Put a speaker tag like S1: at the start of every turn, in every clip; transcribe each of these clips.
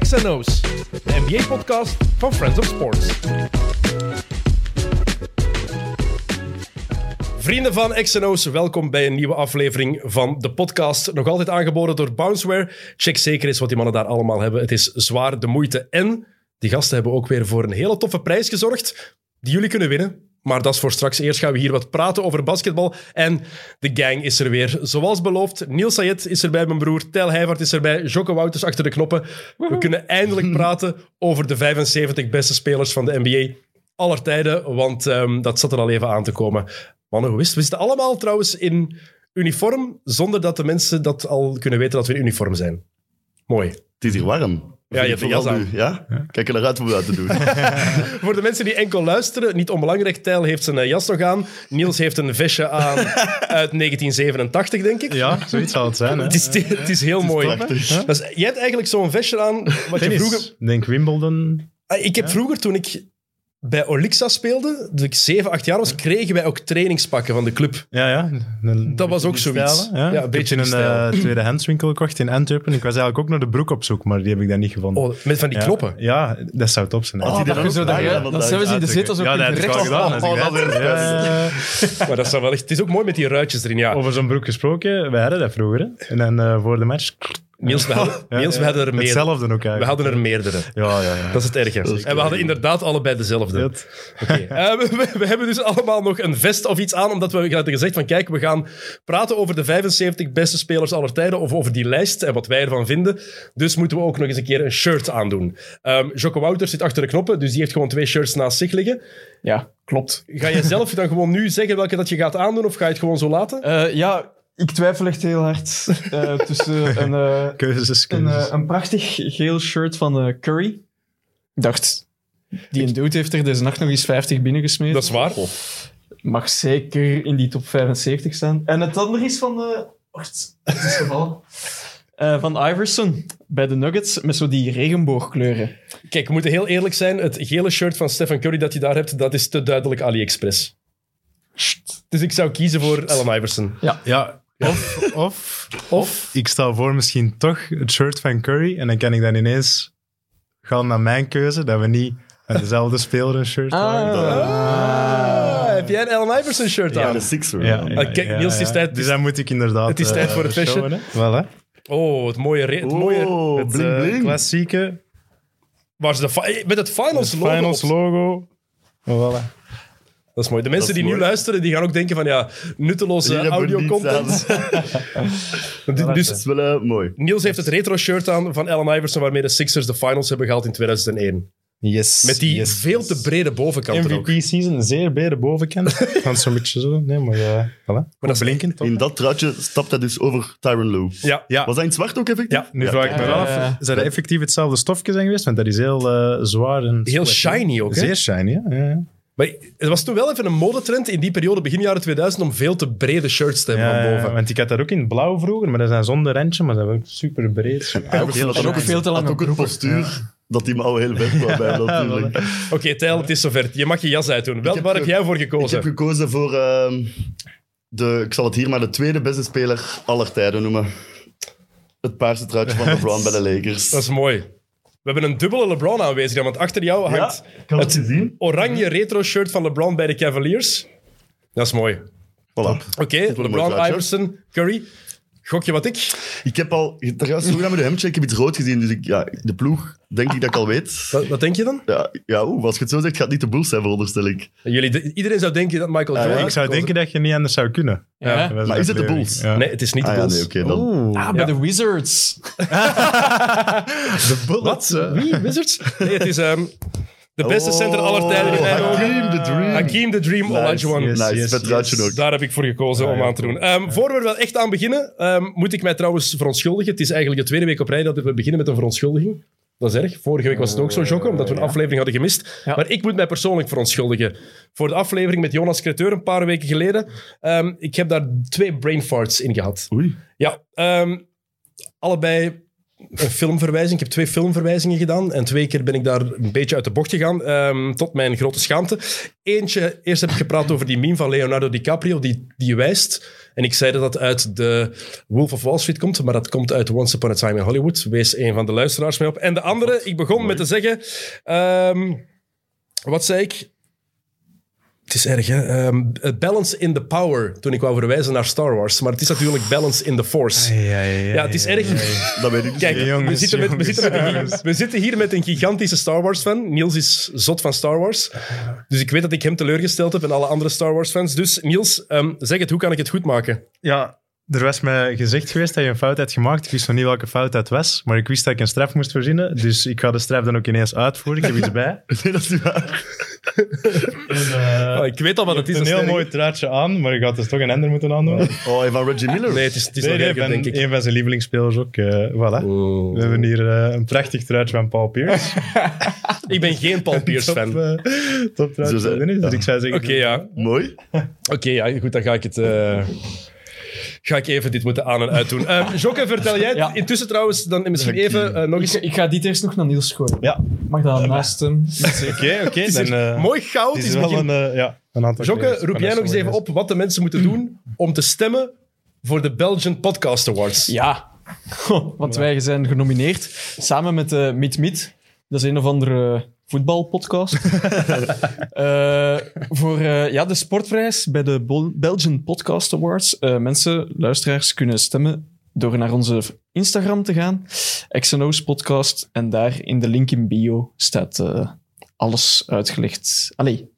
S1: XNO's, de NBA-podcast van Friends of Sports. Vrienden van XNO's, welkom bij een nieuwe aflevering van de podcast. Nog altijd aangeboden door Bounceware. Check zeker eens wat die mannen daar allemaal hebben. Het is zwaar de moeite. En die gasten hebben ook weer voor een hele toffe prijs gezorgd, die jullie kunnen winnen. Maar dat is voor straks. Eerst gaan we hier wat praten over basketbal. En de gang is er weer. Zoals beloofd, Niels Sayed is erbij, mijn broer. Tel Heijvaart is erbij. Jocke Wouters achter de knoppen. We kunnen eindelijk praten over de 75 beste spelers van de NBA aller tijden. Want ehm, dat zat er al even aan te komen. Mannen, hoe is het? We zitten allemaal trouwens in uniform, zonder dat de mensen dat al kunnen weten dat we in uniform zijn. Mooi.
S2: Het is hier warm.
S1: Ja, je
S2: Vind ik
S1: hebt een
S2: vooral
S1: jas
S2: nu, Ja? Kijk er naar uit om dat te doen.
S1: Voor de mensen die enkel luisteren, niet onbelangrijk, Tijl heeft zijn eh, jas nog aan. Niels heeft een vestje aan uit 1987, denk ik.
S3: Ja, zoiets zou het zijn. Hè?
S1: Het is, het is heel mooi.
S2: prachtig.
S1: Dat is- jij hebt eigenlijk zo'n vestje aan. Wat je
S3: Tennis.
S1: vroeger,
S3: Ik Denk Wimbledon.
S1: Ah, ik heb vroeger, toen ik bij Olixa speelde, toen ik 7, 8 jaar was, kregen wij ook trainingspakken van de club.
S3: Ja, ja. Een-
S1: Dat was ook
S3: die
S1: zoiets.
S3: stijlen, ja?
S1: Ja, een
S3: Ik heb
S1: beetje
S3: in
S1: die
S3: een eh, tweedehandswinkel gekocht in Antwerpen. Ik was eigenlijk ook naar de broek op zoek, maar die heb ik daar niet gevonden.
S1: Oh, met van die Oh,
S3: ja.
S1: knoppen.
S3: Ja, dat zou top zijn. hè.
S2: Als
S3: Die
S2: die
S4: dat
S2: er
S4: je
S2: ook
S4: zo
S2: bij
S4: dat-
S2: hebben,
S4: dat zelfs in de
S3: uitdrukken.
S4: zit als ook
S3: ja,
S4: in
S3: dat
S4: de
S3: heb ik wel
S4: recht-
S3: gedaan.
S2: Oh, dat
S3: is
S2: is
S3: echt-
S2: het beste.
S3: Ja. Oh.
S1: Maar dat is wel echt, het is ook mooi met die ruitjes erin. Ja.
S3: Over zo'n broek gesproken, wij hadden dat vroeger. hè. En dan eh, voor de match...
S1: Niels, we hadden,
S3: Ja,
S1: Niels, we
S3: ja.
S1: hadden er meerdere.
S3: Hetzelfde ook eigenlijk.
S1: We hadden er meerdere.
S3: Ja, ja, ja.
S1: Dat is het erge. en we hadden inderdaad allebei dezelfde. Oké. Eh, we, we- we hebben dus allemaal nog een vest of iets aan, omdat we hadden gezegd van kijk, we gaan praten over de 75 beste spelers aller tijden, of over die lijst en wat wij ervan vinden. Dus moeten we ook nog eens een keer een shirt aandoen. Ehm Jocke Wouters zit achter de knoppen, dus die heeft gewoon twee shirts naast zich liggen.
S4: Ja, klopt.
S1: Ga je zelf dan gewoon nu zeggen welke dat je gaat aandoen, of ga je het gewoon zo laten?
S4: Eh, ja, ik twijfel echt heel hard eh, tussen een, eh,
S3: Keuzes,
S4: een,
S3: keuzes.
S4: eh, een prachtig geel shirt van eh, Curry. Ik dacht, die een dude heeft er deze nacht nog eens 50 binnengesmeten.
S1: Dat is waar.
S2: Oh.
S4: Mag zeker in die top 75 staan. En het andere is van... eh wacht, het is gevallen. Eh, van Iverson bij de Nuggets met zo die regenboogkleuren.
S1: Kijk, we moeten heel eerlijk zijn. Het gele shirt van Stephen Curry dat je daar hebt, dat is te duidelijk AliExpress. Dus ik zou kiezen voor Allen Iverson.
S3: Ja, of, of
S1: Of...
S3: ik stel voor misschien toch het shirt van Curry. En dan kan ik dan ineens gaan naar mijn keuze, dat we niet aan dezelfde speler een shirt maken.
S4: Ah.
S1: Ah, heb jij een Allen Iverson shirt
S2: Ja, dus-
S1: aan?
S2: de Sixer.
S3: Ja,
S2: man.
S3: ja,
S1: Ah, kijk, Niels, het is tijd-
S3: Dus dan moet ik inderdaad...
S1: het is tijd
S3: eh,
S1: voor het
S3: showen,
S1: fashion.
S3: hè. Wel, hè.
S1: Oh, het mooie... re- Het mooie
S2: Oh,
S3: Het
S2: bling
S3: eh,
S2: bling.
S3: klassieke
S1: waar ze de fi- eh, met het finals logo
S3: finals
S1: op-
S3: logo. Oh, Voilà.
S1: Dat is mooi. De mensen
S2: Dat
S1: die
S2: is
S1: nu
S2: mooi.
S1: luisteren, die gaan ook denken van ja,
S2: Hier
S1: nutteloze
S2: hebben we niets
S1: audio-content.
S2: aan.
S1: Dus
S2: Dat is wel eh, mooi.
S1: Niels heeft het retro-shirt aan van Allen Iverson, waarmee de Sixers de finals hebben gehaald in 2001.
S3: Yes.
S1: Met die
S3: yes.
S1: veel te brede bovenkant er ook.
S3: MVP season, zeer bij de bovenkant. Van zo'n beetje zo. Nee, maar ja. Voilà.
S1: Maar dat is
S3: Blinkend, toch?
S2: In dat truitje stapt hij dus over Tyron Lou.
S1: Ja,
S3: Ja.
S2: Was hij in het zwart ook effectief?
S1: Ja. Eh.
S3: Nu vraag ik me
S4: Ja,
S3: af,
S4: ja, ja.
S3: zou dat effectief hetzelfde stofje zijn geweest? Want dat is heel eh, zwaar en...
S1: heel shiny ook. Hè?
S3: Zeer shiny, ja. ja, ja.
S1: Maar het was toen wel even een modetrend in die periode, begin jaren 2000, om veel te brede shirts te hebben
S3: Ja,
S1: van
S3: ja,
S1: boven.
S3: want ik had dat ook in het blauw vroeger, maar dat zijn zonder randje, maar dat was super breed.
S2: Ja, ook,
S4: en ook veel te lange
S2: Had ook het postuur dat die mouw heel weg kwam bij hem, natuurlijk.
S1: Oké, Tijl, het is zover. Je mag je jas uitdoen. Wel,
S2: heb
S1: waar heb
S2: ge-
S1: jij voor
S2: Ik
S1: gekozen?
S2: heb gekozen voor ehm, de, ik zal het hier maar de tweede beste speler aller tijden noemen. Het paarse truitje van LeBron bij de Lakers.
S1: Dat is mooi. We hebben een dubbele LeBron aanwezig, dan, want achter jou hangt
S2: ik had het gezien.
S1: oranje retro shirt van LeBron bij de Cavaliers. Dat is mooi. Oké,
S2: Voilà. een mooi
S1: LeBron,
S2: truitje.
S1: Iverson, Curry. Gok je wat ik?
S2: Ik heb al, trouwens, hoe gaan we de hemdje? Ik heb iets rood gezien, dus ik, ja, de ploeg denk ik dat ik al weet.
S1: Wat, wat denk je dan?
S2: Ja, ja oeh, als je het zo zegt, gaat het niet de Bulls zijn, veronderstel ik.
S1: Jullie, de- iedereen zou denken dat Michael
S2: Ah,
S1: Jordan...
S2: ja,
S3: Ik zou
S1: gekozen-
S3: denken dat je niet anders zou kunnen.
S4: Ja.
S1: Ja.
S3: Dat was
S2: Maar is het de
S3: aflevering,
S2: Bulls?
S3: ja.
S1: Nee, het is niet
S2: Ah
S1: de
S2: ja,
S1: Bulls.
S2: nee, oké dan.
S4: Ah, bij de Wizards.
S3: De Bullets.
S2: eh?
S1: Wat? Wie? Wizards? Nee, het is ehm, de
S2: Oh.
S1: beste center aller tijden in mijn ogen.
S2: Hakim the Dream.
S1: Hakim the Dream Olajuwon.
S3: yes.
S2: Nice,
S3: Yes,
S2: vet truitje
S3: yes.
S2: ook.
S1: Daar heb ik voor gekozen om aan te doen. Ehm, Voor we er wel echt aan beginnen, ehm, moet ik mij trouwens verontschuldigen. Het is eigenlijk de tweede week op rij dat we beginnen met een verontschuldiging. Dat is erg. Vorige week was het ook zo, Jocke, omdat we een aflevering hadden gemist.
S4: Ja.
S1: Maar ik moet mij persoonlijk verontschuldigen. Voor de aflevering met Jonas Creteur een paar weken geleden. ehm, ik heb daar twee brain farts in gehad.
S2: Oei.
S1: Ja, ehm, allebei een filmverwijzing. Ik heb twee filmverwijzingen gedaan en twee keer ben ik daar een beetje uit de bocht gegaan, ehm, tot mijn grote schaamte. Eentje, eerst heb ik gepraat over die meme van Leonardo DiCaprio, die, die wijst. En ik zei dat dat uit de Wolf of Wall Street komt, maar dat komt uit Once Upon a Time in Hollywood. Wees een van de luisteraars mee op. En de andere, ik begon met te zeggen... ehm, wat zei ik? Het is erg, hè? Ehm, balance in the power, toen ik wou verwijzen naar Star Wars. Maar het is natuurlijk balance in the force.
S3: Ja,
S1: Ja, het is erg.
S2: Dat weet ik niet.
S1: Kijk,
S2: Ja.
S1: we,
S3: jongens,
S1: zitten met, we,
S3: jongens,
S1: zitten met een
S3: jongens.
S1: gi- we zitten hier met een gigantische Star Wars-fan. Niels is zot van Star Wars. Dus ik weet dat ik hem teleurgesteld heb en alle andere Star Wars-fans. Dus Niels, ehm, zeg het, hoe kan ik het goed maken?
S3: Ja, er was mij gezegd geweest dat je een fout had gemaakt. Ik wist nog niet welke fout dat was, maar ik wist dat ik een straf moest voorzien. Dus ik ga de straf dan ook ineens uitvoeren. Ik heb iets bij.
S2: Nee, dat is niet waar.
S1: Oh, ik weet al wat het
S3: Het
S1: is.
S3: is Eh,
S1: dat
S3: een heel
S1: stel ik-
S3: mooi truitje aan, maar je gaat dus toch een ander moeten aandoen. Nee,
S2: Oh, en van Reggie Miller.
S1: Nee, het is, het is nog
S3: nee,
S1: erger,
S3: van
S1: denk ik.
S3: een van zijn lievelingsspelers ook. eh, voilà. We hebben hier eh, een prachtig truitje van Paul Pierce.
S1: Ik ben geen Paul Pierce-fan.
S3: Top,
S1: Oké,
S3: eh, top truitje.
S2: Zo zei-
S3: Dus ik zou zeggen...
S1: ja.
S2: Mooi.
S1: Oké, ja, goed, dan ga ik het... eh, Ga ik even dit moeten aan en uit doen. Ehm Jokke, vertel jij het.
S4: Ja.
S1: Intussen trouwens, dan misschien even eh, nog
S4: Ik,
S1: eens...
S4: ik ga dit eerst nog naar Niels gooien.
S3: Ja, oké,
S4: Mag dat naast hem?
S3: oké. dan, eh,
S1: Mooi goud
S3: het
S1: is,
S3: is
S1: begin.
S3: wel een, eh, ja, een aantal
S1: Jokke,
S3: collega's
S1: roep
S3: van
S1: jij
S3: SO
S1: nog eens even op wat de mensen moeten doen om te stemmen voor de Belgian Podcast Awards.
S4: Ja, want wij zijn genomineerd samen met eh Meet Meet. Dat is een of andere eh, voetbalpodcast. Eh, voor eh, ja, de sportprijs bij de Bol- Belgian Podcast Awards. Eh, mensen, luisteraars, kunnen stemmen door naar onze Instagram te gaan. XNO's podcast. En daar in de link in bio staat eh, alles uitgelegd. Allee,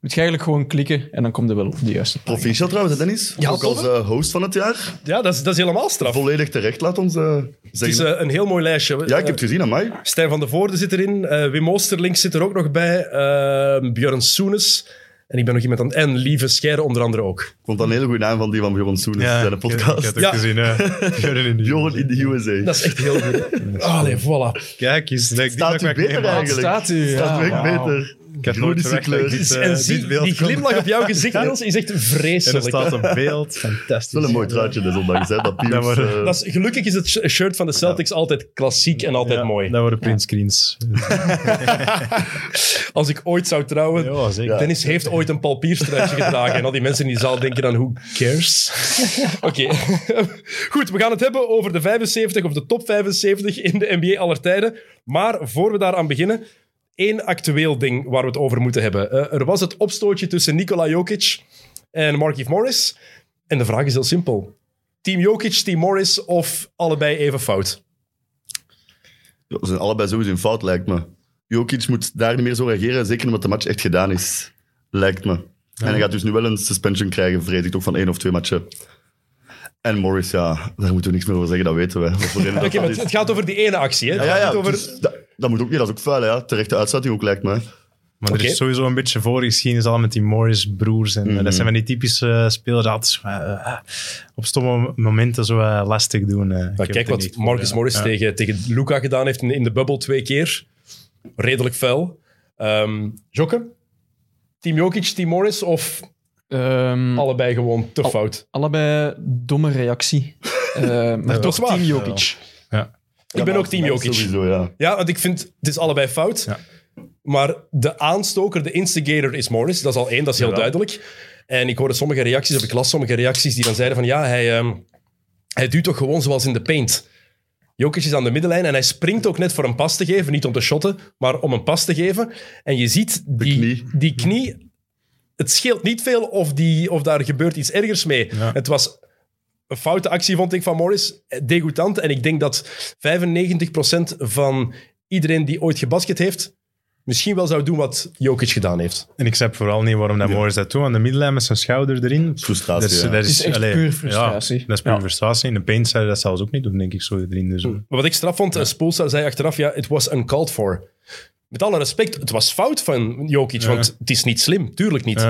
S4: moet je eigenlijk gewoon klikken en dan komt er wel op de juiste.
S2: Proficiat trouwens, hè, Dennis.
S1: Ja,
S2: ook
S1: tof,
S2: als
S1: hè?
S2: eh, host van het jaar.
S1: Ja, dat is, dat is helemaal straf.
S2: Volledig terecht, laat ons eh,
S1: Het is
S2: zeggen.
S1: eh, een heel mooi lijstje.
S2: ja, ik heb het gezien aan mij.
S1: Eh, Stijn van de Voorde zit erin. eh Wim Oosterlink zit er ook nog bij. eh Björn Soenes. En ik ben nog iemand aan... En Lieve Scheire onder andere ook.
S2: Ik vond dat een hele goede naam van die van Bjorn Soenens,
S3: Ja,
S2: zijn
S3: ik heb- Ik
S2: podcast.
S3: heb het ook gezien. eh. Björn in de-
S2: Bjorn in de USA.
S1: Dat is echt heel goed. Allee, voilà.
S3: Kijk eens. dat ik die
S2: Staat
S3: nog
S2: u
S3: mag
S2: beter
S3: meemaken.
S2: eigenlijk?
S4: staat u?
S2: Dat
S4: Ja,
S2: werkt
S4: wauw.
S2: beter.
S3: Ik had nooit
S2: Groene
S3: verwacht dat ik
S2: kleur.
S3: dit, eh,
S1: en
S3: dit
S1: zie,
S3: beeld
S1: die
S3: kon-
S1: glimlach op jouw gezicht, Niels, is echt
S3: En er
S1: vreselijk.
S3: staat een beeld. Fantastisch.
S2: Wel een mooi truitje dus ondanks, hè. Dat Piers...
S3: Ja, maar,
S2: eh,
S1: Dat is, gelukkig is het sh- shirt van de Celtics altijd klassiek en altijd
S3: Ja,
S1: mooi.
S3: Dat worden printscreens.
S1: Als ik ooit zou trouwen,
S3: Ja, zeker.
S1: Dennis heeft ooit een Paul Pierce truitje gedragen. En al die mensen in die zaal denken dan, who cares? Oké. Goed, we gaan het hebben over de 75 of de top 75 in de NBA aller tijden. Maar voor we daaraan beginnen, één actueel ding waar we het over moeten hebben. Eh, er was het opstootje tussen Nikola Jokic en Markieff Morris. En de vraag is heel simpel. Team Jokic, Team Morris of allebei even fout?
S2: ja, Ze zijn allebei sowieso in fout, lijkt me. Jokic moet daar niet meer zo reageren, zeker omdat de match echt gedaan is. Lijkt me. En hij gaat dus nu wel een suspension krijgen, vrees ik, toch van één of twee matchen. En Morris, ja, daar moeten we niks meer over zeggen, dat weten we. Wat voor reden dat
S1: Oké, maar
S2: dat
S1: het,
S2: is.
S1: het gaat over die ene actie. Hè?
S2: Ja,
S1: Het
S2: ja,
S1: gaat
S2: ja.
S1: niet over...
S2: dus dat, dat moet ook niet, dat is ook vuil, hè, ja. Terechte uitsluiting ook, lijkt me.
S3: Maar er
S1: Oké.
S3: is sowieso een beetje voorgeschiedenis al met die Morris-broers. En eh, dat zijn van die typische eh, spelers die altijd zo, eh, eh, op stomme momenten zo eh, lastig doen. eh. Ik heb
S1: Maar
S3: het
S1: kijk
S3: er
S1: wat
S3: niet voor,
S1: Marcus
S3: ja.
S1: Morris
S3: Ja.
S1: tegen, tegen Luca gedaan heeft in, in de bubbel twee keer. Redelijk fel. Ehm Jokke? Team Jokic, Team Morris of
S4: Ehm,
S1: allebei gewoon te fout?
S4: Allebei domme reactie. Eh, maar
S1: dat
S4: toch
S1: is waar.
S4: Team Jokic.
S1: Ik ben ook Team Jokic.
S2: Sowieso, ja.
S1: Ja, want ik vind het is allebei fout.
S3: Ja.
S1: Maar de aanstoker, de instigator is Morris. Dat is al één, dat is heel
S3: Jawel.
S1: duidelijk. En ik hoorde sommige reacties, of ik las sommige reacties die dan zeiden van ja, hij, ehm, hij duwt toch gewoon zoals in de paint. Jokic is aan de middenlijn en hij springt ook net voor een pas te geven. Niet om te shotten, maar om een pas te geven. En je ziet die
S2: knie.
S1: Die knie het scheelt niet veel of, die, of daar gebeurt iets ergers mee.
S3: Ja.
S1: Het was een foute actie, vond ik, van Morris. Degoutant. En ik denk dat 95% van iedereen die ooit gebasket heeft, misschien wel zou doen wat Jokic gedaan heeft.
S3: En ik snap vooral niet waarom dat Morris dat doet. Want de middenlijn met zijn schouder erin...
S2: Frustratie,
S3: Dus, dat is,
S2: ja.
S3: dat
S4: Het is echt
S3: allee,
S4: puur
S3: ja,
S4: frustratie.
S3: dat is puur
S4: Ja.
S3: frustratie. In de paint zou je dat zelfs ook niet doen, denk ik, zo erin. Dus,
S1: Maar wat ik straf vond, eh, Spoelstra zei achteraf, ja, it was uncalled for. Met alle respect, het was fout van Jokic, want het is niet slim. Tuurlijk niet.
S3: eh,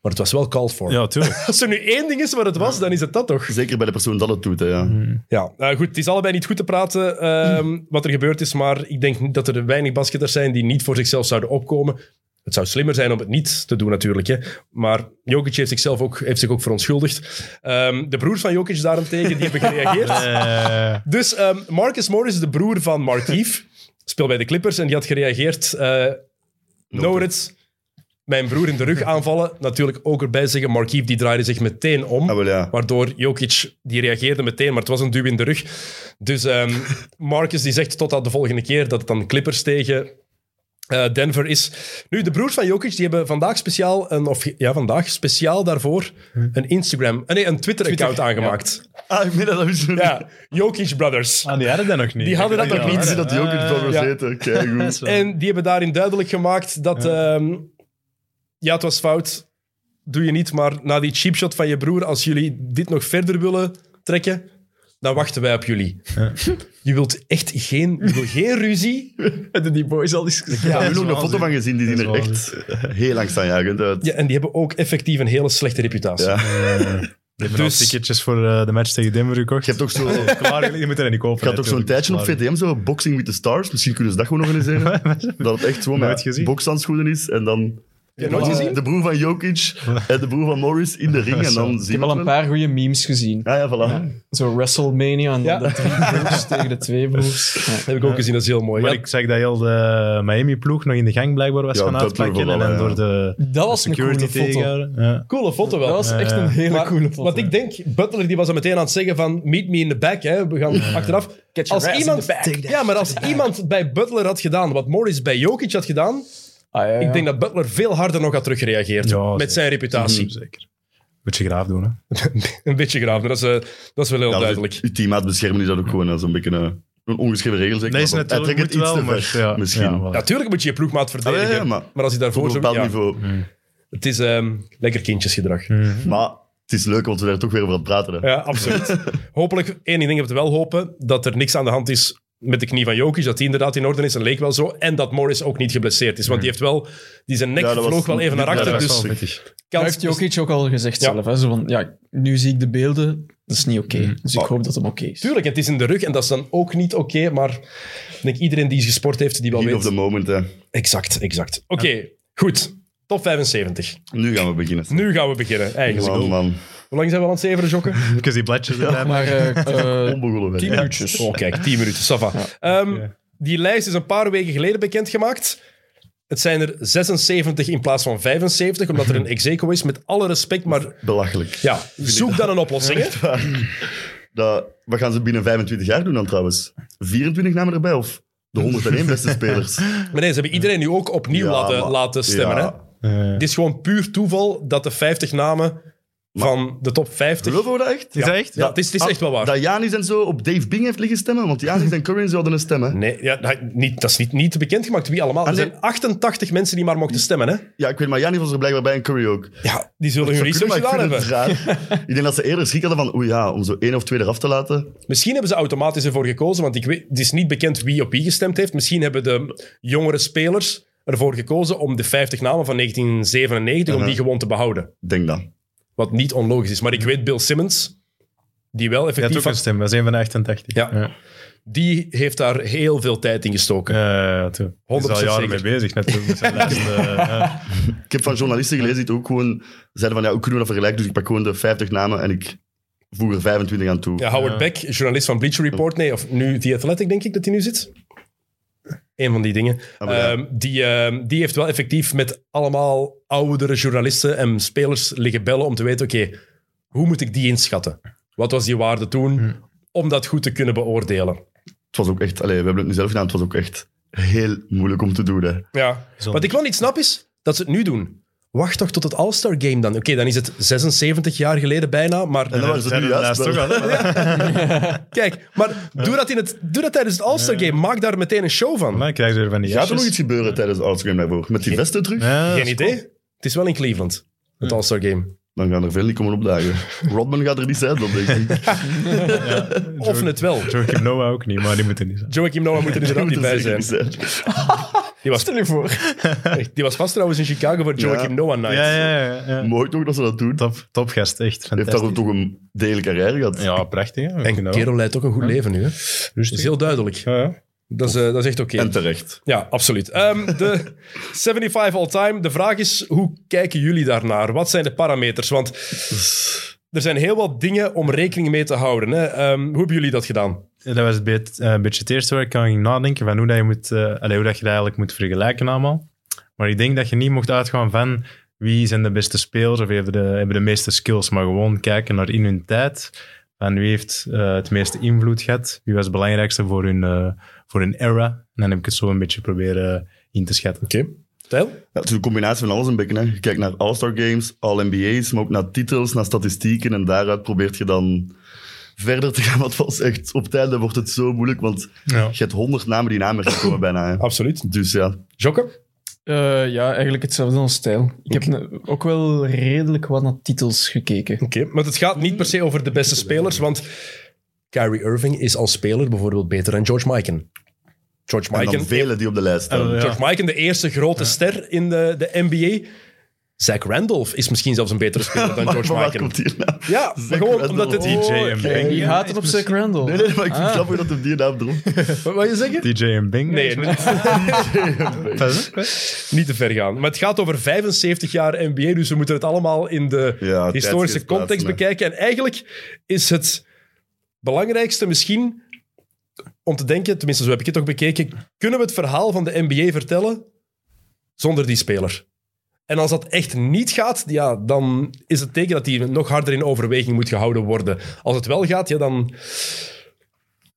S1: Maar het was wel called for.
S3: ja, tuurlijk.
S1: Als er nu één ding is wat het was, dan is het dat toch?
S2: Zeker bij de persoon dat het doet, hè, ja.
S1: Ja, nou goed, het is allebei niet goed te praten ehm, wat er gebeurd is, maar ik denk niet dat er weinig basketters zijn die niet voor zichzelf zouden opkomen. Het zou slimmer zijn om het niet te doen natuurlijk. Hè. Maar Jokic heeft, zichzelf ook, heeft zich ook verontschuldigd. Ehm, de broers van Jokic daarentegen, die hebben gereageerd.
S3: Eh,
S1: Dus ehm, Marcus Morris, de broer van Markief, speelt bij de Clippers en die had gereageerd. eh Norits, mijn broer in de rug aanvallen. Natuurlijk ook erbij zeggen, Markief die draaide zich meteen om.
S2: Ah, wel ja.
S1: Waardoor Jokic, die reageerde meteen, maar het was een duw in de rug. Dus ehm, Marcus die zegt tot aan de volgende keer dat het dan Clippers tegen eh, Denver is. Nu, de broers van Jokic die hebben vandaag speciaal, een, of ja, vandaag speciaal daarvoor een Instagram, eh, nee, een Twitter-account aangemaakt.
S2: Ah, ik meen dat dat is zo
S1: Ja. Jokic Brothers.
S3: ah, die hadden dat nog niet.
S1: Die hadden dat
S3: Ah, Ja,
S1: nog niet.
S2: Ik zie dat die ook in het
S1: Ja.
S2: programma zitten. Kijk,
S3: dat
S2: goed. Eh,
S3: is wel-
S1: En die hebben daarin duidelijk gemaakt dat... Ja, ja het was fout. Doe je niet, maar na die cheapshot van je broer, als jullie dit nog verder willen trekken, dan wachten wij op jullie. Je wilt echt geen, je wil geen ruzie.
S4: Hebben die boys al eens gezien?
S2: Ik heb
S3: dat
S2: er
S3: is
S2: nog een
S3: waanzin.
S2: foto van gezien, die
S3: Dat
S2: zien
S3: is
S2: er echt eh, heel langzaamjagend uit.
S1: Ja, en die hebben ook effectief een hele slechte reputatie.
S2: Ja.
S3: Eh, Die hebben al
S1: Dus-
S3: ticketjes voor eh, de match tegen Denver gekocht.
S2: Ik heb toch zo...
S3: Klaar, je moet er niet kopen.
S2: Ik had toch zo'n tijdje op VTM, zo Boxing with the Stars. Misschien kunnen ze dat gewoon organiseren. dat het echt gewoon
S3: Nooit
S2: met
S3: gezien.
S2: bokshandschoenen is en dan...
S1: je nooit
S2: de-
S1: gezien?
S2: De broer van Jokic en de broer van Morris in de ring. En dan
S4: Ik
S2: zien
S4: heb
S2: we
S4: al een paar goede memes gezien.
S2: Ah ja, voilà.
S4: Zo WrestleMania en
S1: Ja.
S4: de drie broers tegen de twee broers. Ja.
S1: Dat heb ik ook gezien, dat is heel mooi.
S3: Maar
S1: Ja,
S3: ik zag dat heel de Miami-ploeg nog in de gang blijkbaar was
S2: Ja,
S3: gaan
S2: dat
S3: uitpakken. En
S2: vooral,
S3: dan
S2: ja.
S3: door de
S4: Dat was een coole
S3: security
S4: foto.
S3: tegenhouden. Ja.
S1: Coole foto wel.
S4: Dat was echt
S3: Ja, ja.
S4: een hele
S1: Maar
S4: coole foto.
S1: Wat ik denk, Butler die was al meteen aan het zeggen van meet me in the back. Hè. We gaan achteraf.
S4: your
S1: Als
S4: ass in
S1: iemand,
S4: the back. Take that
S1: ja, maar als iemand bij Butler had gedaan wat Morris bij Jokic had gedaan,
S4: Ah, ja, ja.
S1: Ik denk dat Butler veel harder nog had teruggereageerd
S3: Ja,
S1: met
S3: zeker.
S1: zijn reputatie.
S3: hmm,
S4: Mm-hmm.
S3: Zeker. Beetje graaf doen, hè.
S1: een beetje graaf, maar dat is, eh, dat is wel heel
S2: Ja,
S1: duidelijk.
S2: dus Uw teammaat beschermen is dat ook gewoon eh, zo'n beetje een, een ongeschreven regel. Zeg
S3: Dat is
S2: maar. Hij
S3: natuurlijk
S2: trekt
S3: moet
S2: het iets
S3: wel,
S2: te
S3: maar...
S2: ver,
S3: Ja,
S2: misschien.
S3: ja, voilà.
S1: Natuurlijk moet je je ploegmaat
S2: Ah,
S1: verdedigen.
S2: ja, ja, maar
S1: Maar als hij
S2: op
S1: daarvoor
S2: een
S1: zo...
S2: bepaald
S1: ja,
S2: niveau.
S1: het is ehm, lekker kindjesgedrag.
S2: Maar het is leuk, want we daar toch weer over aan het praten. Hè.
S1: Ja, absoluut. Hopelijk, één ding dat we wel hopen, dat er niks aan de hand is met de knie van Jokic, dat die inderdaad in orde is, en leek wel zo. En dat Morris ook niet geblesseerd is, want die heeft wel... Die zijn nek
S2: Hmm. Ja, dat was
S1: vloog wel even naar
S2: niet-
S1: achter,
S2: ja, dat
S1: dus
S2: was wel
S3: vettig.
S4: Dat
S1: kans...
S4: heeft Jokic ook al gezegd
S1: Ja.
S4: zelf. Hè? Zo van, ja, nu zie ik de beelden, dat is niet oké. Dus ik hoop dat hem oké is.
S1: Mm-hmm. Tuurlijk, het is in de rug en dat is dan ook niet oké, maar ik denk iedereen die gesport heeft, die wel
S2: Heat of the
S1: weet...
S2: moment, hè.
S1: Exact, exact. Oké, goed. Top 75.
S2: Nu gaan we beginnen.
S1: Nu gaan we beginnen, eigenlijk.
S2: Man, man.
S1: Hoe lang zijn we al aan het zeveren, Jokken?
S3: Even die bladjes erbij.
S4: Maar eh, eh,
S2: Onbegonnen
S4: tien
S2: werk.
S4: minuutjes.
S1: Oh, kijk, 10 minuten, Sava. Ehm,
S3: Oké.
S1: Die lijst is een paar weken geleden bekendgemaakt. Het zijn er 76 in plaats van 75, omdat er een execo is. Met alle respect, maar
S2: Belachelijk.
S1: ja, zoek dan een oplossing. hè.
S2: Dat, wat gaan ze binnen 25 jaar doen dan trouwens? 24 namen erbij of de 101 beste spelers?
S1: Maar nee, ze hebben iedereen nu ook opnieuw
S2: Ja,
S1: laten,
S2: maar-
S1: laten stemmen.
S2: ja.
S1: Hè?
S3: Eh,
S1: Het is gewoon puur toeval dat de 50 namen van de top 50...
S2: Geloven we dat echt? Ah,
S3: Is dat echt?
S1: Ja, het is, het is echt wel waar.
S2: Dat Janis en zo op Dave Bing heeft liggen stemmen? Want Janis en Curry zouden een stem, hè?
S1: Nee, ja, dat- niet, dat is niet, niet bekendgemaakt wie allemaal. Er
S2: Ah, nee.
S1: zijn 88 mensen die maar mochten stemmen. Hè?
S2: Ja, ik weet maar, Janis was er blijkbaar bij en Curry ook.
S1: Ja, die zullen hun
S2: Zou
S1: research
S2: kunnen,
S1: gedaan
S2: maar
S1: hebben.
S2: ik vind het raar. ik denk dat ze eerder schrik hadden van, oei ja, om zo één of twee eraf te laten.
S1: Misschien hebben ze automatisch ervoor gekozen, want ik weet, het is niet bekend wie op wie gestemd heeft. Misschien hebben de jongere spelers ervoor gekozen om de 50 namen van 1997 om
S2: Uh-huh.
S1: die gewoon te behouden.
S2: Ik Denk dat.
S1: Wat niet onlogisch is. Maar ik weet Bill Simmons, die wel
S3: Je hebt
S1: effectief...
S3: ook een
S1: had-
S3: stem, dat is een van de 88.
S1: Ja.
S3: ja.
S1: die heeft daar heel veel tijd in gestoken.
S3: Eh, Ja, toen. 100% is
S1: 100%
S3: al jaren
S1: zeker.
S3: mee bezig natuurlijk met zijn lijst. eh, ja.
S2: Ik heb van journalisten gelezen die het ook gewoon zeiden van, ja, hoe kunnen we dat vergelijken? Dus ik pak gewoon de 50 namen en ik voeg er 25 aan toe.
S1: Ja, Howard Beck, journalist van Bleacher Report, nee, of nu The Athletic, denk ik dat hij nu zit. Een van die dingen.
S2: Ah, maar ja.
S1: Ehm, die, ehm, die heeft wel effectief met allemaal oudere journalisten en spelers liggen bellen om te weten, oké, hoe moet ik die inschatten? Wat was die waarde toen?
S2: Hm.
S1: Om dat goed te kunnen beoordelen.
S2: Het was ook echt, allee, we hebben het nu zelf gedaan, het was ook echt heel moeilijk om te doen, hè.
S1: Ja. Wat ik wel niet snap is dat ze het nu doen. Wacht toch tot het All-Star Game dan. Oké, dan is het 76 jaar geleden bijna, maar...
S2: En dan waren ze
S3: Zijn
S2: nu
S3: er
S2: juist.
S3: lijst toch
S2: wel-
S3: al, hè?
S1: Kijk, maar doe dat, in het, doe dat tijdens het All-Star Game. Maak daar meteen een show van.
S3: Dan krijgen ze weer van die
S2: Gaat er nog
S3: jasjes.
S2: iets gebeuren tijdens de All-Star Game daarvoor? Met die vesten terug?
S3: Ja,
S1: Geen idee. Het Eh, is wel in Cleveland, het All-Star Game.
S2: Dan gaan er veel niet komen opdagen. Rodman gaat er niet zijn, dan denk ik.
S1: Of het wel.
S3: Joachim Noah ook niet, maar die moeten niet zijn.
S1: Joachim Noah moet er
S2: Die
S1: inderdaad
S2: moet
S1: niet
S2: er
S1: bij
S2: zeker
S1: zijn.
S2: niet zijn.
S1: Die was,
S4: Stel je voor.
S1: die was vast trouwens in Chicago voor Joachim
S2: Ja.
S1: Noah Night.
S3: Ja, ja, ja. ja.
S2: Mooi toch dat ze dat doen.
S3: Top, topgast, echt
S2: Heeft daar ook
S3: fantastisch.
S2: toch een degelijke carrière gehad.
S3: Ja, prachtig. Hè?
S1: En
S3: Joachim Noah.
S1: kerel leidt ook een goed leven nu. Hè. Dat is
S3: Rustig.
S1: heel duidelijk.
S3: Ja, ja.
S1: Dat is, eh, dat is echt oké.
S2: En terecht.
S1: Ja, absoluut. Ehm, de 75 all-time. De vraag is, hoe kijken jullie daarnaar? Wat zijn de parameters? Want er zijn heel wat dingen om rekening mee te houden. Hè. Ehm, hoe hebben jullie dat gedaan?
S3: Dat was het be- eh, een beetje het eerste waar ik aan ging nadenken van hoe, dat je, moet, eh, allee, hoe dat je dat eigenlijk moet vergelijken allemaal. Maar ik denk dat je niet mocht uitgaan van wie zijn de beste spelers of wie hebben de, hebben de meeste skills, maar gewoon kijken naar in hun tijd. Van wie heeft eh, het meeste invloed gehad? Wie was het belangrijkste voor hun, eh, voor hun era? En dan heb ik het zo een beetje proberen in te schatten.
S1: Oké. Tijl?
S2: Ja, het is een combinatie van alles een beetje. Hè. Je kijkt naar All-Star Games, All-NBA's, maar ook naar titels, naar statistieken. En daaruit probeert je dan verder te gaan. Wat was echt op het einde wordt het zo moeilijk, want
S3: Ja.
S2: je hebt honderd namen die namen komen bijna. Hè.
S1: Absoluut.
S2: Dus ja,
S1: Jokke?
S4: Eh, ja, eigenlijk hetzelfde als stijl. Ik heb ne- ook wel redelijk wat naar titels gekeken.
S1: Oké, maar het gaat niet per se over de beste spelers, want Kyrie Irving is als speler bijvoorbeeld beter dan George Mikan. George
S2: en
S1: Mikan,
S2: dan velen die op de lijst staan.
S3: Eh, ja.
S1: George Mikan, de eerste grote ster in de, de NBA. Zach Randolph is misschien zelfs een betere speler dan
S2: maar
S1: George
S2: waar
S1: Mikan.
S2: komt hier nou?
S1: Ja, maar gewoon omdat het...
S2: Randolph.
S3: DJ
S1: Oh,
S3: en
S1: oké.
S3: Bing.
S4: Je
S3: Ja,
S4: haat het op Zack Randall.
S2: Nee, nee, maar ik vind het
S4: Ah.
S2: grappig dat hem die naam droeg.
S1: Wat wil je zeggen?
S3: DJ en Bing.
S1: Nee, niet,
S3: Pas op, hè.
S1: niet te ver gaan. Maar het gaat over 75 jaar NBA, dus we moeten het allemaal in de
S2: Ja,
S1: historische
S2: tijdgeest
S1: context
S2: plaatsen, Nou, hè.
S1: bekijken. En eigenlijk is het belangrijkste misschien om te denken, tenminste zo heb ik het toch bekeken, kunnen we het verhaal van de NBA vertellen zonder die speler? En als dat echt niet gaat, ja, dan is het teken dat die nog harder in overweging moet gehouden worden. Als het wel gaat, ja, dan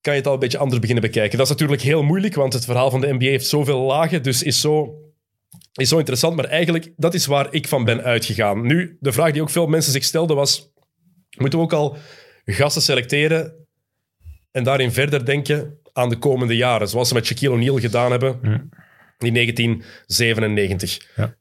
S1: kan je het al een beetje anders beginnen bekijken. Dat is natuurlijk heel moeilijk, want het verhaal van de NBA heeft zoveel lagen, dus is zo, is zo interessant. Maar eigenlijk, dat is waar ik van ben uitgegaan. Nu, de vraag die ook veel mensen zich stelden was, moeten we ook al gasten selecteren en daarin verder denken aan de komende jaren, zoals ze met Shaquille O'Neal gedaan hebben
S3: Ja.
S1: in 1997.
S3: Ja.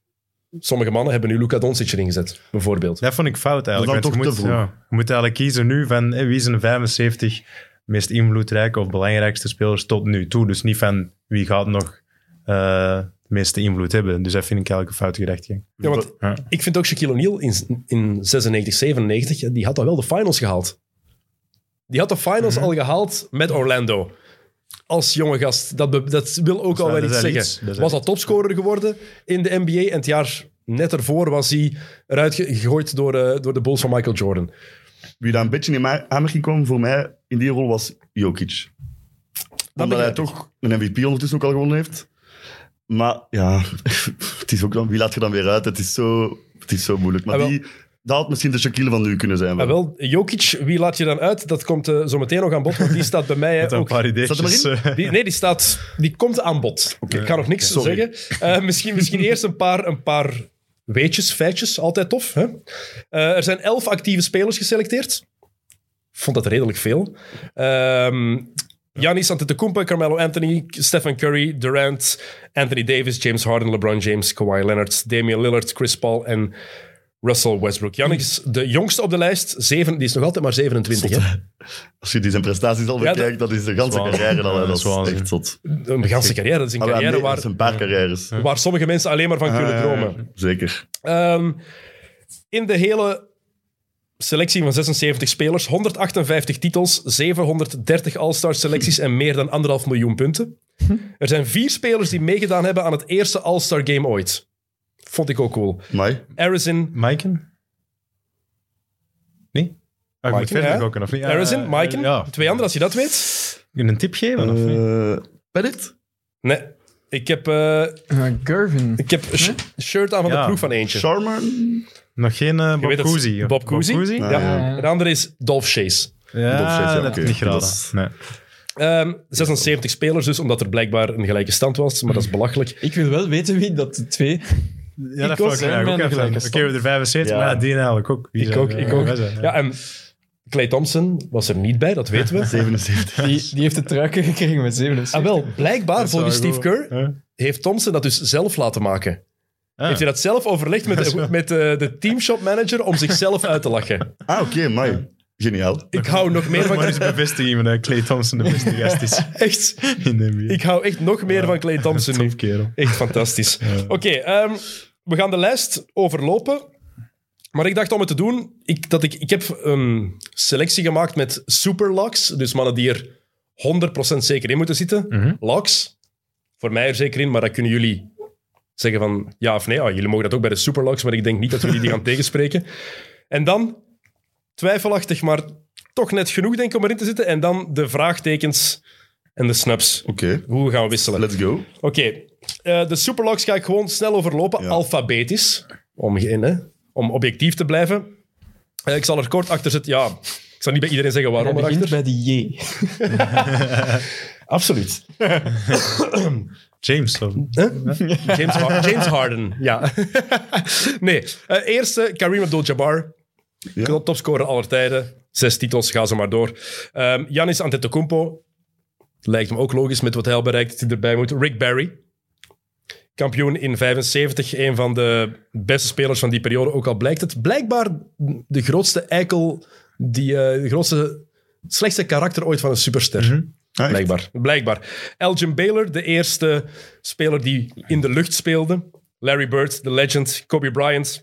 S1: Sommige mannen hebben nu Luka Doncic erin gezet, bijvoorbeeld.
S3: Dat vond ik fout eigenlijk.
S2: Dat is dan
S3: want je,
S2: toch
S3: moet,
S2: te vroeg.
S3: ja, je moet eigenlijk kiezen nu van hé, wie zijn de 75 meest invloedrijke of belangrijkste spelers tot nu toe. Dus niet van wie gaat nog eh, de meeste invloed hebben. Dus dat vind ik eigenlijk een foute gedachte.
S1: Ja, want
S3: Ja.
S1: ik vind ook Shaquille O'Neal in, in 96, 97, ja, die had al wel de finals gehaald. Die had de finals
S3: Mhm.
S1: al gehaald met Orlando. Als jonge gast. Dat, be- dat wil ook al
S3: dat
S1: wel
S3: is
S1: iets
S3: al
S1: zeggen.
S3: iets. Dat is al
S1: Was al topscorer geworden in de NBA. En het jaar net ervoor was hij eruit ge- gegooid door, eh, door de Bulls van Michael Jordan.
S2: Wie daar een beetje in ma- aanmerking kwam voor mij in die rol was Jokic. Omdat hij
S1: begrijp ik.
S2: toch een MVP ondertussen ook al gewonnen heeft. Maar ja, het is ook dan, wie laat je dan weer uit? Het is zo, het is zo moeilijk. Maar
S1: Ah, wel.
S2: die, dat had misschien de Shaquille van nu kunnen zijn.
S1: Maar
S2: wel.
S1: wel, Jokic, wie laat je dan uit? Dat komt eh, zo meteen nog aan bod. Want die staat bij mij eh,
S3: Met een
S1: ook
S3: paar
S2: Zat
S3: ideetjes.
S2: er maar
S3: eh,
S1: Die, nee, die, staat, die komt aan bod. Ik ga nog niks
S2: Sorry.
S1: zeggen. Eh, misschien, misschien eerst een paar, een paar weetjes, feitjes. Altijd tof. Hè? Eh, er zijn elf actieve spelers geselecteerd. Vond dat redelijk veel. Ehm Giannis Antetokounmpo, Carmelo Anthony, Stephen Curry, Durant, Anthony Davis, James Harden, LeBron James, Kawhi Leonard, Damian Lillard, Chris Paul en Russell Westbrook. Giannis, de jongste op de lijst, zeven, die is nog altijd maar 27. Hè?
S2: Als je die zijn prestaties al
S1: Ja,
S2: bekijkt, dat is de ganse
S3: Zwaar.
S2: carrière al. hè.
S3: Ja,
S2: dat
S3: zwaar,
S2: is echt zot.
S1: Een ganse carrière. Dat is een
S2: Ah, ja,
S1: carrière
S2: nee, dat
S1: waar,
S2: is een paar carrières.
S1: waar sommige mensen alleen maar van
S2: Ah,
S1: kunnen
S2: ja,
S1: dromen.
S2: Zeker.
S1: Ehm, in de hele selectie van 76 spelers, 158 titels, 730 All-Star selecties en meer dan anderhalf miljoen punten. Er zijn vier spelers die meegedaan hebben aan het eerste All-Star game ooit. Vond ik ook cool.
S2: Mai.
S1: Harrison,
S3: Maiken? Nee? Ah, ik moet
S1: Maiken,
S3: verder
S1: ja.
S3: ook of niet? Ja,
S1: Harrison,
S3: eh,
S1: Maiken, Eh,
S3: Ja.
S1: twee anderen als je dat weet.
S3: Kun je een tip geven of niet?
S2: Pettit?
S1: Nee, ik heb, eh,
S4: Eh, Gervin.
S1: ik heb een sh- shirt aan van de
S3: Ja.
S1: ploeg van eentje.
S2: Charmer?
S3: Nog geen eh,
S1: Je weet
S3: Bob
S1: het,
S3: Cousy? of-
S1: Bob Cousy.
S2: Ah,
S1: Ja.
S2: ja.
S1: De andere is Dolph Chase.
S3: Ja,
S2: Bob Cousy,
S3: dat
S2: oké.
S3: heb ik niet
S2: Dat
S3: geraden.
S2: is-
S3: Nee.
S1: Ehm, 76 spelers dus, omdat er blijkbaar een gelijke stand was, maar dat is belachelijk.
S4: Ik wil wel weten wie dat de twee...
S3: Ja, dat
S4: was
S3: vond ik
S4: er,
S3: eigenlijk
S4: mijn
S3: ook even.
S4: gelijke
S3: Oké, we hebben er 75,
S2: Ja.
S3: maar ja, die eigenlijk ook. Wie
S1: Ik
S3: zou-
S1: ook, ik ook.
S3: wij zijn,
S1: Ja, en Clay Thompson was er niet bij, dat weten we.
S2: 77.
S4: Die, die heeft de truiken gekregen met 77.
S1: Ah, wel, blijkbaar, volgens
S3: zou
S1: Steve
S3: ik
S1: Kerr,
S3: Huh?
S1: heeft Thompson dat dus zelf laten maken.
S3: Ah.
S1: Heeft hij dat zelf overlegd met, de- met de, de teamshop manager om zichzelf uit te lachen?
S2: Ah, oké, Mai. Geniaal.
S1: Ik hou nog meer
S3: Nog maar
S1: van...
S3: eens bevestiging van Clay Thompson de beste gast is
S1: Echt,
S3: in de NBA.
S1: ik hou echt nog meer van Clay Thompson nu.
S3: Tof kerel.
S1: Echt fantastisch. Oké, ehm, we gaan de lijst overlopen. Maar ik dacht om het te ehm, doen, ik, dat ik, ik heb een selectie gemaakt met superlocks. Dus mannen die er 100% zeker in moeten zitten.
S3: Mhm.
S1: Locks, voor mij er zeker in, maar dat kunnen jullie zeggen van ja of nee. Ah, jullie mogen dat ook bij de superlocks, maar ik denk niet dat jullie die gaan tegenspreken. En dan, twijfelachtig, maar toch net genoeg denk ik om erin te zitten. En dan de vraagtekens en de snaps.
S2: Oké,
S1: Hoe gaan we wisselen?
S2: let's go.
S1: Oké, eh, de superlogs ga ik gewoon snel overlopen,
S2: Ja.
S1: alfabetisch, om, geen, hè, om objectief te blijven. Eh, ik zal er kort achter zitten, ja, ik zal niet bij iedereen zeggen waarom
S4: Hij
S1: erachter.
S4: begint bij de J.
S1: Absoluut.
S3: James. Of...
S1: James, Har- James Harden, ja. nee, eh, eerste Kareem Abdul-Jabbar,
S2: Ja.
S1: topscorer aller tijden. Zes titels, ga ze maar door. Ehm Giannis Antetokounmpo, lijkt me ook logisch met wat hij al bereikt, dat hij erbij moet. Rick Barry, kampioen in 75, een van de beste spelers van die periode. Ook al blijkt het blijkbaar de grootste eikel, die, eh, de grootste, slechtste karakter ooit van een superster.
S2: Ah, echt?
S1: Blijkbaar. Blijkbaar. Elgin Baylor, de eerste speler die in de lucht speelde. Larry Bird, de legend. Kobe Bryant,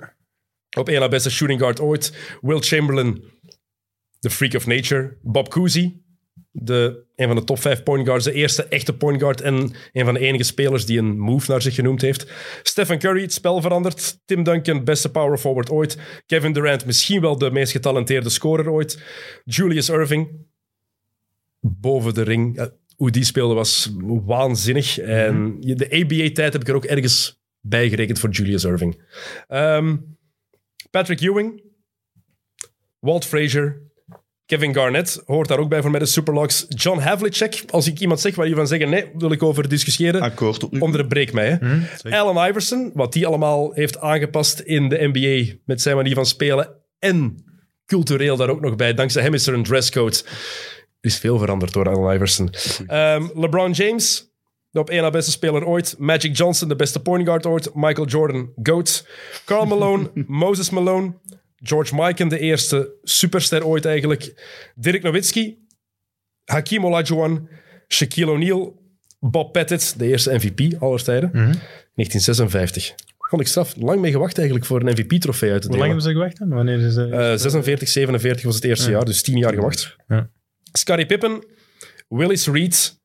S1: op één na beste shooting guard ooit. Will Chamberlain, de freak of nature. Bob Cousy, de, een van de top vijf point guards. De eerste echte point guard en een van de enige spelers die een move naar zich genoemd heeft. Stephen Curry, het spel veranderd. Tim Duncan, beste power forward ooit. Kevin Durant, misschien wel de meest getalenteerde scorer ooit. Julius Irving, boven de ring. Eh, Hoe die speelde was waanzinnig. En je- de ABA-tijd heb ik er ook ergens bij gerekend voor Julius Irving. Ehm, Patrick Ewing, Walt Frazier, Kevin Garnett hoort daar ook bij voor mij de Superlocks. John Havlicek, als ik iemand zeg waar je van zeggen nee, wil ik over discussiëren.
S2: Akkoord op nu.
S1: Mm-hmm. Onderbreek mij. Hè. Allen Iverson, wat die allemaal heeft aangepast in de NBA met zijn manier van spelen. En cultureel daar ook nog bij. Dankzij hem is er een dresscode. Er is veel veranderd door Allen Iverson. Ehm, LeBron James, de op één na beste speler ooit. Magic Johnson, de beste point guard ooit. Michael Jordan, GOAT. Karl Malone, Moses Malone. George Mikan, de eerste superster ooit eigenlijk. Dirk Nowitzki, Hakim Olajuwon, Shaquille O'Neal, Bob Pettit, de eerste MVP aller tijden,
S3: Mhm.
S1: 1956. Vond ik straf. Lang mee gewacht eigenlijk voor een MVP-trofee uit te
S3: Hoe lang
S1: delen.
S3: hebben ze gewacht dan? Wanneer is het?
S1: Eh, 46, 47 was het eerste jaar, dus 10 jaar gewacht.
S3: Ja.
S1: Scottie Pippen, Willis Reed,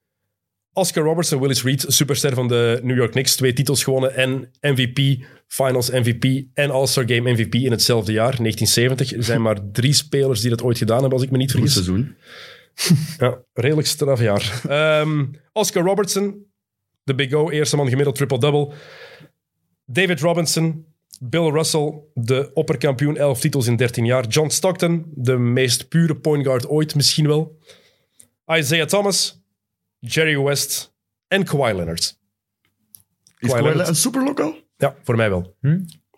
S1: Oscar Robertson, Willis Reed, superster van de New York Knicks, twee titels gewonnen en MVP, Finals MVP en All-Star Game MVP in hetzelfde jaar, 1970. Er zijn maar drie spelers die dat ooit gedaan hebben, als ik me niet
S2: Goed
S1: vergis.
S2: seizoen.
S1: Ja, redelijk strafjaar. Ehm, Oscar Robertson, de Big O, eerste man gemiddeld triple-double. David Robinson, Bill Russell, de opperkampioen, 11 titels in 13 jaar. John Stockton, de meest pure point guard ooit misschien wel. Isaiah Thomas, Jerry West en Kawhi Leonard.
S2: Is
S1: Kawhi
S2: Kawhi
S1: Leonard.
S2: een superlocal?
S1: Ja, voor mij wel.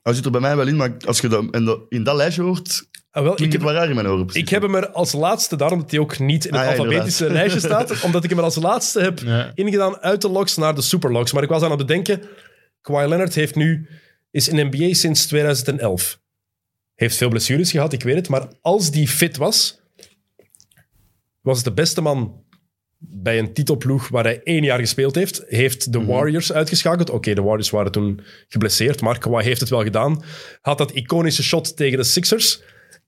S2: Hij zit er bij mij wel in, maar als je dat in, dat- in dat lijstje hoort,
S1: Ah, wel
S2: klinkt
S1: ik,
S2: het
S1: heb,
S2: wel raar in mijn oren. precies.
S1: ik heb hem er als laatste, daarom dat hij ook niet in het
S2: Ah, ja,
S1: alfabetische lijstje staat, omdat ik hem er als laatste heb
S3: Ja.
S1: ingedaan uit de locks naar de superlocks. Maar ik was aan het bedenken, Kawhi Leonard heeft nu, is in NBA sinds 2011. Heeft veel blessures gehad, ik weet het. Maar als die fit was, was het de beste man bij een titelploeg waar hij één jaar gespeeld heeft. Heeft de Warriors uitgeschakeld. Oké, de Warriors waren toen geblesseerd, maar Kawhi heeft het wel gedaan. Had dat iconische shot tegen de Sixers.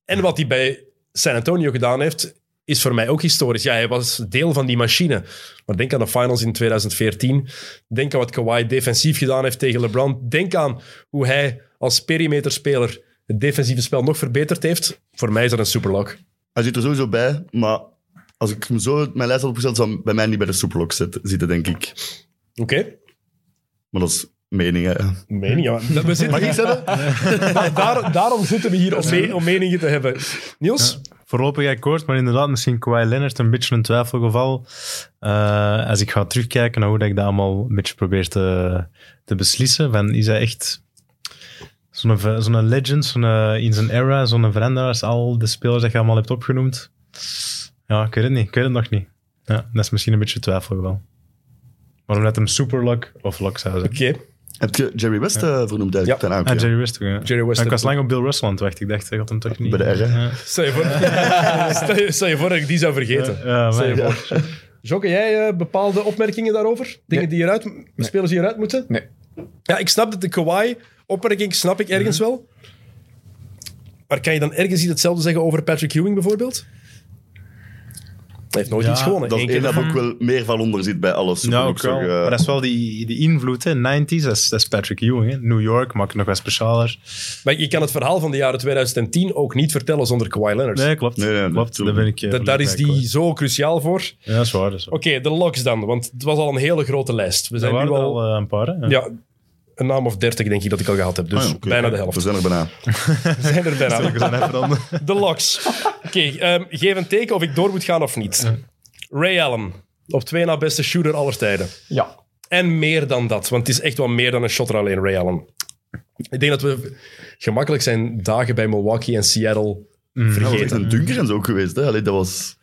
S1: En wat hij bij San Antonio gedaan heeft, is voor mij ook historisch. Ja, hij was deel van die machine. Maar denk aan de finals in 2014. Denk aan wat Kawhi defensief gedaan heeft tegen LeBron. Denk aan hoe hij als perimeterspeler het defensieve spel nog verbeterd heeft. Voor mij is dat een superlock.
S2: Hij zit er sowieso bij, maar als ik hem zo uit mijn lijst had opgesteld, zou hij bij mij niet bij de superlok zitten, zitten, denk ik.
S1: Oké,
S2: Maar dat is mening, hè.
S1: meen je? maar- We zitten
S2: Mag ik zeggen?
S1: Da- daar- daarom zitten we hier om, me- om meningen te hebben. Niels?
S3: Voorlopig akkoord, maar inderdaad, misschien Kawhi Leonard een beetje een twijfelgeval. Eh, als ik ga terugkijken naar hoe dat ik dat allemaal een beetje probeer te, te beslissen, van, is hij echt zo'n v- zo'n legend, zo'n, eh, in zijn era, zo'n veranderaar als al de spelers die je allemaal hebt opgenoemd? Ja, ik weet het niet, ik weet het nog niet. Ja, dat is misschien een beetje een twijfelgeval. Maar omdat hem superlock of lock zou zijn.
S1: Oké.
S2: Heb je Jerry West eh, vernoemd eigenlijk?
S1: Ja.
S2: Ten aankoop,
S3: Ah, Jerry West ook, ja.
S1: Jerry West
S3: ik was
S1: heeft-
S3: lang op Bill Russell aan het wachten. Ik dacht, ik had hem toch niet.
S2: Bij de R, hè?
S3: Ja.
S1: Stel je voor- Stel je- stel je voor dat ik die zou vergeten.
S3: Ja, maar-
S1: Stel je voor. Jokke, jij eh, bepaalde opmerkingen daarover? Dingen die eruit, spelers die eruit moeten?
S4: Nee.
S1: Ja, ik snap dat de Kawhi-opmerking snap ik ergens wel. Maar kan je dan ergens iets hetzelfde zeggen over Patrick Ewing bijvoorbeeld? heeft nooit
S3: Ja,
S1: iets gewonnen.
S2: Dat
S1: Eén
S2: is
S1: keer
S2: één dat ook wel meer van onder zit bij eh, alles.
S3: Ja,
S2: moet
S3: ook
S2: ik
S3: wel.
S2: zeggen.
S3: Maar dat is wel die, die invloed, hè. 90s, dat is, dat is Patrick Ewing. Hè. New York maakt het nog wat specialer.
S1: Maar je kan het verhaal van de jaren 2010 ook niet vertellen zonder Kawhi Leonard.
S3: Nee, klopt.
S2: Nee, nee,
S3: klopt.
S2: natuurlijk.
S3: Daar ben ik... eh,
S1: Da- daar is
S3: volledig bij,
S1: die zo cruciaal voor.
S3: hoor. Ja, dat is waar. Dat is waar.
S1: Oké, de locks dan, want het was al een hele grote lijst. We
S3: Er
S1: zijn nu
S3: waren er
S1: al,
S3: al eh, een paar, hè.
S1: ja, een naam of dertig denk ik dat ik al gehad heb. Dus
S2: Ah, ja, oké.
S1: bijna de
S2: We
S1: helft.
S2: zijn er bijna.
S1: We zijn er bijna.
S3: Ik was dan even dan...
S1: De locks. Oké, ehm, geef een teken of ik door moet gaan of niet. Ray Allen, op twee na beste shooter aller tijden.
S4: Ja.
S1: En meer dan dat, want het is echt wel meer dan een shotter alleen, Ray Allen. Ik denk dat we gemakkelijk zijn dagen bij Milwaukee en Seattle
S2: Ja, dat was echt
S1: vergeten.
S2: een dunker en zo ook geweest. Hè. Allee, dat was,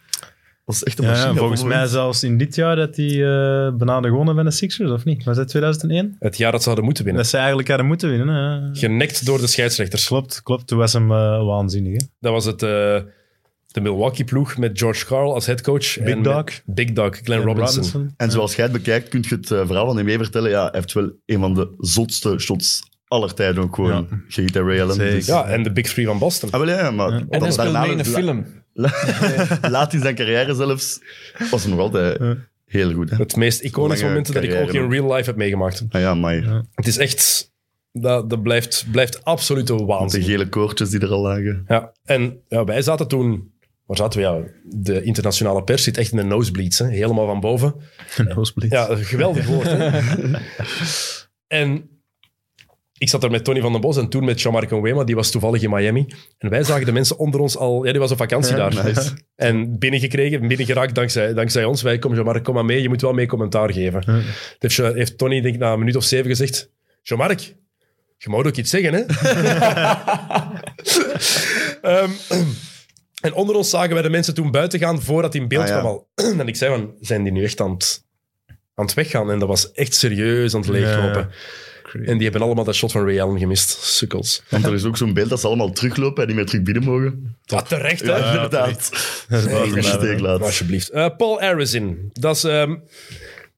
S2: was echt een
S3: Ja,
S2: machine.
S3: ja,
S2: op
S3: volgens
S2: een
S3: mij
S2: moment.
S3: zelfs in dit jaar dat die eh benade gewonnen bij de Sixers, of niet? Was dat 2001?
S1: Het jaar dat ze hadden moeten winnen.
S3: Dat ze eigenlijk hadden moeten winnen. hè.
S1: Genekt door de scheidsrechters.
S3: Klopt, klopt. Toen was hem eh, waanzinnig. Hè?
S1: Dat was het, eh, de Milwaukee-ploeg met George Carl als headcoach.
S3: Big
S1: en
S3: Dog.
S1: met Big Dog, Glenn Robinson.
S2: En zoals jij het bekijkt, kun je het eh, verhaal van hem mee vertellen. Ja, hij heeft wel een van de zotste shots aller tijden ook gewoon
S3: Ja.
S2: gegeven bij Ray Allen.
S3: Zeker.
S2: Dus-
S1: Ja, en de Big Three van Boston.
S2: Ah, wel, ja, maar
S3: Ja.
S2: wat
S4: En hij
S2: dat
S4: speelde
S2: daarna-
S4: mee in een
S2: la-
S4: film.
S2: la- Laat in zijn carrière zelfs was hem nog altijd
S3: Ja.
S2: heel goed. Hè?
S1: Het meest iconische
S2: Lange
S1: moment dat ik ook
S2: carrière,
S1: in
S2: man.
S1: real life heb meegemaakt.
S2: Ah ja, maar
S1: Het is echt... Dat, dat blijft, blijft absoluut een
S2: de
S1: waanzin.
S2: gele koortjes die er al lagen.
S1: Ja, en ja, wij zaten toen... Waar zaten we? Ja, de internationale pers zit echt in de nosebleeds. Hè? Helemaal van boven. Ja, een geweldig woord. hè. en ik zat daar met Tony van den Bos en toen met Jean-Marc Wema, die was toevallig in Miami. En wij zagen de mensen onder ons al... Ja, die was op vakantie daar.
S2: Nice.
S1: En binnengekregen, binnengeraakt dankzij, dankzij ons. Wij, kom Jean-Marc, kom maar mee. Je moet wel mee commentaar geven. Dat heeft, Jean- heeft Tony, denk ik, na een minuut of zeven gezegd... Jean-Marc, je moet ook iets zeggen, hè? Ehm, en onder ons zagen wij de mensen toen buiten gaan voordat hij in beeld
S2: Ah, ja.
S1: kwam al. en ik zei van, zijn die nu echt aan het, aan het weggaan? En dat was echt serieus aan het leeglopen. En die hebben allemaal dat shot van Ray Allen gemist. Sukkels.
S2: Want er is ook zo'n beeld dat ze allemaal teruglopen en niet meer terug binnen mogen.
S1: Ja, terecht, hè?
S2: Ja, inderdaad. Dat
S3: wel
S2: is een
S3: gedaan,
S2: steek laat.
S1: Alsjeblieft. Eh, Paul Arizin. Dat is ehm,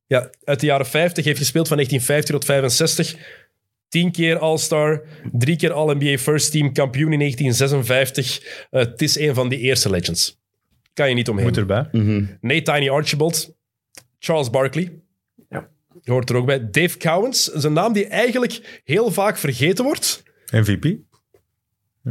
S1: ja, uit de jaren 50. Heeft gespeeld van 1950 tot 65. Tien keer All-Star. Drie keer All-NBA First Team. Kampioen in 1956. Eh, het is een van die eerste legends. Kan je niet omheen.
S3: Moet erbij.
S2: Mhm.
S1: Nee, Tiny Archibald. Charles Barkley. Je hoort er ook bij. Dave Cowens. Dat is een naam die eigenlijk heel vaak vergeten wordt.
S3: MVP.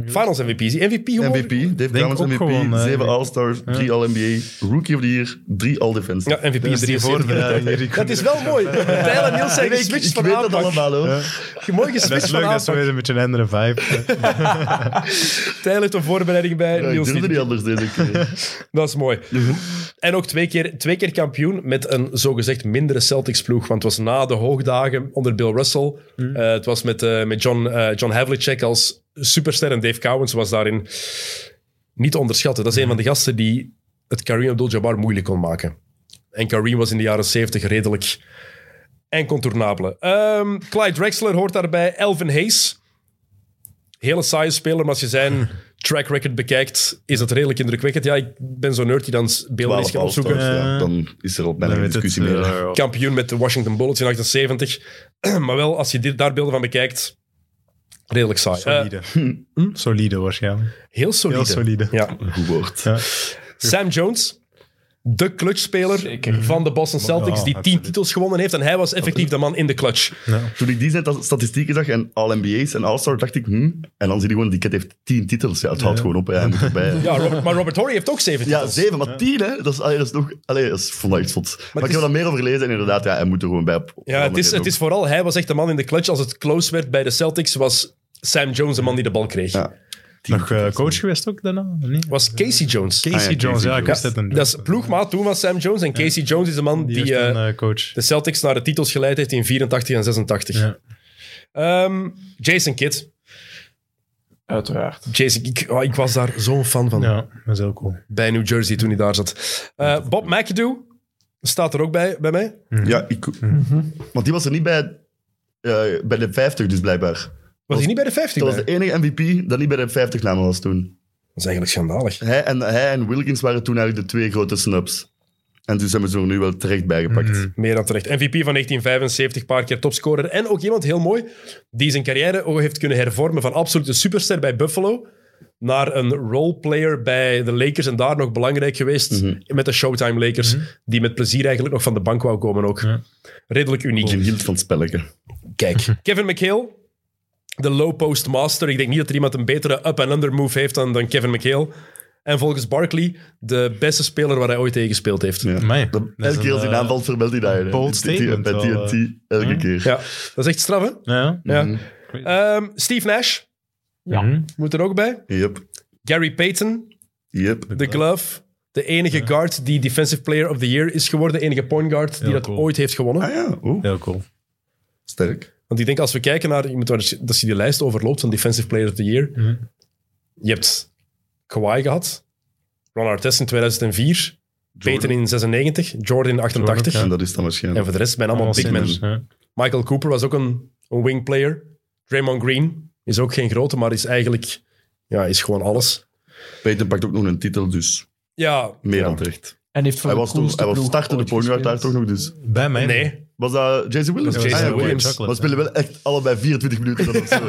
S1: Finals MVP. Is die MVP geworden?
S2: MVP, Dave Cowens
S3: ook
S2: MVP,
S3: gewoon, eh,
S2: 7 All-Stars, 3 All-NBA, Rookie of the Year, 3 All-Defense.
S1: Ja, MVP is
S3: is die
S1: 73.
S3: voorbereiding. Hier
S1: Dat is wel mooi. Tijl en Niels zijn
S2: Ik,
S1: geswitcht
S2: ik
S1: van
S2: weet dat
S1: aanpak.
S2: allemaal hoor.
S1: Mooi
S3: Dat
S1: geswitcht
S3: is
S1: van
S3: leuk, dat is
S1: aanpak.
S3: weer een beetje een andere vibe.
S1: Tijl heeft een voorbereiding bij.
S2: Ja, ik
S1: Niels
S2: durfde
S1: niet.
S2: niet anders deze keer.
S1: Dat is mooi. En ook twee keer, twee keer kampioen met een zogezegd mindere Celtics-ploeg. Want het was na de hoogdagen onder Bill Russell. Eh, het was met, eh, met John, eh, John Havlicek als superster. En Dave Cowens was daarin niet te onderschatten. Dat is
S3: Mhm.
S1: een van de gasten die het Kareem Abdul-Jabbar moeilijk kon maken. En Kareem was in de jaren 70 redelijk en contournabele. Ehm, Clyde Drexler hoort daarbij. Elvin Hayes. Hele saaie speler, maar als je zijn track record bekijkt, is dat redelijk indrukwekkend. Ja, ik ben zo'n nerd die dan s- beelden eens
S2: 12
S1: gaat opzoeken.
S2: All-Stars, ja, dan is er al bijna geen
S3: Dan weet het,
S2: discussie meer.
S3: eh,
S1: Kampioen met de Washington Bullets in 78. maar wel, als je dit, daar beelden van bekijkt, redelijk saai. Eh,
S3: Solide. Hm? Solide waarschijnlijk.
S1: heel solide.
S3: Heel solide.
S1: Ja.
S2: Goed woord.
S3: Ja.
S1: Sam Jones, de clutchspeler van de Boston Celtics, die
S3: Ja,
S1: tien
S3: absoluut.
S1: titels gewonnen heeft. En hij was effectief de man in de clutch.
S2: Toen ik die zijn dat- statistieken zag en All-NBA's en All-Stars, dacht ik, hm. En dan zie je gewoon, die kid heeft 10 titels. Ja, het houdt gewoon op, hè. hij moet erbij.
S1: Ja, Robert, maar Robert Horry heeft ook zeven
S2: Ja,
S1: titels.
S2: zeven, maar tien, hè? Dat is, allee, dat is nog. Allee, dat is, vond ik echt zot.
S1: het
S2: Maar, ik
S1: is-
S2: heb er meer over gelezen en inderdaad, ja, hij moet er gewoon bij op. op
S1: Ja, het
S2: andere
S1: is, het
S2: doen.
S1: is vooral, hij was echt de man in de clutch. Als het close werd bij de Celtics, was Sam Jones de man die de bal kreeg.
S2: Ja.
S3: Nog eh, coach geweest ook daarna? of niet?
S1: Was Casey Jones.
S3: Casey
S2: Ah ja,
S3: Jones,
S2: Casey
S3: Ah, ja, ik
S2: Jones.
S3: wist het een
S1: Dat is ploegmaat toen was Sam Jones. En Casey Jones is de man die,
S3: Die, heeft
S1: eh,
S3: een eh, coach.
S1: de Celtics naar de titels geleid heeft in 84 en 86.
S3: Ja.
S1: Ehm, Jason Kidd.
S4: Uiteraard.
S1: Jason, ik, oh, ik was daar zo'n fan van.
S3: Ja, dat is heel cool.
S1: Bij New Jersey toen hij daar zat. Eh, Bob McAdoo staat er ook bij, bij mij.
S2: Ja, ik... Want die was er niet bij, eh, bij de 50, dus blijkbaar.
S1: Was hij niet bij de 50?
S2: Dat
S1: bij?
S2: was de enige MVP dat niet bij de 50 namen was toen.
S1: Dat is eigenlijk schandalig.
S2: Hij en, hij en Wilkins waren toen eigenlijk de twee grote snubs. En dus hebben ze er nu wel terecht bij gepakt.
S3: Mm.
S1: Meer dan terecht. MVP van 1975, paar keer topscorer. En ook iemand heel mooi die zijn carrière ook heeft kunnen hervormen van absolute superster bij Buffalo naar een roleplayer bij de Lakers en daar nog belangrijk geweest
S2: Mhm.
S1: met de Showtime Lakers, die met plezier eigenlijk nog van de bank wou komen ook.
S3: Ja.
S1: Redelijk uniek.
S2: Die hield van het spelletje.
S1: Kijk,
S3: Mhm.
S1: Kevin McHale, de low post master. Ik denk niet dat er iemand een betere up-and-under move heeft dan, dan Kevin McHale. En volgens Barkley, de beste speler waar hij ooit tegen gespeeld heeft. Ja.
S2: Ja.
S3: Amai.
S2: Dat-
S3: Dat is
S2: elke keer als
S3: een,
S2: hij
S3: eh,
S2: aanvalt, vermeldt hij dat. hè.
S3: bold
S2: Dit- dit-
S3: statement
S2: Bij
S3: wel, eh.
S2: TNT, elke keer. Mm.
S1: dat is echt straf, hè?
S3: Ja.
S1: Ja. Ehm, Steve Nash
S4: Ja.
S3: Mhm.
S1: moet er ook bij.
S2: Yep,
S1: Gary Payton,
S2: yep.
S1: de glove. De enige guard die Defensive Player of the Year is geworden. De enige point guard die
S3: Heel
S1: dat
S3: cool.
S1: ooit heeft gewonnen.
S2: Ah ja, oeh,
S3: Heel cool.
S2: sterk.
S1: Want ik denk als we kijken naar, je moet maar eens- als je die lijst overloopt van Defensive Player of the Year.
S3: Mhm.
S1: Je hebt Kawhi gehad, Ron Artest in 2004, Peyton in 96, Jordan in 88.
S3: Jordan,
S2: En dat is dan
S1: En
S2: waarschijnlijk.
S1: voor de rest zijn allemaal big men.
S3: centers, ja.
S1: Michael Cooper was ook een, een wing player. Draymond Green is ook geen grote, maar is eigenlijk ja, is gewoon alles.
S2: Peyton pakt ook nog een titel, dus
S1: Ja,
S2: meer
S1: ja.
S2: dan terecht.
S4: En heeft voor
S2: Hij
S4: de
S2: was, toen,
S4: coolste
S2: hij was
S4: ploeg
S2: startende
S4: ooit
S2: point guard daar
S4: gespeeld.
S2: toch nog, dus...
S3: Bij mij?
S1: Nee,
S2: Was dat Jason Williams?
S1: Dat was Jason
S2: Ah, ja,
S1: Williams.
S2: Maar we spelen wel echt allebei 24 minuten dan of zo.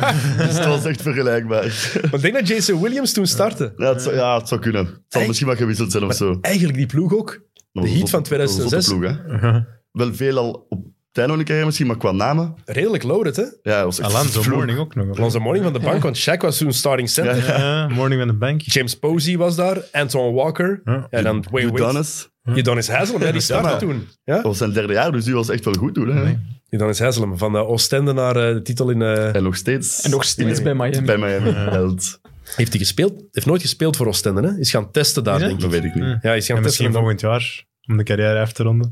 S2: dus het was echt vergelijkbaar.
S1: maar ik denk dat Jason Williams toen startte.
S2: Ja, het zou, ja, het zou kunnen. Het zal
S1: Echt?
S2: misschien wat gewisseld zijn of zo. Dat
S1: Eigenlijk die ploeg ook.
S2: was een
S1: Heat
S2: zotte-
S1: van
S2: dat was een zotte
S1: 2006.
S2: ploeg, hè.
S1: Uh-huh.
S2: Wel veel al op het einde van de carrière misschien, maar qua namen...
S1: Redelijk loaded, hè?
S2: Ja, dat was echt
S3: Alonso
S2: vloer.
S3: Morning ook nog.
S1: Alonso Morning van de bank, want Shaq was toen starting center.
S2: Ja, ja.
S3: Ja, morning aan de bank.
S1: James Posey was daar, Antoine Walker.
S3: Ja.
S1: En dan Wayne Wade.
S2: Udonis.
S1: Udonis Haslem, ja, die startte
S2: maar-
S1: toen. Ja?
S2: Dat was zijn derde jaar, dus die was echt wel goed toen. Hè?
S1: Udonis Haslem, van eh, Oostende naar eh, de titel in... eh,
S2: En nog steeds.
S4: En nog steeds bij Miami.
S2: bij Miami. Held.
S1: Heeft hij gespeeld? Heeft nooit gespeeld voor Oostende, hè? Is gaan testen daar,
S3: Is het?
S1: denk
S2: Dat
S1: ik.
S2: weet ik niet.
S3: Ja.
S1: Ja, is gaan testen.
S3: En misschien volgend jaar, om de carrière af te ronden.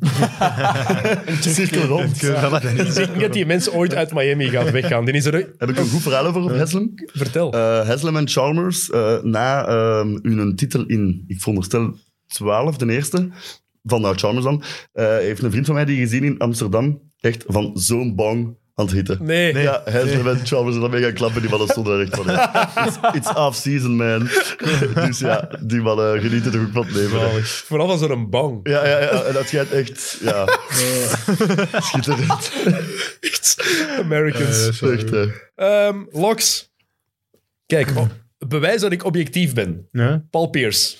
S2: Cirkel rond.
S1: Ik denk dat die mensen ooit uit Miami gaan weggaan. Die is er...
S2: Heb ik een goed verhaal over op Heslem?
S1: Vertel.
S2: Eh, Heslem en Chalmers, eh, na ehm, hun titel in, ik veronderstel 12, de eerste, van nou Chalmers dan, eh, heeft een vriend van mij die gezien in Amsterdam, echt van zo'n bang aan het hitten.
S1: nee.
S2: Ja, Heslem en Chalmers zijn mee gaan klappen, die mannen stonden er echt van. ja, It's, it's off-season, man. dus ja, die mannen genieten toch ook van het leven. hè.
S1: Vooral was er een bang.
S2: Ja, ja, ja, en dat schijnt echt... Ja. Schitterend.
S1: Americans.
S2: Echt, hè.
S3: Eh.
S1: Ehm, Loks. Kijk, oh, bewijs dat ik objectief ben.
S3: Ja,
S1: Paul Pierce.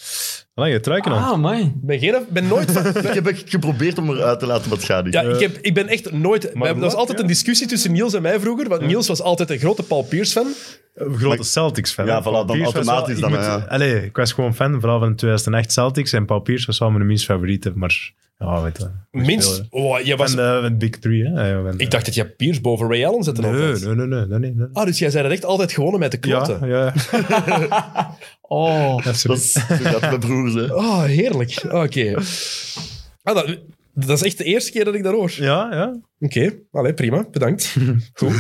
S3: Allee, je truiken aan.
S4: Ah, man.
S1: Ik ben, geen, ben nooit van...
S2: Ik heb echt geprobeerd om eruit te laten, maar het gaat niet.
S1: Ja, ik, heb, ik ben echt nooit... we hebben- Er was
S3: Eh. wat?
S1: altijd
S3: Ja.
S1: een discussie tussen Niels en mij vroeger, want Niels was altijd een grote Paul Pierce-fan.
S3: Een grote Celtics-fan.
S2: Ja,
S3: hè.
S2: voilà,
S3: Paul
S2: dan
S3: Pierce was wel-
S2: automatisch
S3: ik
S2: dan,
S3: moet-
S2: ja.
S3: Allee, ik was gewoon fan, vooral van de 2008 Celtics. En Paul Pierce was wel mijn minst favoriete, maar... Ja, weet je.
S1: Minst...
S3: speelde.
S1: Oh, jij was...
S3: Van de van de eh, Big Three, hè. Ja, van de-
S1: Ik dacht dat jij Pierce boven Ray Allen zette
S3: eh, Nee,
S1: altijd.
S3: nee, nee, nee, nee, nee, nee.
S1: Ah, dus jij zei dat echt altijd gewonnen met de kloten.
S3: Ja, ja.
S4: Oh.
S2: Dat
S3: absoluut.
S2: is dat gaat met broers, hè.
S1: Oh, heerlijk. Oké. Ah, dat, dat is echt de eerste keer dat ik dat hoor.
S3: Ja, ja.
S1: Oké, Allee, prima. Bedankt. Goed.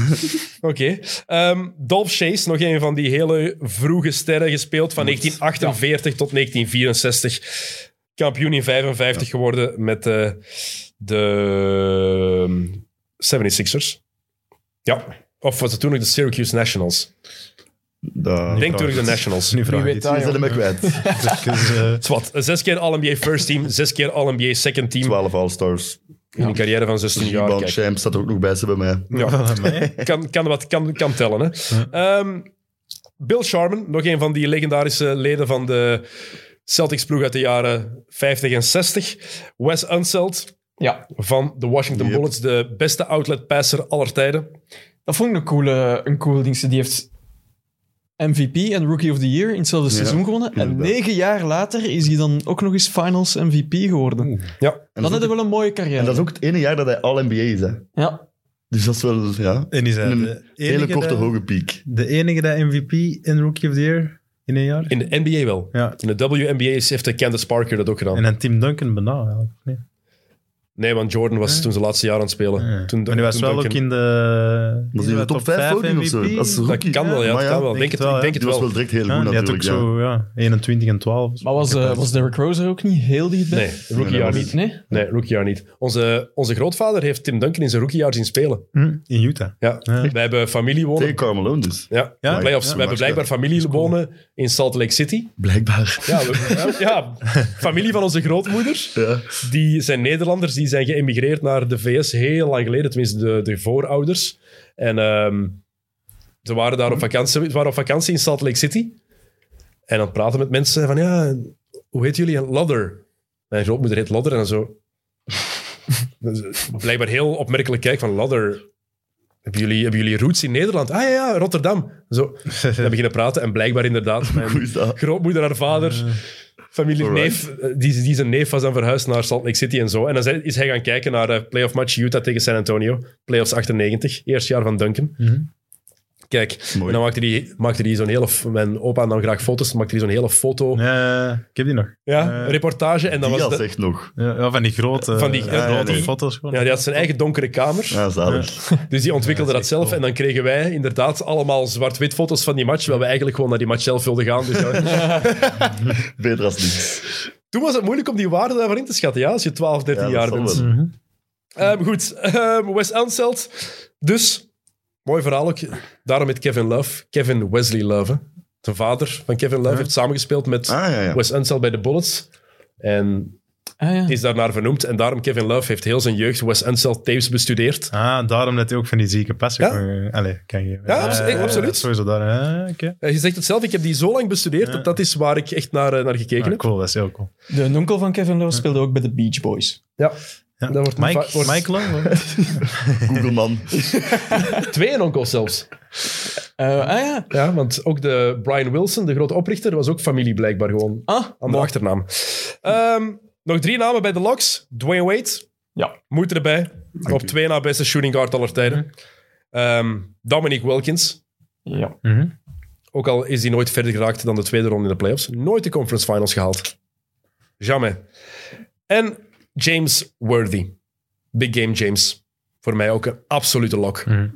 S1: Oké. Ehm, Dolph Chase, nog een van die hele vroege sterren, gespeeld van 1948 tot 1964. Kampioen in 55 geworden met eh, de 76ers. Ja. Of was het toen nog de Syracuse Nationals?
S2: Da.
S1: Ik
S2: Denk
S1: denk toen nog de Nationals.
S3: Nu vraag
S4: Wie
S3: ik
S4: weet
S3: iets.
S1: Ah,
S4: dat,
S2: zijn
S4: jongen.
S2: hem kwijt.
S3: Dus, eh,
S1: Het is wat. Zes keer All-NBA First Team, zes keer All-NBA Second Team.
S2: 12 All-Stars.
S1: In een carrière van 16 jaar.
S2: Rebound
S1: Kijk.
S2: Champs staat er ook nog bij, ze bij mij.
S1: Ja,
S3: van mij.
S1: kan, kan, wat, kan, kan tellen. Hè. Ehm, Bill Sharman, nog een van die legendarische leden van de Celtics-ploeg uit de jaren 50 en 60. Wes Unseld
S4: Ja,
S1: van de Washington
S2: Yep.
S1: Bullets, de beste outlet-passer aller tijden.
S4: dat vond ik een coole, een coole ding. Die heeft MVP en Rookie of the Year in hetzelfde seizoen gewonnen. En
S2: inderdaad.
S4: negen jaar later is hij dan ook nog eens Finals MVP geworden.
S1: Ja,
S2: En dat,
S4: Dan had
S2: is
S4: hij
S2: ook,
S4: wel een mooie
S2: en
S4: carrière.
S2: dat is ook het ene jaar dat hij All-NBA is, hè.
S4: Ja.
S2: Dus dat is wel, ja...
S3: En die zijn
S2: Een
S3: de
S2: Hele
S3: enige
S2: korte,
S3: dat-
S2: hoge piek.
S3: De enige dat MVP in Rookie of the Year in een jaar.
S1: in de NBA wel.
S3: Ja.
S1: In de WNBA is- heeft de Candace Parker dat ook gedaan.
S3: En dan Tim Duncan bijna eigenlijk. of niet?
S1: Nee, want Jordan was toen zijn laatste jaar aan het spelen. Toen,
S3: maar die was
S1: toen
S3: wel
S1: Duncan-
S3: ook in de...
S2: Was hij in de top 5 ook niet of zo? Dat is
S1: Dat
S2: rookie.
S1: kan wel, ja.
S2: Maar
S1: dat kan wel.
S3: denk
S1: Denk
S3: het
S1: het,
S3: wel,
S1: ik denk
S2: Die
S1: het
S2: was
S1: wel.
S2: wel direct heel
S3: Ja,
S2: goed
S3: die had ook
S2: natuurlijk, ja.
S3: zo, ja, 21 en 12.
S4: Maar was, eh, was Derrick Rose er ook niet heel dichtbij?
S1: Nee, rookiejaar
S2: was-
S1: niet.
S4: Niet, nee?
S1: Nee, rookiejaar niet. Onze, onze grootvader heeft Tim Duncan in zijn rookiejaar zien spelen.
S3: Hm, In Utah.
S1: Ja. Wij hebben familie wonen.
S2: Tegen Carmelo dus.
S1: Ja,
S3: Ja?
S1: playoffs.
S2: Ja,
S1: we hebben
S2: match,
S1: blijkbaar familie wonen in Salt Lake City.
S2: Blijkbaar.
S1: Ja, we- ja, familie van onze grootmoeder.
S2: Ja.
S1: Die zijn Nederlanders, die zijn geëmigreerd naar de VS heel lang geleden. Tenminste, de, de voorouders. En ehm, ze waren daar op vakantie, ze waren op vakantie in Salt Lake City. En dan praten met mensen van, ja, hoe heet jullie? En Ladder. Mijn grootmoeder heet Ladder en dan zo. Dat is Blijkbaar heel opmerkelijk kijk van Ladder. Hebben jullie, hebben jullie roots in Nederland? Ah ja, ja, Rotterdam. Zo, dan
S3: Eh,
S1: beginnen praten en blijkbaar inderdaad
S2: Hoe
S1: mijn
S2: is dat?
S1: grootmoeder, haar vader,
S3: Eh,
S1: familie, neef,
S2: alright.
S1: eh, die, die zijn neef was dan verhuisd naar Salt Lake City en zo. En dan zijn- is hij gaan kijken naar de playoff match Utah tegen San Antonio. Playoffs 98, eerste jaar van Duncan. Kijk,
S2: Mooi.
S1: en dan maakte die, maakte die zo'n hele... f- Mijn opa nam graag foto's, maakte die zo'n hele foto... Ja,
S3: Ja, ik heb die nog. Eh,
S1: reportage. En dan
S2: Die
S1: was
S2: als
S1: de-
S2: echt nog.
S3: Ja, ja, van die grote,
S1: Van die-
S3: eh,
S1: ja,
S3: grote
S2: die-
S3: foto's gewoon.
S1: ja, die had zijn eigen donkere kamer.
S2: Ja, zalig.
S1: Dus die ontwikkelde dat
S3: Ja, dat is echt
S1: zelf.
S3: cool.
S1: En dan kregen wij inderdaad allemaal zwart-wit foto's van die match. Terwijl we eigenlijk gewoon naar die match zelf wilden gaan. Dus ja.
S2: Beter als niks.
S1: Toen was het moeilijk om die waarde daarvan in te schatten. Ja, als je 12, 13
S2: Ja, dat
S1: jaar
S2: zal
S1: bent.
S2: wel.
S3: Mhm.
S1: Ehm, goed, Ehm, Wes Unseld. Dus, mooi verhaal ook. Daarom met Kevin Love. Kevin Wesley Love. hè. De vader van Kevin Love heeft samengespeeld met
S2: Ah, ja, ja.
S1: Wes Unseld bij de Bullets. En
S4: Ah, ja.
S1: is daarnaar vernoemd. En daarom Kevin Love heeft heel zijn jeugd Wes Unseld tapes bestudeerd.
S3: Ah, daarom dat hij ook van die zieke passen
S1: Ja.
S3: kan, allee, kan geven.
S1: Ja, abso-
S3: Eh,
S1: absoluut.
S3: dat is Sowieso daar. Ah, oké.
S1: Hij Eh, zegt het zelf, ik heb die zo lang bestudeerd. Dat dat is waar ik echt naar, eh, naar gekeken
S3: Ah,
S1: heb.
S3: cool, dat is heel cool.
S4: De onkel van Kevin Love speelde ook bij de Beach Boys.
S1: Ja.
S3: Ja.
S1: Dat wordt-
S3: Mike,
S1: wordt-
S3: Mike Love?
S2: Google-man.
S1: Twee onkels zelfs.
S4: Eh, ah ja.
S1: Ja, want ook de Brian Wilson, de grote oprichter, was ook familie blijkbaar gewoon.
S4: Ah,
S1: Andere achternaam. Ehm, nog drie namen bij de Locks. Dwayne Wade.
S4: Ja. Mhm.
S1: Moet erbij. Op
S2: u.
S1: twee na beste shooting guard aller tijden. Ehm, Dominique Wilkins.
S4: ja.
S3: Mhm.
S1: Ook al is hij nooit verder geraakt dan de tweede ronde in de playoffs. Nooit de conference finals gehaald. Jamais. En James Worthy. Big game James. Voor mij ook een absolute lock.
S4: Mhm.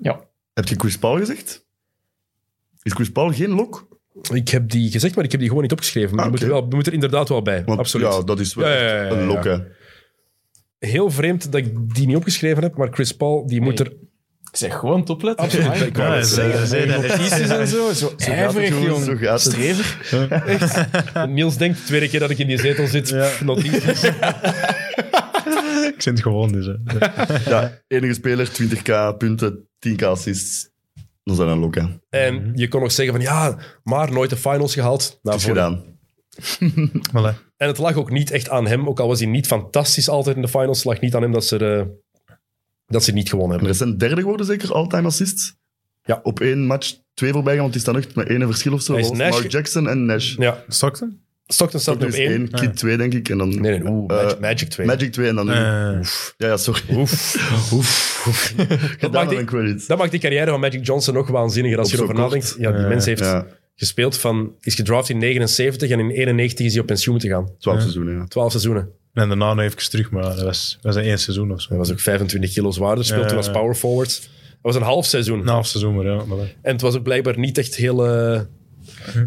S2: Heb je Chris Paul gezegd? Is Chris Paul geen lok?
S1: Ik heb die gezegd, maar ik heb die gewoon niet opgeschreven. Maar
S2: Ah,
S1: die moet
S2: oké.
S1: er wel, die moet er inderdaad wel bij.
S2: Want
S1: Absoluut.
S2: ja, dat is wel
S1: Ja, ja,
S2: echt
S1: ja, ja, ja.
S2: een lok, hè.
S1: Heel vreemd dat ik die niet opgeschreven heb, maar Chris Paul, die moet
S4: Nee.
S1: er
S4: Ik zeg gewoon topletten.
S1: absoluut bij
S4: Amai.
S1: komen.
S3: Ja, ze- ze- ze-
S4: Notities en zo. Zo
S2: Zo gaat het,
S4: ijverig,
S2: jongens,
S4: jong.
S2: Zo gaat het.
S4: Strever.
S2: eh,
S1: Niels denkt de tweede keer dat ik in die zetel zit.
S3: Ja.
S1: pff, notities.
S3: Ik zit gewoon dus. hè.
S2: Ja, enige speler, 20k punten, 10k assists. Dat is dan een lok, hè. Het
S1: En je kon nog zeggen van ja, maar nooit de finals gehaald. Nou,
S2: is
S1: voor-
S2: gedaan.
S3: Voilà.
S1: En het lag ook niet echt aan hem, ook al was hij niet fantastisch altijd in de finals, het lag niet aan hem dat ze, eh, dat ze niet gewonnen
S2: En
S1: hebben.
S2: er zijn derde geworden, zeker, all-time assists.
S1: Ja.
S2: Op één match twee voorbij gaan, want die staan echt met één verschil of zo.
S1: Hij is
S2: Dat was
S1: Nash
S2: Mark
S1: ge-
S2: Jackson en Nash.
S1: Ja,
S3: Stockton?
S1: Stockton staat nu
S2: Dat
S1: op
S2: is
S1: één.
S2: één, Kid 2, denk ik. En dan
S1: Nee, nee, oeh,
S2: Eh,
S1: Magic, Magic 2.
S2: Magic 2 en dan...
S3: Eh,
S2: Ja, ja, sorry.
S1: Oef.
S2: Dat
S1: maakt
S2: maakt
S1: die-
S2: een credit.
S1: Dat maakt die carrière van Magic Johnson nog waanzinniger als
S2: Op
S1: je
S2: zo
S1: erover
S2: kort.
S1: nadenkt. Ja, die
S3: Ja,
S1: mens heeft
S2: Ja,
S1: gespeeld van, is gedraft in 79 en in 91 is hij op pensioen moeten gaan.
S2: 12 seizoenen, ja.
S1: 12 seizoenen.
S3: en daarna nog even terug, maar dat was, was een één seizoen of zo.
S1: Hij was ook 25 kilo zwaarder, speelde toen
S3: Ja,
S1: als
S3: ja. Nou.
S1: power forward. Dat was een half seizoen.
S3: Een half seizoen, maar ja. voilà.
S1: En het was ook blijkbaar niet echt heel, eh,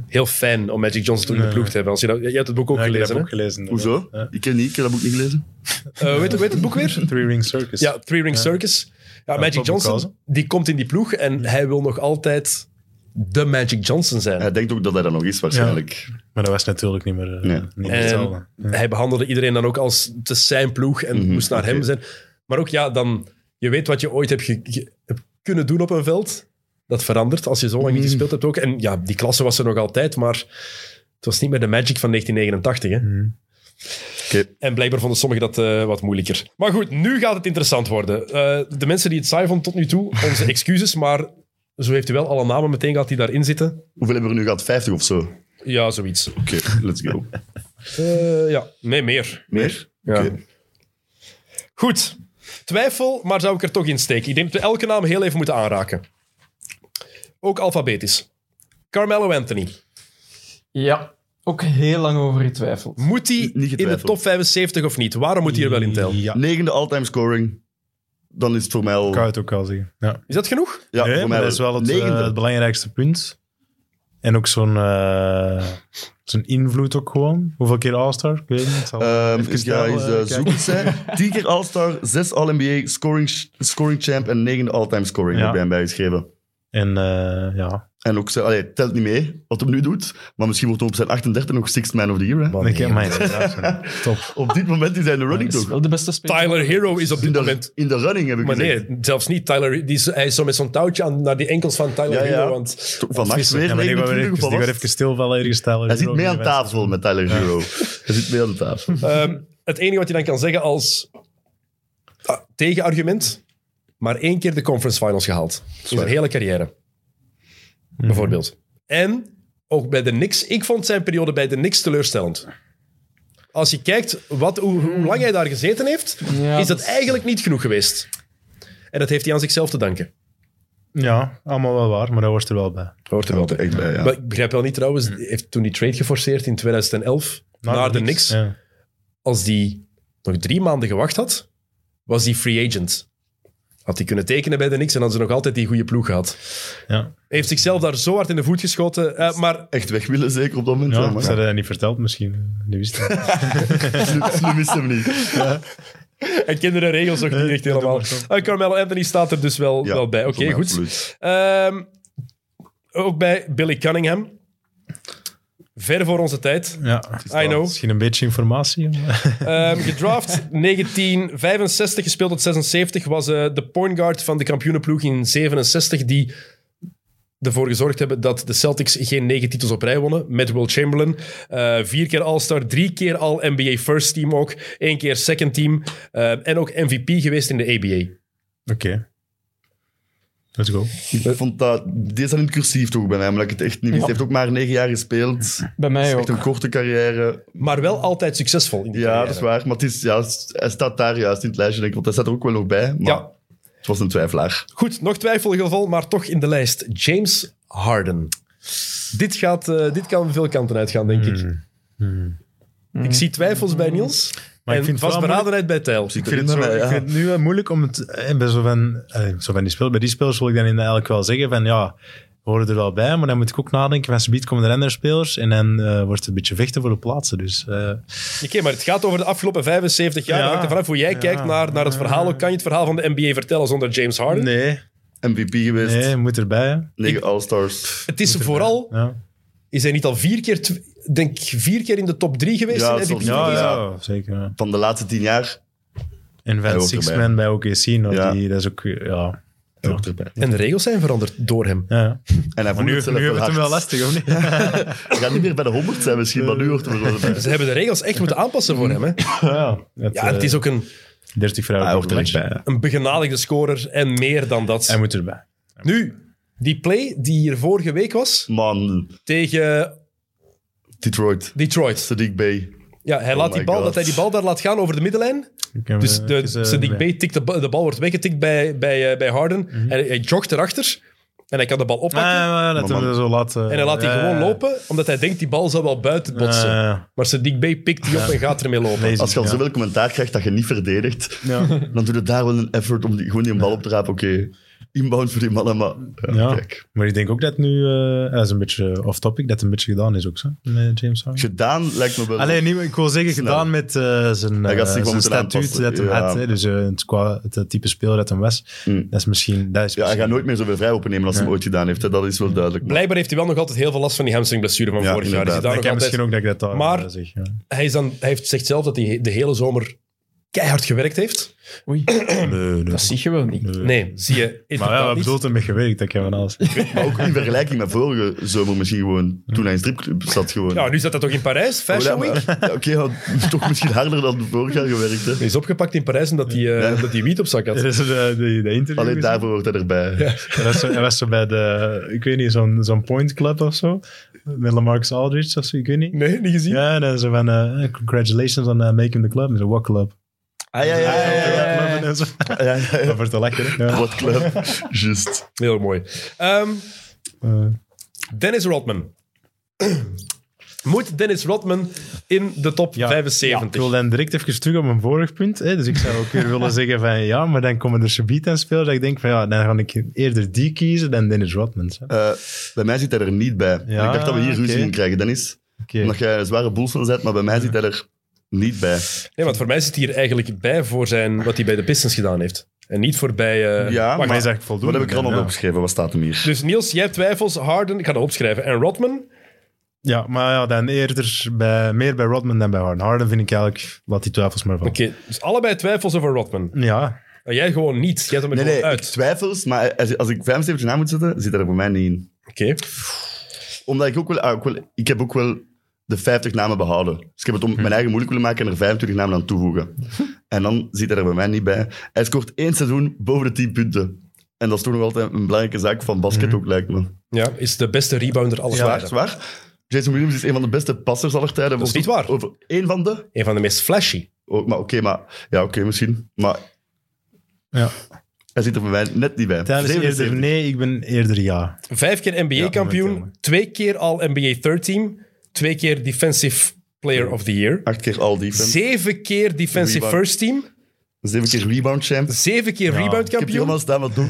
S1: heel fijn om Magic Johnson toen in de
S3: Nee.
S1: ploeg te hebben. Als je, dat, je hebt het boek ook
S3: Ja, ik heb dus,
S1: gelezen,
S3: dat
S1: hè?
S3: ook gelezen.
S2: Hoezo?
S3: Ja.
S2: Ik ken niet, ik heb dat boek niet gelezen.
S1: Eh, weet, weet het boek weer?
S3: Three Ring Circus.
S1: Ja, Three Ring Circus. Ja, Magic
S3: Bob
S1: Johnson,
S3: Cousy.
S1: die komt in die ploeg en hij wil nog altijd de Magic Johnson zijn.
S2: Hij denkt ook dat hij dat nog is, waarschijnlijk.
S3: Maar dat was natuurlijk niet meer eh,
S2: Nee.
S3: niet meer
S1: En
S3: hetzelfde.
S1: Ehm, hij behandelde iedereen dan ook als te zijn ploeg en moest naar hem
S2: Mhm. oké.
S1: zijn. Maar ook ja, dan, je weet wat je ooit hebt, ge- ge- hebt kunnen doen op een veld. Dat verandert als je zo
S2: Mhm.
S1: lang niet gespeeld hebt ook. En ja, die klasse was er nog altijd, maar het was niet meer de Magic van 1989. Hè?
S2: Oké.
S1: En blijkbaar vonden sommigen dat eh, wat moeilijker. Maar goed, nu gaat het interessant worden. Eh, de mensen die het saai vonden tot nu toe, onze excuses, maar zo heeft u wel alle namen meteen gehad die daarin zitten.
S2: Hoeveel hebben we er nu gehad? 50 of zo? Oké,
S1: Ja, zoiets.
S2: let's go.
S1: Eh, ja, nee, meer.
S2: Meer?
S1: Ja.
S2: Oké.
S1: Goed. Twijfel, maar zou ik er toch in steken? Ik denk dat we elke naam heel even moeten aanraken. Ook alfabetisch. Carmelo Anthony.
S4: Ja. Ook heel lang over getwijfeld.
S1: Moet hij
S2: niet
S1: in de
S2: getwijfeld.
S1: top 75 of niet? Waarom moet hij er wel in tellen?
S3: Ja,
S2: Negende all-time scoring. Dan is het voor mij al...
S3: ik wou het ook al zeggen. Ja.
S1: Is dat genoeg?
S2: Ja,
S3: Nee,
S2: voor
S3: maar
S2: mij
S3: dat is wel het, eh,
S2: Negende.
S3: het belangrijkste punt. En ook zo'n eh, zo'n invloed ook gewoon. Hoeveel keer All-Star? Ik weet het niet. Het zal-
S2: Ehm,
S3: even
S2: ik ga
S3: snel,
S2: eens
S3: eh,
S2: eh,
S3: kijken.
S2: zoeken. zijn. 10 keer All-Star, 6 All-NBA, scoring, scoring champ en negende all-time scoring
S3: Ja.
S2: heb jij hem bijgeschreven.
S3: En eh, ja,
S2: En ook, zo- allee, het telt niet mee wat hij nu doet, maar misschien wordt hij op zijn 38 nog Sixth Man of the Year. hè.
S3: ik heb mijn inderdaad, ja. Top.
S2: Op dit moment is hij in de running
S4: Dat is
S2: toch?
S4: wel de beste speler.
S1: Tyler Hero is op
S2: In
S1: dit
S2: de,
S1: moment...
S2: in de running heb ik
S1: Maar
S2: gezegd.
S1: nee, zelfs niet Tyler. Die is, hij is zo met zo'n touwtje aan, naar die enkels van Tyler
S2: Ja, ja.
S1: Hero. Want
S2: Toch, Vannacht
S1: vissen.
S2: weer
S3: Ja, maar die gaan
S2: 29
S3: even,
S2: of wat
S3: die
S2: was
S3: gaan
S2: het?
S3: even stilvallen ergens stellen.
S2: Hij zit mee aan tafel met Tyler Hero. Hij zit mee aan tafel.
S1: Ehm, het enige wat je dan kan zeggen als ah, tegenargument, maar één keer de conference finals gehaald. In zijn hele carrière. Bijvoorbeeld. En ook bij de Knicks. Ik vond zijn periode bij de Knicks teleurstellend. Als je kijkt wat, hoe, hoe lang hij daar gezeten heeft,
S4: Ja,
S1: is dat,
S4: dat is-
S1: eigenlijk niet genoeg geweest. En dat heeft hij aan zichzelf te danken.
S3: Ja, allemaal wel waar, maar dat was er wel bij.
S1: Hoort er wel bij.
S2: Echt bij, ja.
S1: Maar ik begrijp wel niet trouwens, hij heeft toen die trade geforceerd in 2011 naar, de Knicks.
S3: Ja.
S1: als die nog drie maanden gewacht had, was die free agent. Had hij kunnen tekenen bij de Knicks en hadden ze nog altijd die goede ploeg gehad.
S3: Ja,
S1: Hij heeft zichzelf daar zo hard in de voet geschoten. eh, maar
S2: Echt weg willen zeker op dat moment.
S3: ja
S2: Ja,
S3: dat
S2: maar.
S3: hadden hij niet verteld misschien. Die wist het niet.
S2: Slim- Slim is hem niet.
S1: hij kende de regels nog niet echt
S3: doe
S1: helemaal.
S3: maar zo.
S1: Eh, Carmelo Anthony staat er dus wel,
S2: Ja,
S1: wel bij. Oké,
S2: voor mij
S1: goed.
S2: absoluut.
S1: Ehm, ook bij Billy Cunningham. Ver voor onze tijd.
S3: Ja,
S1: I know.
S3: misschien een beetje informatie. maar-
S1: Ehm, gedraft 1965, gespeeld tot 76, was eh, de point guard van de kampioenenploeg in 67 die ervoor gezorgd hebben dat de Celtics geen negen titels op rij wonnen met Will Chamberlain. Eh, vier keer All-Star, drie keer All-NBA First Team ook, één keer Second Team eh, en ook MVP geweest in de ABA.
S3: Oké. Let's go.
S2: Ik vond dat... Deze zijn in het cursief toch bij mij, omdat ik het echt niet wist. Hij heeft ook maar negen jaar gespeeld.
S4: Bij mij ook.
S2: Echt een korte carrière.
S1: Maar wel altijd succesvol in die
S2: Ja,
S1: carrière.
S2: dat is waar. Maar het is, ja, hij staat daar juist in het lijstje, denk ik. Want hij staat er ook wel nog bij. Maar
S1: Ja.
S2: het was een twijfelaar.
S1: Goed, nog twijfelgeval, maar toch in de lijst. James Harden. Dit, gaat, eh, dit kan veel kanten uitgaan, denk
S2: Hmm.
S1: ik.
S3: Hmm.
S1: Ik zie twijfels bij Niels.
S3: Maar
S1: en
S3: ik vind het wel
S1: vastberadenheid bij Tijl.
S2: Dus Ik
S3: Ik vind, het zo- ik vind het nu wel moeilijk om het eh, bij zo van, eh, zo van die spelers, bij die spelers wil ik dan in eigenlijk wel zeggen van ja, we horen er wel bij, maar dan moet ik ook nadenken van subiet komen er andere spelers en dan eh, wordt het een beetje vechten voor de plaatsen. Dus eh,
S1: Oké, maar het gaat over de afgelopen 75 jaar.
S3: Ja.
S1: Dat hangt ervan af hoe jij
S3: Ja.
S1: kijkt naar, naar het verhaal. Hoe kan je het verhaal van de NBA vertellen zonder James Harden?
S3: nee,
S2: MVP geweest.
S3: nee, moet erbij. hè.
S2: Negen All-Stars.
S1: Het is vooral,
S3: Ja,
S1: is hij niet al vier keer, tw- denk ik, vier keer in de top drie geweest?
S2: Ja,
S1: in MVP?
S2: soms.
S3: ja,
S2: Ja.
S3: ja, zeker. ja.
S2: Van de laatste tien jaar.
S3: En
S2: Hij
S3: Van
S2: hoort
S3: Six
S2: erbij.
S3: Man bij OKC, nou,
S2: Ja.
S3: die, dat is ook, eh, ja.
S2: Hij hoort erbij.
S1: En de regels zijn veranderd door hem.
S3: ja.
S2: En hij
S3: Maar
S2: voelt
S3: nu, nu
S2: het zelf
S3: hebben we het hem
S2: hard.
S3: wel lastig, of niet?
S2: Hij gaat niet meer bij de 100 zijn misschien, maar nu hoort hij er wel bij.
S1: Ze hebben de regels echt moeten aanpassen voor hem. Hè?
S3: Ja, het,
S1: Ja, het is ook een,
S3: 30 vrouwen.
S2: Hij hoort er
S3: per
S2: echt
S3: match.
S2: bij.
S1: een begenadigde scorer en meer dan dat.
S3: Hij moet erbij.
S1: Nu, die play die hier vorige week was
S2: Man,
S1: tegen
S2: Detroit.
S1: Detroit.
S2: Sadiq Bay.
S1: Ja, hij laat die
S2: my
S1: bal,
S2: God.
S1: dat hij die bal daar laat gaan over de middenlijn.
S3: Ik heb,
S1: Dus
S3: eh,
S1: de,
S3: het is, eh,
S1: Sadiq
S3: bij.
S1: Bey tikt de, ba- de bal wordt weggetikt bij, bij, eh, bij Harden. En hij jogt erachter en hij kan de bal
S3: Mhm. Ah,
S1: oppakken.
S3: ja, dat
S2: Maar
S3: we
S2: man-
S3: zo laten.
S1: en hij laat die
S3: Ja,
S1: gewoon
S3: ja. Ah,
S1: lopen, omdat hij denkt die bal zal wel buiten botsen.
S3: Ja, Ah. ja.
S1: Maar Sadiq Bey pikt die op en gaat ermee lopen.
S3: Amazing,
S2: Als je al
S3: ja.
S2: zoveel commentaar krijgt dat je niet verdedigt,
S3: Ja.
S2: dan doe je daar wel een effort om die, gewoon die bal op te rapen. Oké, inbound voor die mannen, maar ja,
S3: Ja.
S2: kijk.
S3: Maar ik denk ook dat nu, eh, dat is een beetje off-topic, dat het een beetje gedaan is ook zo, met James Harden.
S2: Gedaan lijkt me wel.
S3: Alleen, niet, ik wil zeggen,
S2: Snel.
S3: gedaan met eh, zijn,
S2: Hij
S3: eh,
S2: gaat zich
S3: zijn
S2: gewoon moeten
S3: statuut
S2: aanpassen,
S3: dat hij
S2: ja.
S3: had. Hè, dus eh, het, qua, het, eh, type speel dat hij was.
S2: Mm.
S3: Dat is misschien... Dat is
S2: Ja, hij gaat
S3: misschien-
S2: nooit meer zoveel vrij opnemen als hij hem ooit gedaan heeft. Hè. Dat is wel duidelijk.
S1: Blijkbaar heeft hij wel nog altijd heel veel last van die hamstringblessure van
S2: Ja,
S1: vorig jaar. Is hij,
S2: inderdaad.
S1: daar
S3: Ik
S1: nog altijd...
S3: heb misschien ook dat ik dat daar
S1: Maar-
S3: eh, zeg. Ja.
S1: hij, is dan, hij heeft zegt zelf dat hij de hele zomer keihard gewerkt heeft.
S4: Oei,
S3: Nee, nee.
S4: dat zie je wel niet.
S1: Nee, zie je.
S3: Maar ja,
S1: inderdaad
S3: wat
S1: niet.
S3: bedoelt hem met gewerkt? Dat kan van alles. Dus,
S2: Maar ook in vergelijking met vorige zomer misschien gewoon, toen hij in stripclub zat gewoon.
S1: Ja, Nou, nu zat dat toch in Parijs, Fashion
S2: Oh, ja,
S1: Week?
S2: maar- ja, Oké, ja, toch misschien harder dan vorig jaar gewerkt. Hè.
S1: Hij is opgepakt in Parijs omdat hij, eh, omdat hij wiet op zak had.
S3: Dat is de, de, de eh, interview.
S2: Alleen
S3: gezien.
S2: daarvoor hoort hij erbij.
S3: Hij was, zo, hij was zo bij de, ik weet niet, zo'n zo'n point club of zo. Met Lamarcus Aldridge of zo, ik weet niet.
S1: Nee, niet gezien.
S3: Ja, en dan zo van, eh, congratulations on eh, making the club. En zo, what club?
S2: Ah, ja, ja, ja. ja, ja.
S3: Club en zo.
S2: Ja, ja, ja.
S3: Dat wordt te lekker, hè? Ja.
S2: Wat club. Juist.
S1: Heel mooi. Ehm,
S3: Eh,
S1: Dennis Rodman. Moet Dennis Rodman in de top
S3: Ja. ik
S1: 75?
S3: wil dan direct even terug op mijn vorig punt. Hè? Dus ik zou ook weer willen zeggen van, ja, maar dan komen er subiet en spelers dat ik denk van, ja, dan ga ik eerder die kiezen dan Dennis Rodman. hè.
S2: Eh, bij mij zit hij er niet bij.
S3: Ja,
S2: ik dacht dat we hier ruzie
S3: oké.
S2: in krijgen, Dennis.
S3: Oké.
S2: Omdat jij een zware boel van bent, maar bij mij zit hij er niet bij.
S1: Nee, want voor mij zit hij hier eigenlijk bij voor zijn, wat hij bij de Pistons gedaan heeft. Hij en niet voorbij... eh,
S2: Ja,
S3: Maar hij
S2: maar
S3: is eigenlijk voldoende.
S2: wat heb ik er allemaal
S3: ja.
S2: opgeschreven? Wat staat hem hier?
S1: Dus Niels, jij hebt twijfels, Harden, ik ga dat opschrijven, en Rodman.
S3: Ja, maar ja, dan eerder bij, meer bij Rodman dan bij Harden. Harden vind ik eigenlijk, laat die twijfels maar van.
S1: Oké, dus allebei twijfels over Rodman.
S3: Ja,
S1: En jij gewoon niet, jij hebt hem er
S2: Nee,
S1: gewoon
S2: nee, ik
S1: uit.
S2: twijfels, maar als, als ik 75 na moet zetten, zit dat er voor mij niet in.
S1: Oké,
S2: Omdat ik ook wel, ah, ik wel- ik heb ook wel de 50 namen behouden. Dus ik heb het om mijn eigen moeilijk willen maken en er 25 namen aan toevoegen. en dan zit hij er bij mij niet bij. Hij scoort één seizoen boven de 10 punten. En dat is toch nog altijd een belangrijke zaak van basket ook, lijkt me.
S1: ja, is de beste rebounder aller
S2: Zwaar,
S1: tijden.
S2: zwaar. Jason Williams is een van de beste passers aller tijden.
S1: Dat is niet waar.
S2: Over één van de...
S1: Een van de meest flashy.
S2: Oh, maar oké, maar... Ja, oké, misschien. Maar
S3: ja.
S2: hij zit er bij mij net niet bij.
S3: Tijdens eerder
S2: 77.
S3: nee, ik ben eerder ja.
S1: Vijf keer
S3: Ja,
S1: NBA-kampioen,
S3: momenteel.
S1: twee keer al NBA Third Team, twee keer Defensive Player of the Year,
S2: Acht keer all defense.
S1: zeven keer Defensive
S2: Rebound.
S1: First Team,
S2: Zeven keer rebound champ. Ik
S1: zeven keer
S2: heb hier
S1: rebound-kampioen.
S2: allemaal staan wat doen.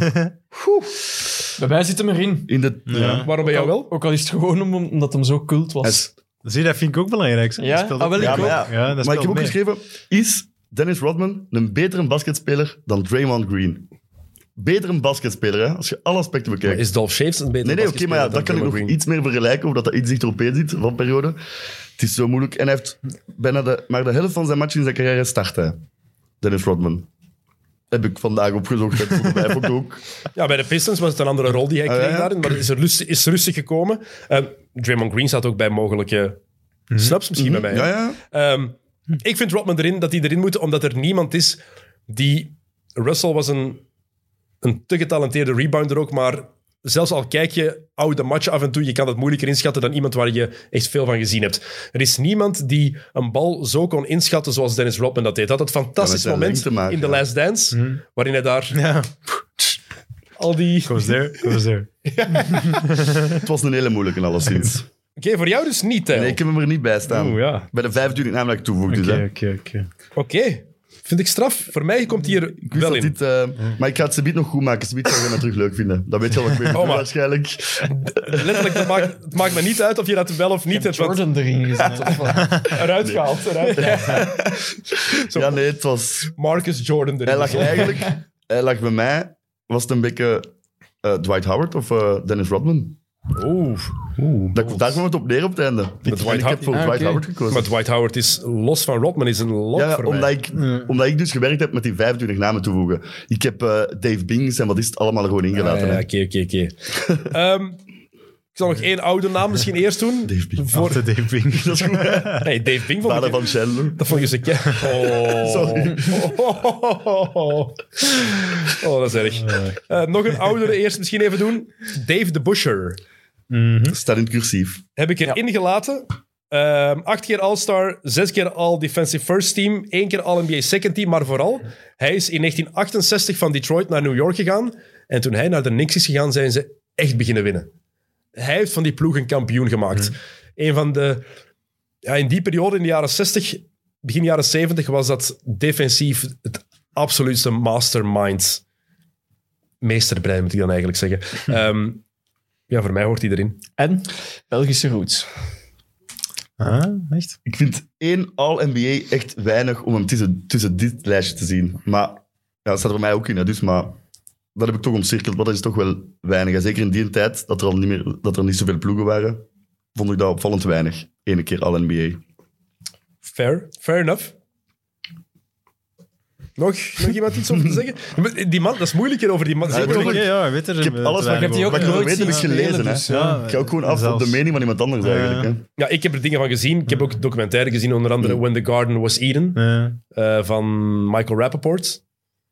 S4: Bij mij zit hem erin.
S2: In de...
S3: ja.
S1: Waarom bij jou wel?
S4: Ook al is het gewoon om- omdat hem zo cult was.
S2: Yes.
S3: Zie, je, dat vind ik ook belangrijk. hè.
S4: Ja?
S3: Dat speelt
S4: Ah, wel,
S3: ook-
S4: ik
S2: Ja, maar
S4: ook.
S2: ja.
S3: Ja, dat
S2: maar ik
S3: speelt
S2: heb ook
S3: mee.
S2: geschreven, is Dennis Rodman een betere basketspeler dan Draymond Green? Betere basketspeler, hè? Als je alle aspecten bekijkt.
S1: Is Dolph Shaves een betere
S2: Nee, nee, oké, maar ja,
S1: basketspeler
S2: dat
S1: dan
S2: kan ik nog
S1: Draymond Green?
S2: iets meer vergelijken, omdat dat iets dichteropeen zit van periode. Het is zo moeilijk. En hij heeft bijna de, maar de helft van zijn match in zijn carrière start hij. Dennis Rodman. Heb ik vandaag opgezocht. Dat vond ik ook- ook.
S1: Ja, bij de Pistons was het een andere rol die hij
S2: Ah,
S1: kreeg
S2: ja.
S1: daarin, maar het is, er rustig, is rustig gekomen. Ehm, Draymond Green staat ook bij mogelijke snaps misschien bij mij.
S2: Mhm. Ja, ja.
S1: Ehm, ik vind Rodman erin dat hij erin moet, omdat er niemand is die. Russell was een, een te getalenteerde rebounder ook, maar zelfs al kijk je oude matchen af en toe, je kan dat moeilijker inschatten dan iemand waar je echt veel van gezien hebt. Er is niemand die een bal zo kon inschatten zoals Dennis Rodman dat deed. Hij Had dat fantastisch
S2: Ja, met zijn
S1: moment
S2: lengte maken,
S1: in The
S2: ja.
S1: Last Dance,
S2: Mhm.
S1: waarin hij daar
S3: Ja,
S1: al die...
S3: goes there, goes there.
S2: Het was een hele moeilijke, alleszins.
S1: Oké, voor jou dus niet, hè?
S2: Nee, ik heb hem er niet bij staan.
S3: Oeh, ja.
S2: Bij de 25 namelijk toevoegd. dus,
S3: Oké,
S2: hè.
S3: oké, oké.
S1: Oké, vind ik straf. Voor mij komt hier
S2: Ik wist
S1: wel in.
S2: dat dit, eh, maar ik ga het ze nog goed maken. Ze zou je het terug leuk vinden. Dat weet je al wat ik weet.
S1: maar-
S2: waarschijnlijk.
S1: Letterlijk, dat maakt, het maakt me niet uit of je dat wel of niet hebt. want-
S4: Jordan erin gezet. of wat?
S1: Eruit gehaald. Eruit.
S2: Ja, nee, het was...
S1: Marcus Jordan erin.
S2: Hij lag eigenlijk... Hij lag bij mij... Was het een beetje eh, Dwight Howard of eh, Dennis Rodman?
S1: Oeh.
S3: Oeh,
S2: Dat, daar kwam het op neer op het einde. En
S1: Dwight
S2: ik heb voor
S1: Howard-
S2: Dwight
S4: Ah, oké.
S2: Howard gekozen.
S1: Maar Dwight Howard is los van Rodman, is een lot
S2: ja, ja,
S1: voor
S2: omdat,
S1: mij.
S2: ik, omdat ik dus gewerkt heb met die 25 namen toevoegen. Ik heb eh, Dave Bings en wat is het allemaal er gewoon
S1: Ah,
S2: ingelaten.
S1: ja,
S2: hè.
S1: Oké, oké, oké. Ehm, Ik zal nog één oude naam misschien eerst doen.
S2: Dave Bing.
S1: Voor...
S3: de deping.
S2: Dat is goed. hè.
S1: Nee, Dave Bing vond
S2: Vader
S1: ik...
S2: van Chandler.
S1: Dat vond ik eens een keer. Oh.
S2: Sorry.
S1: Oh, oh, oh, oh. Oh, dat is erg. Eh, nog een oudere eerst misschien even doen. Dave de Busher.
S2: Staat in het cursief.
S1: heb ik erin gelaten. Ehm, acht keer All-Star, zes keer All-Defensive First Team, één keer All-NBA Second Team, maar vooral, hij is in 1968 van Detroit naar New York gegaan. En toen hij naar de Knicks is gegaan, zijn ze echt beginnen winnen. Hij heeft van die ploeg een kampioen gemaakt. Een van de... Ja, in die periode, in de jaren 60, begin jaren 70, was dat defensief het absoluutste mastermind. Meesterbrein, moet ik dan eigenlijk zeggen. Ehm, ja, voor mij hoort hij erin.
S4: En Belgische roots.
S3: Ah, echt?
S2: Ik vind één All-NBA echt weinig om hem tussen, tussen dit lijstje te zien. Maar ja, dat staat er bij mij ook in. Hè, dus, maar dat heb ik toch omcirkeld. Maar dat is toch wel weinig. En zeker in die tijd, dat er al niet, meer, dat er niet zoveel ploegen waren, vond ik dat opvallend weinig. Eén keer All-NBA.
S1: Fair, fair enough. Nog, nog iemand iets over te zeggen? Maar eh, Die man, dat is moeilijk hier over die man.
S2: Ja,
S1: Zeker
S2: dat
S1: over-
S2: is
S3: Ja, ja, weet er. eh,
S2: Ik heb alles wat ik
S4: heb die ook
S2: wat ik wil
S4: nooit
S2: weten,
S4: zien
S2: heb ik gelezen.
S4: spelen,
S2: Hè.
S4: dus,
S3: ja.
S2: ik ga ook gewoon af op
S3: Zelfs.
S2: de mening van iemand anders eigenlijk. Hè.
S1: ja, ik heb er dingen van gezien. Ik heb ook documentaire gezien, onder
S2: Mm.
S1: andere When the Garden Was Eden eh, van Michael Rappaport.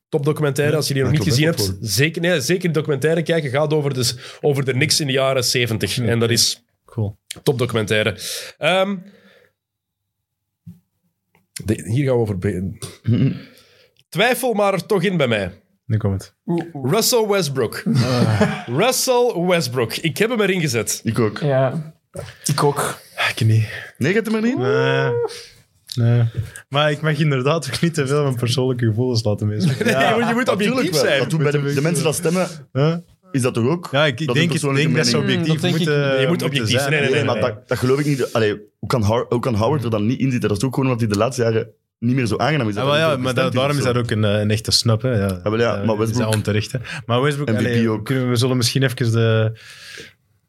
S1: Topdocumentaire, als je die nog niet
S2: Michael
S1: gezien hebt.
S2: Rappaport.
S1: Zeker, nee, zeker documentaire kijken gaat over, dus, over de niks in de jaren 70. En dat is
S3: Cool.
S1: topdocumentaire. Ehm, de- hier gaan we over... be- Twijfel maar er toch in bij mij.
S3: Nu komt het.
S1: Russell Westbrook. Russell Westbrook. Ik heb hem erin gezet.
S2: Ik ook.
S4: Ja, ik ook.
S3: Ik niet.
S2: Nee, gaat hem er Ah, niet in?
S3: Nee. Nee. Maar ik mag inderdaad ook niet te veel mijn persoonlijke gevoelens laten meespelen.
S1: je moet, je moet objectief
S2: Natuurlijk wel.
S1: zijn.
S2: Dat doen bij de, de mensen dat stemmen,
S3: Huh?
S2: is dat toch ook?
S3: Ja, ik, ik
S2: Dat is
S3: denk,
S2: een persoonlijke
S3: het, denk dat ze
S2: mening.
S3: objectief
S4: Dat denk ik-
S3: moeten
S1: je moet
S3: moeten
S1: objectief zijn.
S3: hè.
S1: Nee,
S2: Nee,
S1: nee,
S2: maar dat, dat geloof ik niet. Allee, hoe, kan Har- hoe kan Howard er dan niet in zitten? Dat is ook gewoon omdat hij de laatste jaren niet meer zo aangenaam is.
S3: Ja, maar, Ah, ja,
S2: hij niet
S3: maar
S2: zo
S3: dat, daarom is dat
S2: constant
S3: ook een, eh, een echte snap. Hè. Ja,
S2: Ah, wel ja,
S3: Eh,
S2: maar
S3: is dat
S2: Westbrook-
S3: onterecht. Hè. Maar Westbrook,
S2: MVP
S3: allee,
S2: ook.
S3: Kunnen we, we zullen misschien even de,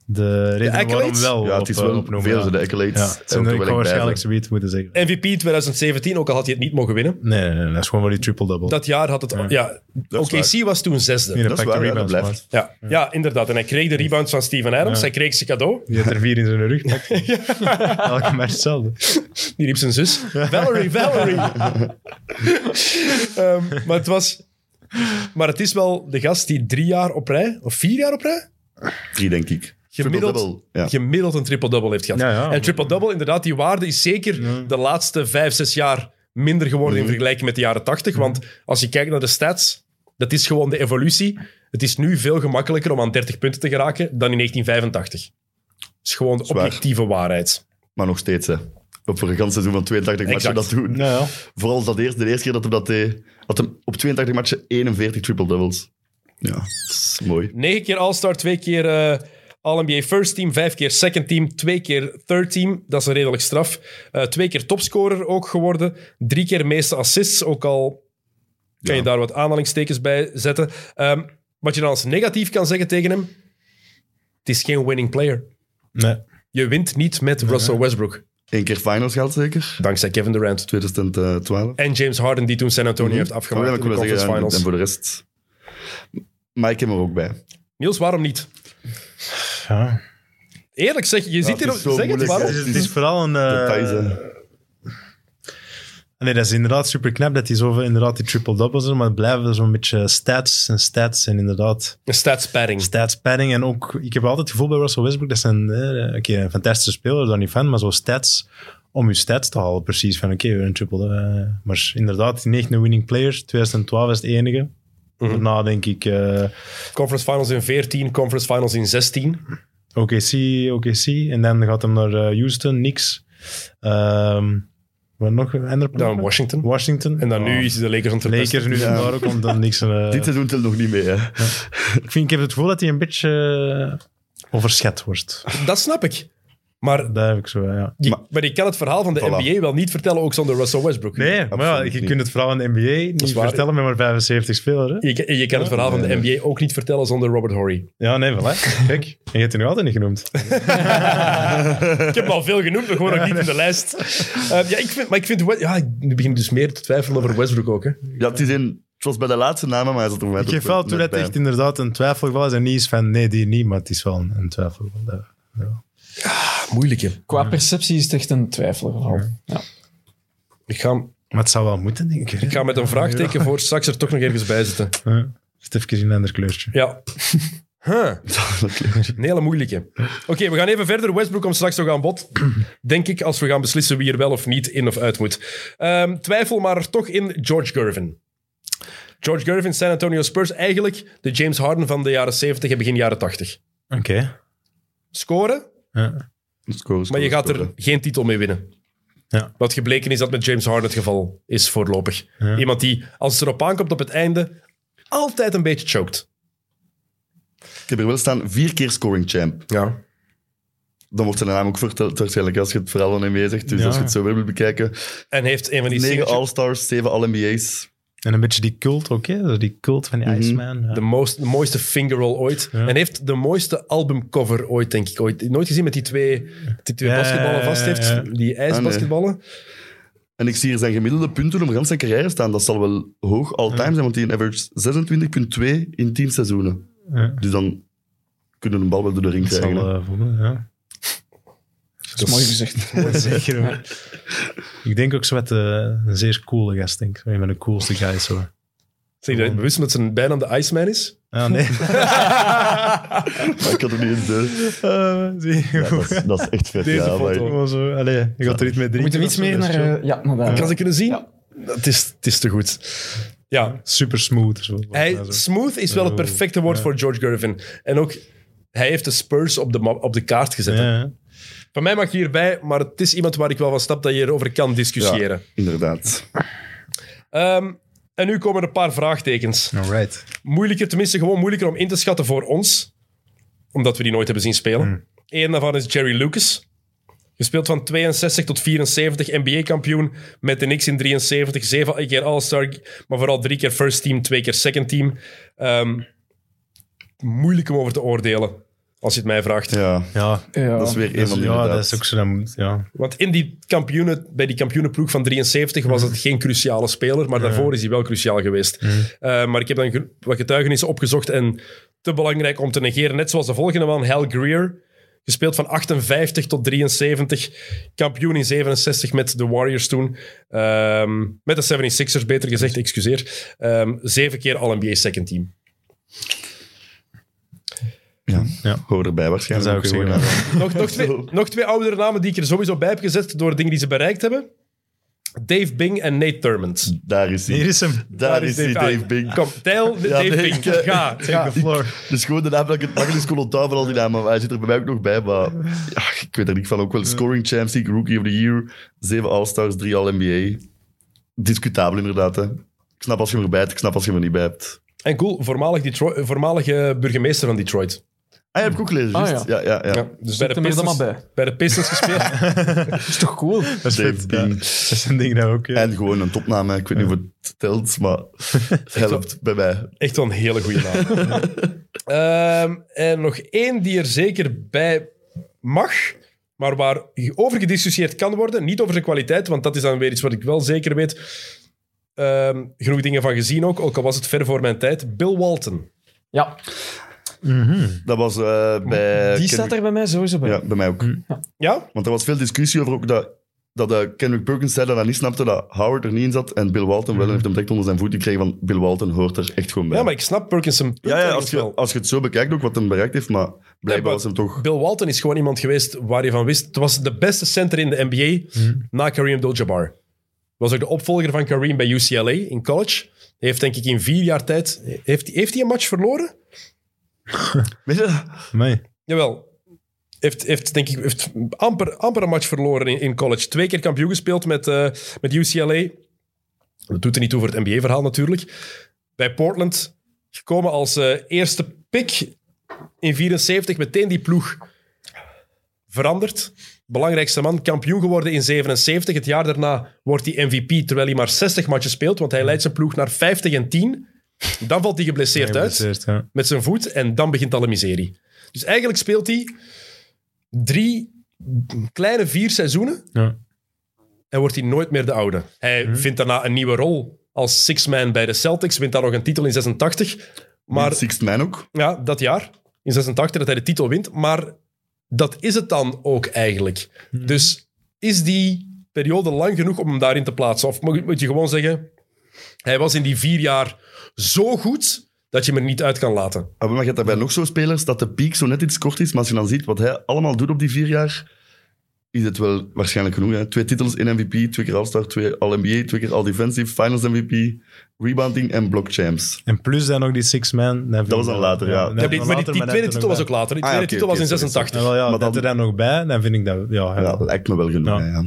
S3: de reden waarom
S1: accolades?
S3: wel
S2: of zo. Ja,
S3: op- eh,
S2: het is wel
S3: opnoemen.
S2: veel
S3: ja.
S2: zo de accolades.
S3: Ja,
S2: Hij
S3: het
S2: hoort
S3: zijn
S2: er
S3: er-
S2: wel echt
S3: ik ga
S2: bij
S3: waarschijnlijk
S2: zijn.
S3: zoiets moeten zeggen.
S1: MVP 2017, ook al had hij het niet mogen winnen.
S3: Nee, nee, nee, dat is gewoon voor die triple-double.
S1: Dat jaar had het... Ja,
S2: Dat is
S1: OKC was toen zesde.
S3: Hier een
S2: dat is
S3: pakje
S2: waar, ja, dat
S3: rebounds,
S2: blijft.
S3: maat.
S1: Ja. ja, inderdaad. En hij kreeg de rebounds van Steven Adams. Hij kreeg zijn cadeau.
S3: Die had er vier in zijn rug. Elke maar hetzelfde.
S1: Die riep zijn zus. Valerie, Valerie. Ehm, maar het was... Maar het is wel de gast die drie jaar op rij, of vier jaar op rij,
S2: Drie, denk ik.
S1: gemiddeld,
S2: Triple-double, Ja.
S1: gemiddeld een triple-double heeft gehad.
S3: Ja, ja.
S1: en triple-double, inderdaad, die waarde is zeker de laatste vijf, zes jaar minder geworden
S2: Mhm.
S1: in vergelijking met de jaren tachtig. Want als je kijkt naar de stats, dat is gewoon de evolutie. Het is nu veel gemakkelijker om aan 30 punten te geraken dan in 1985. Dat is gewoon de
S2: Zwaar.
S1: objectieve waarheid.
S2: Maar nog steeds, hè. Op voor een ganse seizoen van 82 matchen
S1: Exact.
S2: dat doen.
S3: Ja, ja.
S2: Vooral dat eerste, de eerste keer dat hij dat deed, had hem op 82 matchen 41 triple-doubles. Ja, dat is mooi.
S1: Negen keer All-Star, twee keer eh, All-NBA First Team, vijf keer Second Team, twee keer Third Team. Dat is een redelijk straf. Eh, twee keer topscorer ook geworden. Drie keer meeste assists, ook al kan je
S2: Ja.
S1: daar wat aanhalingstekens bij zetten. Ehm, wat je dan als negatief kan zeggen tegen hem, het is geen winning player.
S3: Nee.
S1: Je wint niet met Russell Westbrook,
S2: Eén keer finals gehad, zeker?
S1: dankzij Kevin Durant.
S2: 2012.
S1: En James Harden, die toen San Antonio heeft afgemaakt
S2: Oh, Ja,
S1: in
S2: Mhm. ik
S1: de
S2: wil
S1: conference
S2: zeggen, en-
S1: finals.
S2: En voor de rest... Maar ik heb hem er ook bij.
S1: Niels, waarom niet?
S3: Ja.
S1: Eerlijk zeg, je ziet
S2: het
S1: hier...
S2: is zo
S1: Zeg het,
S2: moeilijk, hè.
S1: waarom?
S3: Het, is, het is vooral een... eh,
S2: Dat is, eh,
S3: Nee, dat is inderdaad super knap dat die zoveel inderdaad die triple-doubles zijn, maar het blijven zo'n beetje stats en stats en inderdaad
S1: Een stats padding.
S3: stats padding. Dus En ook, ik heb altijd het gevoel bij Russell Westbrook, dat zijn eh, oké, een fantastische speler, daar niet van, maar zo stats, om je stats te halen precies, van oké, weer een triple. eh, maar inderdaad, die 9 winning players, 2012 is het enige.
S1: Mhm.
S3: Daarna denk ik eh
S1: Conference Finals in 14, Conference Finals in 16.
S3: OKC, OKC, en dan gaat hem naar eh, Houston, niks. Ehm wat nog? Een andere ploeg?
S1: Dan Washington.
S3: Washington.
S1: En dan
S3: Oh.
S1: nu is de Lakers aan het verpesten.
S3: Lakers nu ja. daar ook, omdat niks... eh,
S2: Dit seizoen telt nog niet mee, hè.
S3: Ik, vind, ik heb het gevoel dat hij een beetje eh, overschat wordt.
S1: Dat snap ik. Maar,
S3: Dat heb ik zo, ja.
S1: je, maar, ik kan het verhaal van de
S2: Voilà.
S1: NBA wel niet vertellen, ook zonder Russell Westbrook.
S3: Nee, maar ja,
S2: absoluut
S3: je
S2: niet.
S3: kunt het vooral in de NBA niet
S1: waar.
S3: vertellen met maar 75 spelers. hè?
S1: Je, je kan het verhaal van de NBA ook niet vertellen zonder Robert Horry.
S3: Ja, nee, voilà. Kijk, en je hebt het nu altijd niet genoemd.
S1: Ik heb al veel genoemd, maar gewoon nog niet in de lijst. Eh, ja, ik vind, maar ik vind... Wes- Ja, ik nu begin ik dus meer te twijfelen over Westbrook ook. Hè.
S2: Ja, het, is een, het was bij de laatste namen, maar hij zat er
S3: Ik geef wel toe dat het echt inderdaad een twijfelgeval is. En niet is van, nee, die niet, maar het is wel een, een twijfelgeval. Dat-
S1: Moeilijk, hè.
S4: Qua perceptie is het echt een twijfelgeval. Ja.
S1: Ik ga,
S3: Maar het zou wel moeten, denk ik. hè?
S1: ik ga met een vraagteken voor straks er toch nog ergens bij zitten.
S3: Ja. Het heeft even een ander kleurtje.
S1: Ja. Huh. Een hele moeilijke. Oké, we gaan even verder. Westbrook komt straks nog aan bod. Denk ik, als we gaan beslissen wie er wel of niet in of uit moet. Ehm, twijfel maar toch in George Gervin. George Gervin, San Antonio Spurs. Eigenlijk de James Harden van de jaren 70 en begin jaren 80.
S3: Oké.
S1: Scoren,
S3: Ja.
S1: maar je gaat er geen titel mee winnen.
S3: Ja.
S1: Wat gebleken is dat met James Harden het geval is voorlopig.
S3: Ja.
S1: Iemand die, als het erop aankomt op het einde, altijd een beetje choked.
S2: Ik heb er wel staan, vier keer scoring champ.
S1: Ja.
S2: Dan wordt zijn naam ook verteld, waarschijnlijk, als je het verhaal van hem zegt. Dus
S3: Ja.
S2: als je het zo weer wil bekijken.
S1: En heeft een van die
S2: Negen
S1: signature-
S2: All-Stars, zeven All-NBA's.
S3: En een beetje die cult ook, hè? Zo Die cult van die Iceman. ja.
S1: De, most, de mooiste fingerroll ooit. En heeft de mooiste albumcover ooit, denk ik. Ooit. Nooit gezien met die twee, die twee
S3: Ja,
S1: basketballen vast heeft.
S3: ja, Ah, ja.
S1: Die ijsbasketballen.
S2: En ik zie hier zijn gemiddelde punten om gans zijn carrière staan. Dat zal wel hoog all-time zijn, want die in average 26,2 in 10 seizoenen.
S3: Ja.
S2: Dus dan kunnen we een bal wel door de ring
S3: Dat zal
S2: krijgen. hè.
S3: eh, voldoen, ja.
S4: Dat is mooi gezegd.
S3: Zeker hoor. Ik denk ook zo met een zeer coole gast, denk ik. Een van de coolste guys hoor.
S1: Zeg je dat bewust omdat zijn bijnaam de Iceman is?
S3: Ah, nee.
S2: Maar ik had er niet eens door.
S3: Eh, zie je.
S2: Ja, dat, is, dat is echt vet.
S1: Deze
S2: ja,
S1: foto.
S2: maar-
S3: Gewoon zo, allee, je gaat er niet mee
S4: We
S3: drinken.
S4: moeten we iets
S3: of zo,
S4: meer
S3: dat
S4: naar...
S3: is chill.
S4: eh, ja, naar daar.
S1: Ik had ze kunnen zien.
S4: Ja.
S1: Het, is, het is te goed. Ja,
S3: Super smooth. Zo,
S1: hij,
S3: Ja, zo. Oh,
S1: smooth is wel het perfecte woord voor George Gervin. En ook, hij heeft de Spurs op de, ma- op de kaart gezet.
S3: Ja, ja.
S1: Van mij mag je hierbij, maar het is iemand waar ik wel van snap dat je erover kan discussiëren.
S2: Inderdaad.
S1: Ehm, en nu komen er een paar vraagtekens.
S3: Alright.
S1: moeilijker, tenminste gewoon moeilijker om in te schatten voor ons, omdat we die nooit hebben zien spelen. Eén daarvan is Jerry Lucas, Gespeeld van 62 tot 74, NBA-kampioen met de Knicks in 73, zeven keer All-Star, maar vooral drie keer first team, twee keer second team. Ehm, moeilijk om over te oordelen, als je het mij vraagt.
S2: Ja,
S3: Ja,
S4: Ja.
S2: dat is weer een
S3: dat is,
S2: van de
S3: Dus ja,
S2: inderdaad.
S3: dat is ook zo. Dat moet, ja.
S1: Want in die kampioenen, bij die kampioenenploeg van 73 was het geen cruciale speler, maar daarvoor is hij wel cruciaal geweest. Eh, maar ik heb dan ge- wat getuigenissen opgezocht en te belangrijk om te negeren. Net zoals de volgende man, Hal Greer. Gespeeld van 58 tot 73. Kampioen in 67 met de Warriors toen. Ehm, met de 76ers, beter gezegd, excuseer. Ehm, zeven keer All-NBA second team.
S2: Ja.
S3: Ja.
S2: Hoor erbij
S3: Dat
S2: waarschijnlijk.
S3: zou ik
S2: ook
S3: zeggen.
S2: weer.
S1: Nog, nog, twee, nog twee oudere namen die ik er sowieso bij heb gezet door dingen die ze bereikt hebben. Dave Bing en Nate Thurmond.
S2: Daar is hij.
S3: Hier dus- is hem.
S2: Daar is hij, Dave Bing.
S1: Kom, tel de Dave
S2: nee,
S1: Bing.
S2: ik, eh,
S1: Ga, ga.
S3: Take the floor.
S2: Dus gewoon de naam dat ik het makkelijkst kon onthouden van al die namen. Maar hij zit er bij mij ook nog bij. Maar ja, ik weet er niet van. Ook wel scoring champs, league, rookie of the year. Zeven All-Stars, drie All-NBA. Discutabel inderdaad. Hè. Ik snap als je hem erbij hebt, ik snap als je hem er niet bij hebt.
S1: En cool, voormalig, Detro- eh, voormalige burgemeester van Detroit.
S2: Ah, je hebt ik ook gelezen,
S4: Ah,
S2: juist. ja. Ja, ja,
S1: Ja, dus bij
S4: Zet
S1: de,
S4: hem er dan
S1: Pistons,
S4: maar bij.
S1: bij de Pistons gespeeld.
S4: Dat is toch cool?
S3: Dat is
S2: Dave
S3: vet, ja.
S2: Bing.
S3: Dat is een ding dat ook. eh, ja.
S2: En gewoon een topnaam. hè. Ik weet niet of het telt, maar het helpt bij mij.
S1: Echt wel een hele goede naam. Ehm, en nog één die er zeker bij mag, maar waar over gediscussieerd kan worden. Niet over zijn kwaliteit, want dat is dan weer iets wat ik wel zeker weet. Ehm, genoeg dingen van gezien ook, ook al was het ver voor mijn tijd. Bill Walton.
S4: Ja,
S2: Dat was eh, bij...
S4: die staat er bij mij sowieso bij.
S2: Ja, bij mij
S3: Hm.
S2: ook.
S1: Ja?
S2: Want er was veel discussie over ook dat, dat eh, Kendrick Perkins zei dat hij niet snapte dat Howard er niet in zat en Bill Walton wel en heeft hem direct onder zijn voet gekregen van Bill Walton hoort er echt gewoon bij.
S1: Ja, maar ik snap Perkins zijn punt
S2: ja, ja,
S1: ergens
S2: als, je,
S1: wel.
S2: als je het zo bekijkt ook wat hem bereikt heeft, maar
S1: Nee, maar-
S2: blijkbaar was hem toch...
S1: Bill Walton is gewoon iemand geweest waar je van wist. Het was de beste center in de NBA na Kareem Abdul-Jabbar. Was ook de opvolger van Kareem bij UCLA in college. Hij heeft denk ik in vier jaar tijd... Heeft, heeft hij een match verloren?
S2: Weet je,
S3: Amai.
S1: Jawel. Heeft, heeft denk ik heeft amper, amper een match verloren in, in college. Twee keer kampioen gespeeld met, eh, met UCLA. Dat doet er niet toe voor het NBA-verhaal natuurlijk. Bij Portland gekomen als eh, eerste pick in 74. Meteen die ploeg veranderd. Belangrijkste man, kampioen geworden in 77. Het jaar daarna wordt hij MVP terwijl hij maar 60 matches speelt, want hij leidt zijn ploeg naar 50 en 10. Dan valt hij geblesseerd uit
S3: Geïnteresseerd, ja.
S1: met zijn voet en dan begint alle miserie. Dus eigenlijk speelt hij drie kleine vier seizoenen
S3: Ja.
S1: en wordt hij nooit meer de oude. Hij vindt daarna een nieuwe rol als six-man bij de Celtics, wint daar nog een titel in 86. Maar
S2: maar... Sixth Man ook.
S1: ja, dat jaar, in 86, dat hij de titel wint. Maar dat is het dan ook eigenlijk. Dus is die periode lang genoeg om hem daarin te plaatsen? Of moet moet je gewoon zeggen, hij was in die vier jaar zo goed dat je hem er niet uit kan laten.
S2: Ah, Maar je hebt daarbij nog zo'n spelers dat de piek zo net iets kort is, maar als je dan ziet wat hij allemaal doet op die vier jaar, is het wel waarschijnlijk genoeg. Hè? Twee titels in MVP, twee keer All-Star, twee All-NBA, twee keer All-Defensive, Finals MVP, rebounding en block champs.
S3: En plus dan nog die Six Man.
S2: Dat was dan later, ja.
S1: Ja, maar die, maar die- die tweede titel was ook later. Die
S2: Ah, ja,
S1: tweede
S2: oké,
S1: titel was
S2: oké,
S1: in
S2: sorry, sorry.
S1: 86.
S3: wel, ja,
S2: Maar
S3: dat
S2: dan-
S3: er dan nog bij, dan vind ik dat... Ja, ja.
S2: Ja, dat lijkt me wel genoeg.
S3: Ja.
S2: hè, ja.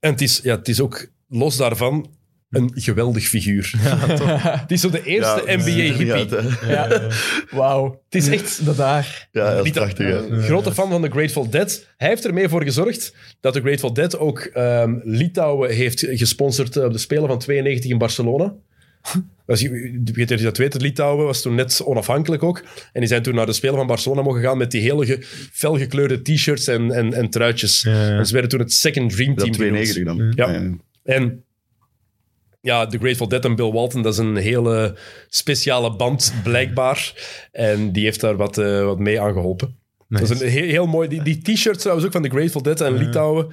S1: En het is, ja, het is ook, los daarvan, een geweldig figuur. het is zo de eerste
S2: Ja, het ziet er niet uit,
S1: NBA-hippie.
S2: hè.
S4: Ja. Wauw. Het is echt dat daar.
S2: Ja, dat is
S1: Niet dat-
S2: prachtig. hè.
S1: Een grote fan van de Grateful Dead. Hij heeft ermee voor gezorgd dat de Grateful Dead ook ehm, Litouwen heeft gesponsord eh, op de Spelen van 92 in Barcelona. Als je, ik weet niet of je dat weet, Litouwen was toen net onafhankelijk ook. En die zijn toen naar de Spelen van Barcelona mogen gaan met die hele ge, felgekleurde t-shirts en, en, en truitjes.
S3: Ja, ja.
S1: En ze werden toen het Second Dream
S2: Dat
S1: Team genoemd.
S2: 92 dan.
S1: Ja. En ja, The Grateful Dead en Bill Walton, dat is een hele speciale band, blijkbaar. En die heeft daar wat, eh, wat mee aan geholpen.
S3: Nice.
S1: Dat is een heel, heel mooi... Die, die t-shirts trouwens ook van The Grateful Dead en Litouwen,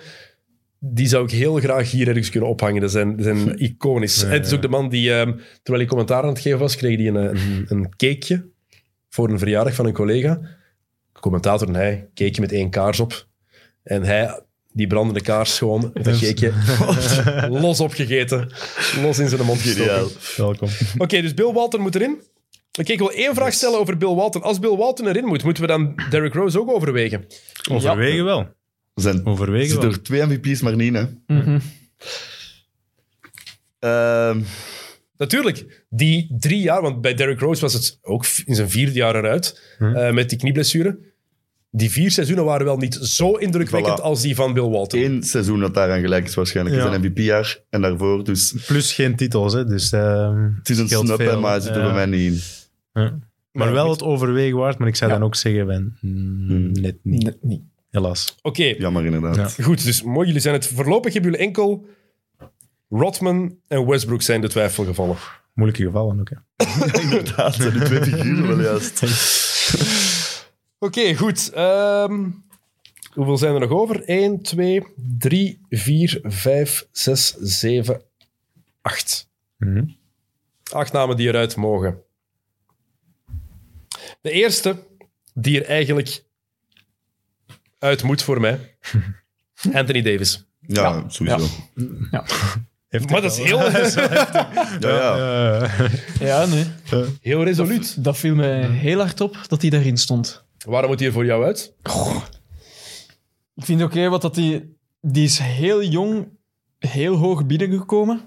S1: die zou ik heel graag hier ergens kunnen ophangen. Dat zijn, dat zijn iconisch. En het is ook de man die, ehm, terwijl ik commentaar aan het geven was, kreeg hij een, een, een cakeje voor een verjaardag van een collega. De commentator en hij, cakeje met één kaars op. En hij, die brandende kaars gewoon, dat cakeje los opgegeten. Los in zijn mond gestoken.
S2: Geniaal.
S1: Oké,
S3: Welkom.
S1: dus Bill Walton moet erin. Oké, ik wil één vraag stellen over Bill Walton. Als Bill Walton erin moet, moeten we dan Derrick Rose ook overwegen?
S3: Overwegen wel.
S2: Zijn,
S3: Overwegen
S2: zit
S3: Oh, wel.
S2: er twee MVP's, maar niet, hè.
S4: Mhm.
S2: Ehm,
S1: Natuurlijk, die drie
S2: Hm.
S1: jaar, want bij Derrick Rose was het ook in zijn vierde jaar eruit, eh, met die knieblessure. die vier seizoenen waren wel niet zo indrukwekkend
S2: Voilà.
S1: als die van Bill Walton.
S2: Eén seizoen dat daaraan gelijk is waarschijnlijk.
S3: Ja.
S2: Zijn MVP-jaar en daarvoor. Dus
S3: Plus geen titels, hè, dus... ehm,
S2: het is een
S3: Scheelt
S2: snap, hè,
S3: veel,
S2: maar het zit er
S3: ja.
S2: bij mij niet in.
S3: maar wel het overwegen waard, maar ik zou
S1: Ja.
S3: dan ook zeggen, ben, mm, net niet,
S4: Nee, niet.
S3: helaas.
S1: Oké,
S2: Jammer inderdaad.
S3: Ja.
S1: goed. Dus mooi, jullie zijn het voorlopig hebben jullie enkel. Rodman en Westbrook zijn de twijfelgevallen.
S3: Moeilijke gevallen ook, hè.
S2: inderdaad. En die twee figuren wel juist.
S1: Oké, goed. Ehm, hoeveel zijn er nog over? 1, 2, 3, 4, 5, 6, 7, 8.
S3: Mhm.
S1: Acht namen die eruit mogen. De eerste die er eigenlijk uit moet voor mij. Anthony Davis.
S2: Ja, sowieso.
S1: Maar dat is heel,
S2: Ja, ja.
S3: Eh,
S4: Ja, nee.
S1: heel resoluut.
S4: Dat viel mij heel hard op dat hij daarin stond.
S1: Waarom moet hij er voor jou uit?
S4: Ik vind het oké wat dat die... Die is heel jong, heel hoog binnengekomen.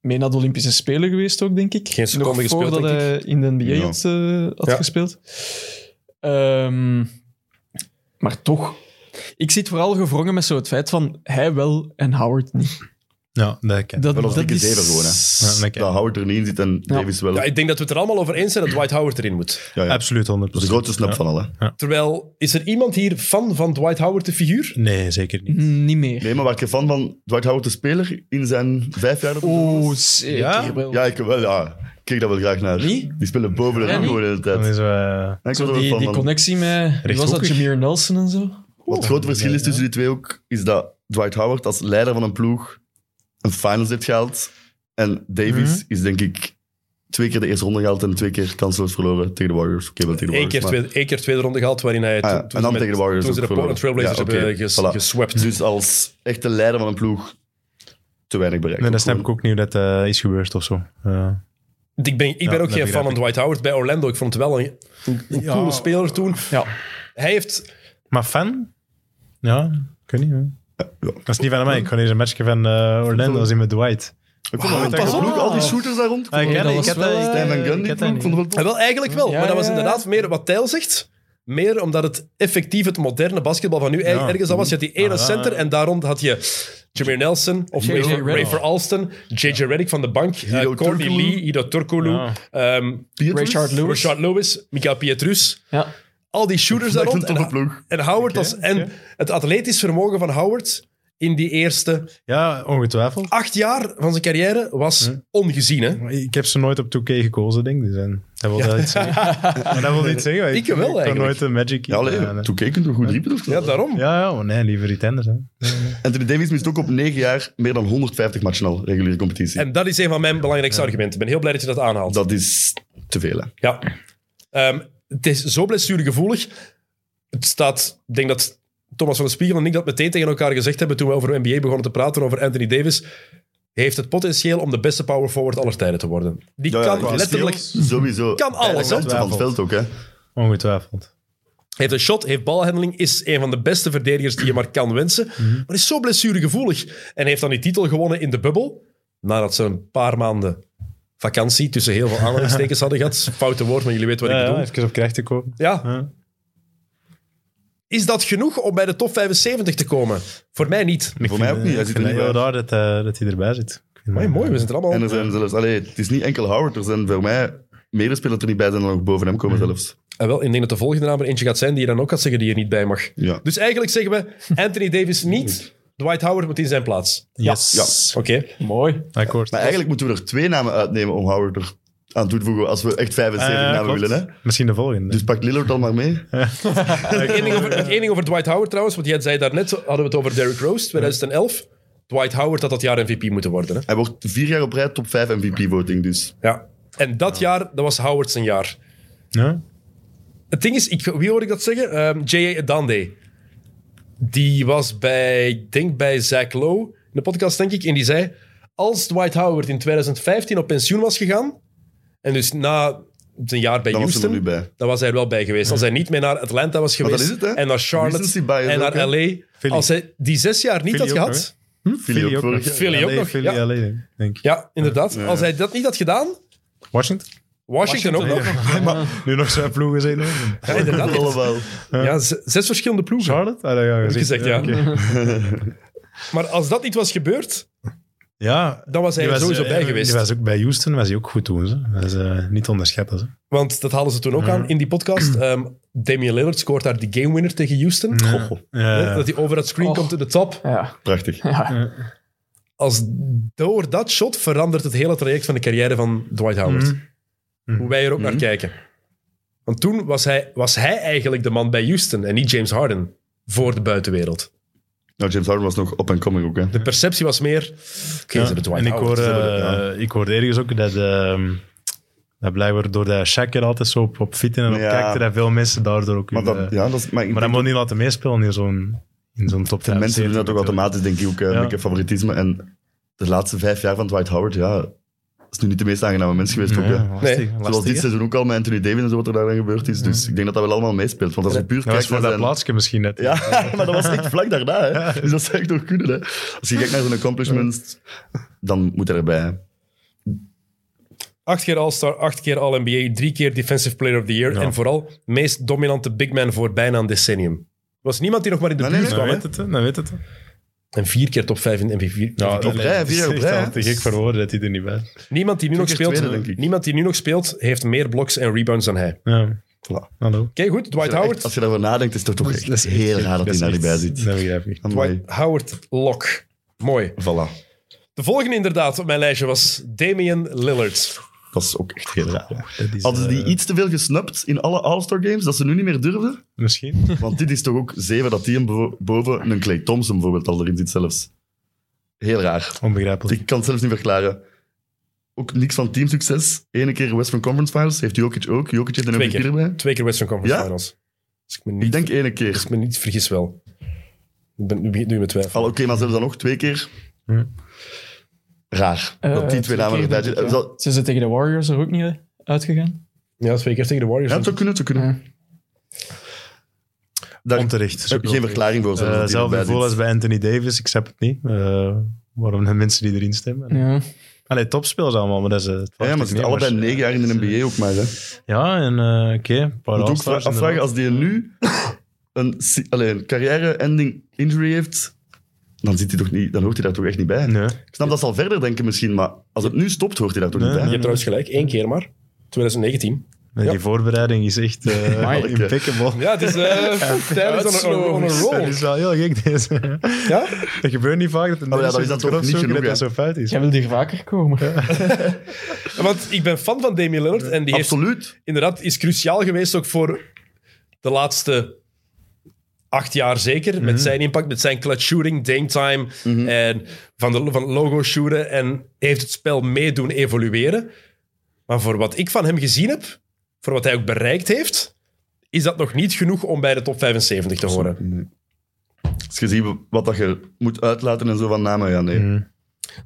S4: Mee naar de Olympische Spelen geweest ook, denk ik.
S1: Geen seconde
S4: Nog
S1: gespeeld,
S4: voordat
S1: denk ik.
S4: hij in de NBA
S2: Ja.
S4: had, eh, had
S1: Ja.
S4: gespeeld. Ehm, maar toch... Ik zit vooral gevrongen met zo het feit van hij wel en Howard niet.
S3: ja, dat kan.
S4: Dat,
S2: Wel als
S4: dat
S2: dikke
S4: is...
S2: zeven gewoon, hè.
S3: Ja, dat kan.
S2: Dat Howard er niet in zit en Davis wel.
S1: Ja,
S2: Ja,
S1: ik denk dat we het er allemaal over eens zijn dat Dwight Howard erin moet.
S2: ja. Dat
S3: Absoluut 100%.
S2: is de grootste snap
S3: Ja.
S2: van alle.
S1: Terwijl, is er iemand hier fan van Dwight Howard, de figuur?
S3: Nee, zeker niet.
S4: Niet meer.
S2: Nee, maar waar ik fan van Dwight Howard, de speler, in zijn vijf jaar... dat-
S4: Oh, zeker
S3: Ja?
S4: wel.
S2: Ja, ik wel, ja. Ik kijk daar wel graag naar.
S4: Niet?
S2: Die spelen boven de
S4: Ja,
S2: rand
S4: niet?
S2: gewoon de hele tijd.
S3: Dan
S2: Ja,
S3: is, eh,
S2: ik word
S4: Zo
S2: er wel
S4: die,
S2: fan
S4: die
S2: van.
S4: connectie met... wie was dat
S3: Rechthoekig.
S4: Jameer Nelson en zo?
S2: Wat het groot verschil
S3: Ja,
S2: is
S3: ja.
S2: tussen die twee ook, is dat Dwight Howard als leider van een ploeg een finals heeft gehaald. En Davis is denk ik twee keer de eerste ronde gehaald en twee keer kansloos verloren tegen de Warriors. Oké, wel tegen de
S1: Eén
S2: Warriors.
S1: keer,
S2: maar-
S1: tweede, één keer tweede ronde gehad, waarin hij
S2: Ah ja,
S1: toen-
S2: en
S1: toen,
S2: dan
S1: met-
S2: tegen de Warriors
S1: toen ze de
S2: ook
S1: Portland
S2: verloren.
S1: Trailblazers
S2: Ja,
S1: hebben
S2: oké,
S1: ges,
S2: voilà.
S1: geswept.
S2: Dus als echte leider van een ploeg te weinig bereikt.
S3: nee,
S2: Ook
S3: dat snap ik
S2: gewoon.
S3: ook niet hoe dat eh, is gebeurd of zo. Eh,
S1: Ik ben, ik ben
S3: Ja,
S1: ook
S3: dat
S1: geen fan
S3: begrijp
S1: van
S3: ik.
S1: Dwight Howard bij Orlando. Ik vond het wel een, een, een
S3: Ja.
S1: coole speler toen.
S4: Ja.
S1: Hij heeft...
S3: maar fan? Ja, ik weet niet. hè.
S2: ja.
S3: Dat is niet van mij. Ik ga deze matchje van eh, Orlando zien met Dwight.
S2: Ik vond dat
S3: pas
S2: met
S3: op.
S2: ploeg, al die shooters daar rond.
S3: Ah, ik
S4: ken- ik heb dat- ik
S2: Stan Van
S3: en
S2: Gundy, eh, ik vond het wel tof.
S1: En eh, wel, eigenlijk wel.
S4: Ja,
S1: maar dat was
S4: ja, ja.
S1: inderdaad meer wat Tijl zegt. Meer omdat het effectief het moderne basketbal van nu eigenlijk ergens al was. Je had die ene
S3: Ah, ja.
S1: center en daar rond had je Jameer Nelson of
S4: J.J.
S1: Ray-
S4: Redick.
S1: Ray for Alston, J.J. Redick van de bank, eh,
S2: Hiro
S1: Courtney
S2: Turkoglu.
S1: Lee, Ido Turkoglu,
S3: Ja.
S1: ehm,
S2: Pietersen?
S4: Richard Lewis.
S1: Richard Lewis, Mikael Pietrus.
S4: Ja.
S1: Al die shooters daar
S2: Dat is
S1: rond.
S2: een toffe
S1: En,
S2: ploeg.
S1: en Howard als, en het atletisch vermogen van Howard in die eerste
S3: Ja, ongetwijfeld.
S1: acht jaar van zijn carrière was ongezien. Hè?
S3: Maar Ik heb ze nooit op 2K gekozen, denk ik. Dus en dat wil wel iets zeggen. maar dat wil niet zeggen. want
S1: Ik wel,
S3: kan
S1: eigenlijk.
S3: nooit de Magic...
S2: Ja, allee,
S3: ja, nee.
S2: toen keken we goed riepen.
S1: Ja, daarom.
S3: ja, ja, maar nee, liever iets anders. Hè.
S2: Anthony Davis mist ook op negen jaar meer dan 150 matchen al, reguliere competitie.
S1: En dat is een van mijn belangrijkste argumenten. Ik ben heel blij dat je dat aanhaalt.
S2: dat is te veel, hè.
S1: Ja. Ehm, het is zo blessuregevoelig. Het staat, ik denk dat Thomas van der Spiegel en ik dat meteen tegen elkaar gezegd hebben toen we over NBA begonnen te praten, over Anthony Davis. Heeft het potentieel om de beste power forward aller tijden te worden. Die
S2: Ja, ja,
S1: kan
S2: qua
S1: letterlijk...
S2: skills Sowieso.
S1: Kan alles,
S2: Beide
S1: hè?
S2: kanten van het veld ook, hè.
S3: Ongetwijfeld.
S1: Heeft een shot, heeft balhandeling, is een van de beste verdedigers die je maar kan wensen. Maar is zo blessuregevoelig. En heeft dan die titel gewonnen in de bubbel. Nadat ze een paar maanden vakantie tussen heel veel aanhalingstekens hadden gehad. Foute woord, maar jullie weten wat ik bedoel.
S3: even op krijg te komen.
S1: Ja.
S3: Ja.
S1: Is dat genoeg om bij de top 75 te komen? Voor mij niet.
S2: Voor mij
S3: Eh,
S2: ook niet. Hij zit er niet bij.
S3: heel raar dat, eh, dat hij erbij zit. Ik vind
S1: Mooi,
S3: dat-
S1: mooi, we zijn er allemaal.
S2: En er zijn zelfs... Allee, het is niet enkel Howard. Er zijn voor mij medespelers die er niet bij zijn en nog boven hem komen zelfs.
S1: Ah, wel, ik denk dat de volgende naam er eentje gaat zijn die je dan ook gaat zeggen die er niet bij mag.
S2: Ja.
S1: Dus eigenlijk zeggen we Anthony Davis niet. Dwight Howard moet in zijn plaats.
S3: Yes.
S1: Oké.
S4: Mooi.
S3: eh, Akkoord.
S2: Maar eigenlijk moeten we er twee namen uitnemen om Howard er aan toe te voegen als we echt 75
S3: Eh,
S2: namen
S3: klopt.
S2: willen, hè.
S3: Misschien de volgende.
S2: Dus pak Lillard dan maar mee.
S1: Het één ding over- het één ding over Dwight Howard trouwens, want jij zei daarnet, hadden we het over Derrick Rose, 2011. Dwight Howard had dat jaar MVP moeten worden. Hè?
S2: Hij wordt vier jaar op rij top 5 MVP-voting, dus.
S1: Ja. En dat jaar, dat was Howard zijn jaar.
S3: Ja?
S1: Het ding is, ik, wie hoorde ik dat zeggen? Ehm, J.A. Adande. Die was bij, ik denk bij Zach Lowe in de podcast, denk ik. En die zei, als Dwight Howard in 2015 op pensioen was gegaan, en dus na een jaar bij
S2: Dan was hij
S1: Houston,
S2: er nu bij.
S1: dan was hij er wel bij geweest. Als hij niet meer naar Atlanta was
S2: dat
S1: geweest,
S2: is het, hè?
S1: en naar Charlotte,
S2: Recency bias
S1: en naar
S2: ook, hè?
S1: L.A.,
S3: Philly.
S1: als hij die zes jaar niet had
S3: Philly ook
S1: gehad...
S3: nog, hè?
S2: Philly ook vorig jaar.
S1: Philly ook
S3: Allee,
S1: nog,
S3: Philly
S1: ja.
S3: alleen, denk ik.
S1: Ja, inderdaad. Als hij dat niet had gedaan,
S3: Washington?
S1: Washington, ook nog.
S3: Nu nog zijn ploegen zijn. hè?
S1: Ja, inderdaad.
S2: Wel, wel.
S1: Ja, z- zes verschillende ploegen.
S3: Charlotte? Ah, dat heb ik
S1: gezegd, ja.
S3: oké.
S1: Maar als dat niet was gebeurd,
S3: Ja.
S1: dan was hij
S3: Die
S1: er
S3: was,
S1: sowieso
S3: eh,
S1: bij
S3: Die
S1: geweest.
S3: was ook bij Houston, was hij ook goed toen. Ze. Dat is eh, niet te onderschatten. Ze.
S1: Want dat haalden ze toen ook aan in die podcast. Ehm, Damian Lillard scoort daar die game winner tegen Houston.
S3: Ja. Ja, ja.
S1: Dat hij over dat screen
S4: Och.
S1: komt to de top.
S4: Ja.
S2: Prachtig.
S1: Als door dat shot verandert het hele traject van de carrière van Dwight Howard.
S3: Mm.
S1: Hoe wij er ook naar kijken. Want toen was hij, was hij eigenlijk de man bij Houston en niet James Harden voor de buitenwereld.
S2: Nou, James Harden was nog op en coming ook, hè.
S1: De perceptie was meer. Oké, ze
S3: Ja.
S1: hebben Dwight
S3: En ik
S1: Howard.
S3: hoorde,
S1: Ze hebben-
S3: eh, ik hoorde ergens ook dat, ehm dat blijkbaar door dat Shaq er altijd zo op, op fieten en op
S2: Ja.
S3: kijkte, dat veel mensen daardoor ook...
S2: Maar
S3: hun,
S2: dat,
S3: eh,
S2: ja, dat is... Maar ik
S3: maar dat
S2: denk
S3: moet niet laten meespelen in zo'n in zo'n top 5.
S2: En mensen doen dat ook automatisch, denk ik ook. eh,
S3: Ja.
S2: Een beetje favoritisme. En de laatste vijf jaar van Dwight Howard, ja, is nu niet de meest aangename mens geweest. ook, hè.
S1: Nee,
S2: Zoals dit seizoen ook al met Anthony Davis en zo wat er daar aan gebeurd is. Dus ik denk dat dat wel allemaal meespeelt. Want als je puur
S3: Dat was
S2: kijkt
S3: voor
S2: naar
S3: dat
S2: zijn-
S3: plaatsje misschien net.
S2: Ja, maar dat was echt vlak daarna. Hè. Dus dat zou echt nog kunnen. Hè. Als je kijkt naar zijn accomplishments, dan moet hij erbij. hè.
S1: Acht keer All-Star, acht keer All-NBA, drie keer Defensive Player of the Year. En vooral meest dominante big man voor bijna een decennium. Er was niemand die nog maar in de
S2: Nee,
S1: buurt
S2: nee,
S3: Dan
S1: kwam. hè?
S3: weet het, hè, dan weet het. hè.
S1: En vier keer top vijf in MVP.
S3: dat
S2: op
S3: is
S2: rij, vier op
S3: echt
S2: rij.
S3: al te gek voor woorden dat hij er niet bij is.
S1: niemand, die nu nog
S2: Twee keer
S1: speelt,
S2: tweede, denk ik.
S1: niemand die nu nog speelt, heeft meer bloks en rebounds dan hij. Oké,
S3: Ja.
S2: Voilà.
S3: Hallo.
S1: goed. Dwight
S2: Echt,
S1: Howard.
S2: als je daarover nadenkt, is het toch echt heel raar dat hij daar niet bij zit.
S3: Dat begrijp ik.
S2: Amai.
S1: Dwight Howard Lock. Mooi.
S2: Voilà.
S1: De volgende inderdaad op mijn lijstje was Damian Lillard.
S2: Dat is ook echt heel raar.
S3: Dat is,
S2: Hadden ze die
S3: eh,
S2: iets te veel gesnapt in alle All-Star Games, dat ze nu niet meer durfden?
S3: Misschien.
S2: Want dit is toch ook zeven dat die hem bevo- boven een Clay Thompson bijvoorbeeld al erin zit zelfs. Heel raar.
S3: Onbegrijpelijk.
S2: Ik kan het zelfs niet verklaren. Ook niks van teamsucces. Ene keer Western Conference Finals heeft Jokic ook. Jokic heeft een
S1: Twee
S2: MVP
S1: keer.
S2: erbij.
S1: Twee keer Western Conference
S2: Ja?
S1: Finals. Als ik me
S2: Ik
S1: niet,
S2: denk ene
S1: als
S2: keer.
S1: ik me niet vergis wel. Ik ben, nu begint nu met twijfel.
S2: Al, Oké, maar zelfs dan nog twee keer.
S3: Hm.
S2: Raar.
S4: Eh,
S2: dat die Eh, twee namen erbij zitten. Zal-
S4: Ze zijn tegen de Warriors er ook niet eh, uitgegaan.
S1: Ja, twee keer tegen de Warriors.
S2: Ja, het zou kunnen, het zou kunnen. Daar heb
S3: Onterecht. Zo
S2: ik geen verklaring voor. zelfs
S3: Eh,
S2: dat die
S3: Hetzelfde
S2: erbij
S3: gevoel
S2: zit.
S3: als bij Anthony Davis, ik snap het niet. Eh, waarom de mensen die erin stemmen.
S4: Ja.
S3: Allee, topspelers allemaal, maar dat is eh, het.
S2: Ja, maar ze zitten allebei negen jaar in de NBA ook maar. Hè.
S3: Ja, en eh, oké, een paar
S2: Ik moet ook
S3: All-Stars
S2: vra- afvragen
S3: inderdaad.
S2: als die nu een, si- allee, een carrière-ending injury heeft, dan, zit hij toch niet, dan hoort hij daar toch echt niet bij.
S3: Nee.
S2: Ik snap dat ze al verder denken misschien, maar als het nu stopt, hoort hij daar toch
S3: Nee,
S2: niet bij.
S1: Je hebt trouwens gelijk, één keer maar. 2019.
S3: Nee, Die voorbereiding is echt eh,
S2: Manneke.
S3: impeccable.
S1: Ja, het is eh, tijdens on, on, on a
S3: Dat
S1: roll.
S3: is wel heel gek, deze.
S1: Ja?
S3: dat gebeurt niet vaak, dat een
S2: Ah, Maar ja,
S3: mens
S2: dat is dan
S3: het
S2: toch
S3: kan
S2: niet
S3: opzoeken dat
S2: genoeg,
S3: dat zo fout is.
S4: Jij wil hier vaker komen.
S1: Want ik ben fan van Damian Lillard en die heeft,
S2: Absoluut.
S1: inderdaad, is cruciaal geweest ook voor de laatste acht jaar zeker. Met zijn impact, met zijn clutch shooting, game time en van, de, van logo shooten. En heeft het spel meedoen evolueren. Maar voor wat ik van hem gezien heb, voor wat hij ook bereikt heeft, is dat nog niet genoeg om bij de top 75 te horen.
S2: Als Dus je ziet wat dat je moet uitlaten en zo van namen, ja nee.
S3: Mm.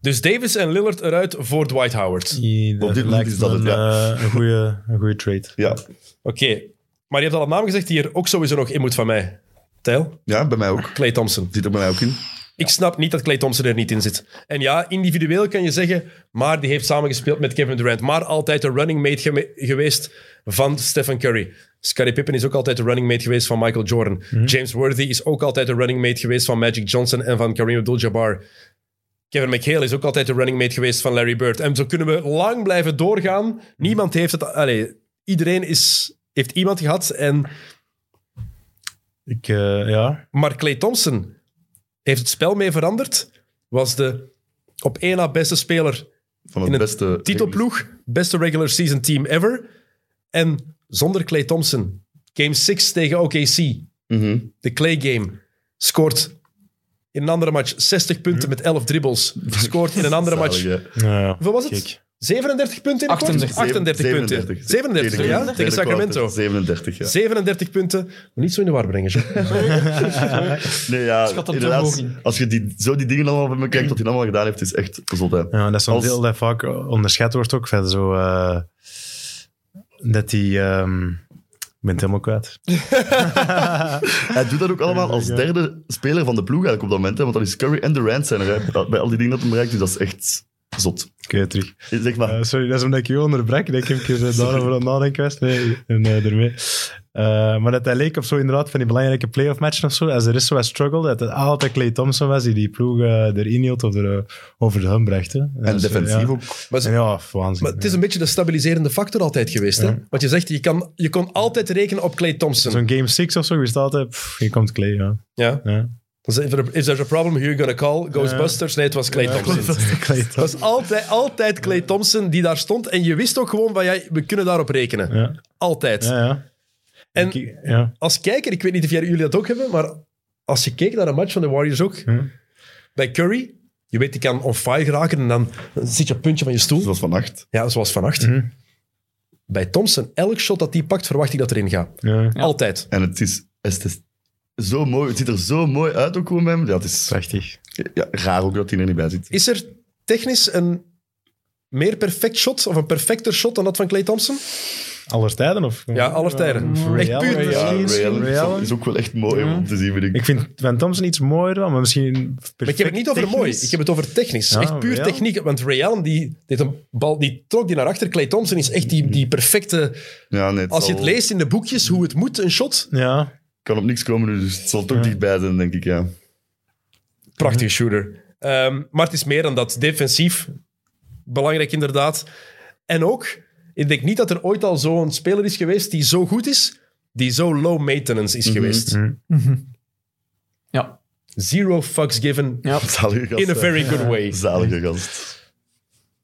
S1: Dus Davis en Lillard eruit voor Dwight Howard.
S3: Die-
S2: Op dit moment
S3: lijkt
S2: is dat
S3: me
S2: het,
S3: een,
S2: ja.
S3: eh, een goede- Een goede trade.
S2: Ja.
S1: Oké, maar je hebt al een naam gezegd die er ook sowieso nog in moet van mij. Tijl?
S2: ja, bij mij ook.
S1: Clay Thompson.
S2: Zit er bij mij ook in.
S1: Ik snap niet dat Clay Thompson er niet in zit. En ja, individueel kan je zeggen, maar die heeft samengespeeld met Kevin Durant. Maar altijd de running mate geme- geweest van Stephen Curry. Scottie Pippen is ook altijd de running mate geweest van Michael Jordan. James Worthy is ook altijd de running mate geweest van Magic Johnson en van Kareem Abdul-Jabbar. Kevin McHale is ook altijd de running mate geweest van Larry Bird. En zo kunnen we lang blijven doorgaan. Niemand heeft het... Allee, iedereen is, heeft iemand gehad en...
S3: Ik, eh, ja.
S1: Maar Clay Thompson heeft het spel mee veranderd. Was de op één na beste speler
S2: Van
S1: in
S2: het
S1: het
S2: beste...
S1: titelploeg. Beste regular season team ever. En zonder Clay Thompson. Game 6 tegen OKC.
S2: Mhm.
S1: De Clay game. Scoort in een andere match 60 punten met 11 dribbles. Scoort in een andere
S2: Zalig,
S1: match...
S2: hè.
S3: Nou,
S1: Hoeveel was het?
S3: Kijk.
S1: 37 punten in de kort?
S4: 38.
S1: 38 punten.
S2: 37.
S1: 37,
S2: Tweede
S1: ja?
S2: kwart.
S1: Tegen
S2: Tweede kwart.
S1: Sacramento.
S2: 37, ja.
S1: 37 punten. Niet zo in de war brengen, Jean.
S2: Nee, ja,
S4: Schat hem
S2: inderdaad.
S4: toch hoog in.
S2: Als je die, zo die dingen allemaal bij me kijkt, wat hij allemaal gedaan heeft, is echt zot, hè.
S3: Ja, dat is zo'n
S2: Als-
S3: deel dat vaak eh, onderschat wordt ook. Verder zo, eh, dat die... ehm, ik ben het helemaal kwijt.
S2: Hij doet dat ook
S3: Oh
S2: allemaal als derde speler van de ploeg eigenlijk op dat moment. Hè, want dat is Curry en Durant zijn er. hè. Dat- Bij al die dingen dat hij bereikt, dus dat is echt... Zot.
S3: Keuterig.
S2: Zeg maar.
S3: Eh, sorry, dat is omdat ik je onderbrak. Dat ik even eh, daarover aan het nadenken was. Nee, en, eh, ermee. Eh, maar dat hij leek op zo inderdaad van die belangrijke playoff matchen of zo. Als er is zo'n struggle, dat het altijd Clay Thompson was die die ploeg eh, erin hield of er eh, over de hum bracht. hè.
S2: en
S3: Dus, eh,
S2: defensief
S3: ja.
S2: ook.
S1: Maar,
S3: En
S1: ze-
S3: ja, waanzin.
S1: maar het is een beetje de stabiliserende factor altijd geweest. Hè? Want je zegt, je, kan, je kon altijd rekenen op Clay
S3: ja.
S1: Thompson.
S3: Zo'n game 6 of zo, je staat altijd, pff, hier komt Clay, ja.
S1: Ja.
S3: ja.
S1: Dus if there- if there's a problem, who you gonna call? Ghostbusters? Nee, het was Clay Thompson.
S3: Clay
S1: Het was
S3: Thompson.
S1: altijd, altijd Clay Thompson die daar stond. En je wist ook gewoon van, ja, we kunnen daarop rekenen.
S3: Ja,
S1: Altijd.
S3: ja. ja.
S1: En-
S3: Ik- ja.
S1: Als kijker, ik weet niet of jij- jullie dat ook hebben, maar als je keek naar een match van de Warriors ook,
S3: Ja.
S1: bij Curry, je weet, die kan on fire geraken en dan zit je op het puntje van je stoel.
S2: Zoals vannacht.
S1: Ja, zoals vannacht.
S3: Mhm.
S1: Bij Thompson, elk shot dat hij pakt, verwacht ik dat erin gaat.
S3: ja.
S1: Altijd.
S2: En het is, het is zo mooi. Het ziet er zo mooi uit ook gewoon bij hem. Ja, het is
S3: Prachtig.
S2: ja, raar ook dat hij er niet bij zit.
S1: Is er technisch een meer perfect shot of een perfecter shot dan dat van Clay Thompson?
S3: Aller tijden of?
S1: Ja, aller tijden.
S3: Ray
S1: Echt puur.
S3: Allen.
S2: Ja,
S3: Misschien,
S2: Ray Allen
S3: Ray Allen.
S2: is ook wel echt mooi om te zien, vind ik.
S3: Ik vind Van Thompson iets mooier dan, maar misschien.
S1: Maar ik heb het niet over mooi, ik heb het over technisch.
S3: Ja,
S1: echt puur
S3: Ray Allen.
S1: techniek. Want Ray Allen, die, deed een bal, die trok die naar achter. Clay Thompson is echt die, die perfecte...
S2: Ja, nee,
S1: Als je
S2: zal-
S1: het leest in de boekjes, hoe het moet, een shot.
S3: Ja,
S2: kan op niks komen, dus het zal toch dichtbij zijn, denk ik. Ja.
S1: Prachtige shooter. Ehm, maar het is meer dan dat. Defensief, belangrijk inderdaad. En ook, ik denk niet dat er ooit al zo'n speler is geweest die zo goed is, die zo low maintenance is geweest.
S4: Mhm. Ja.
S1: Zero fucks given
S4: Ja.
S2: Zalige gast.
S1: in a
S2: hè.
S1: very good way.
S2: Zalige gast.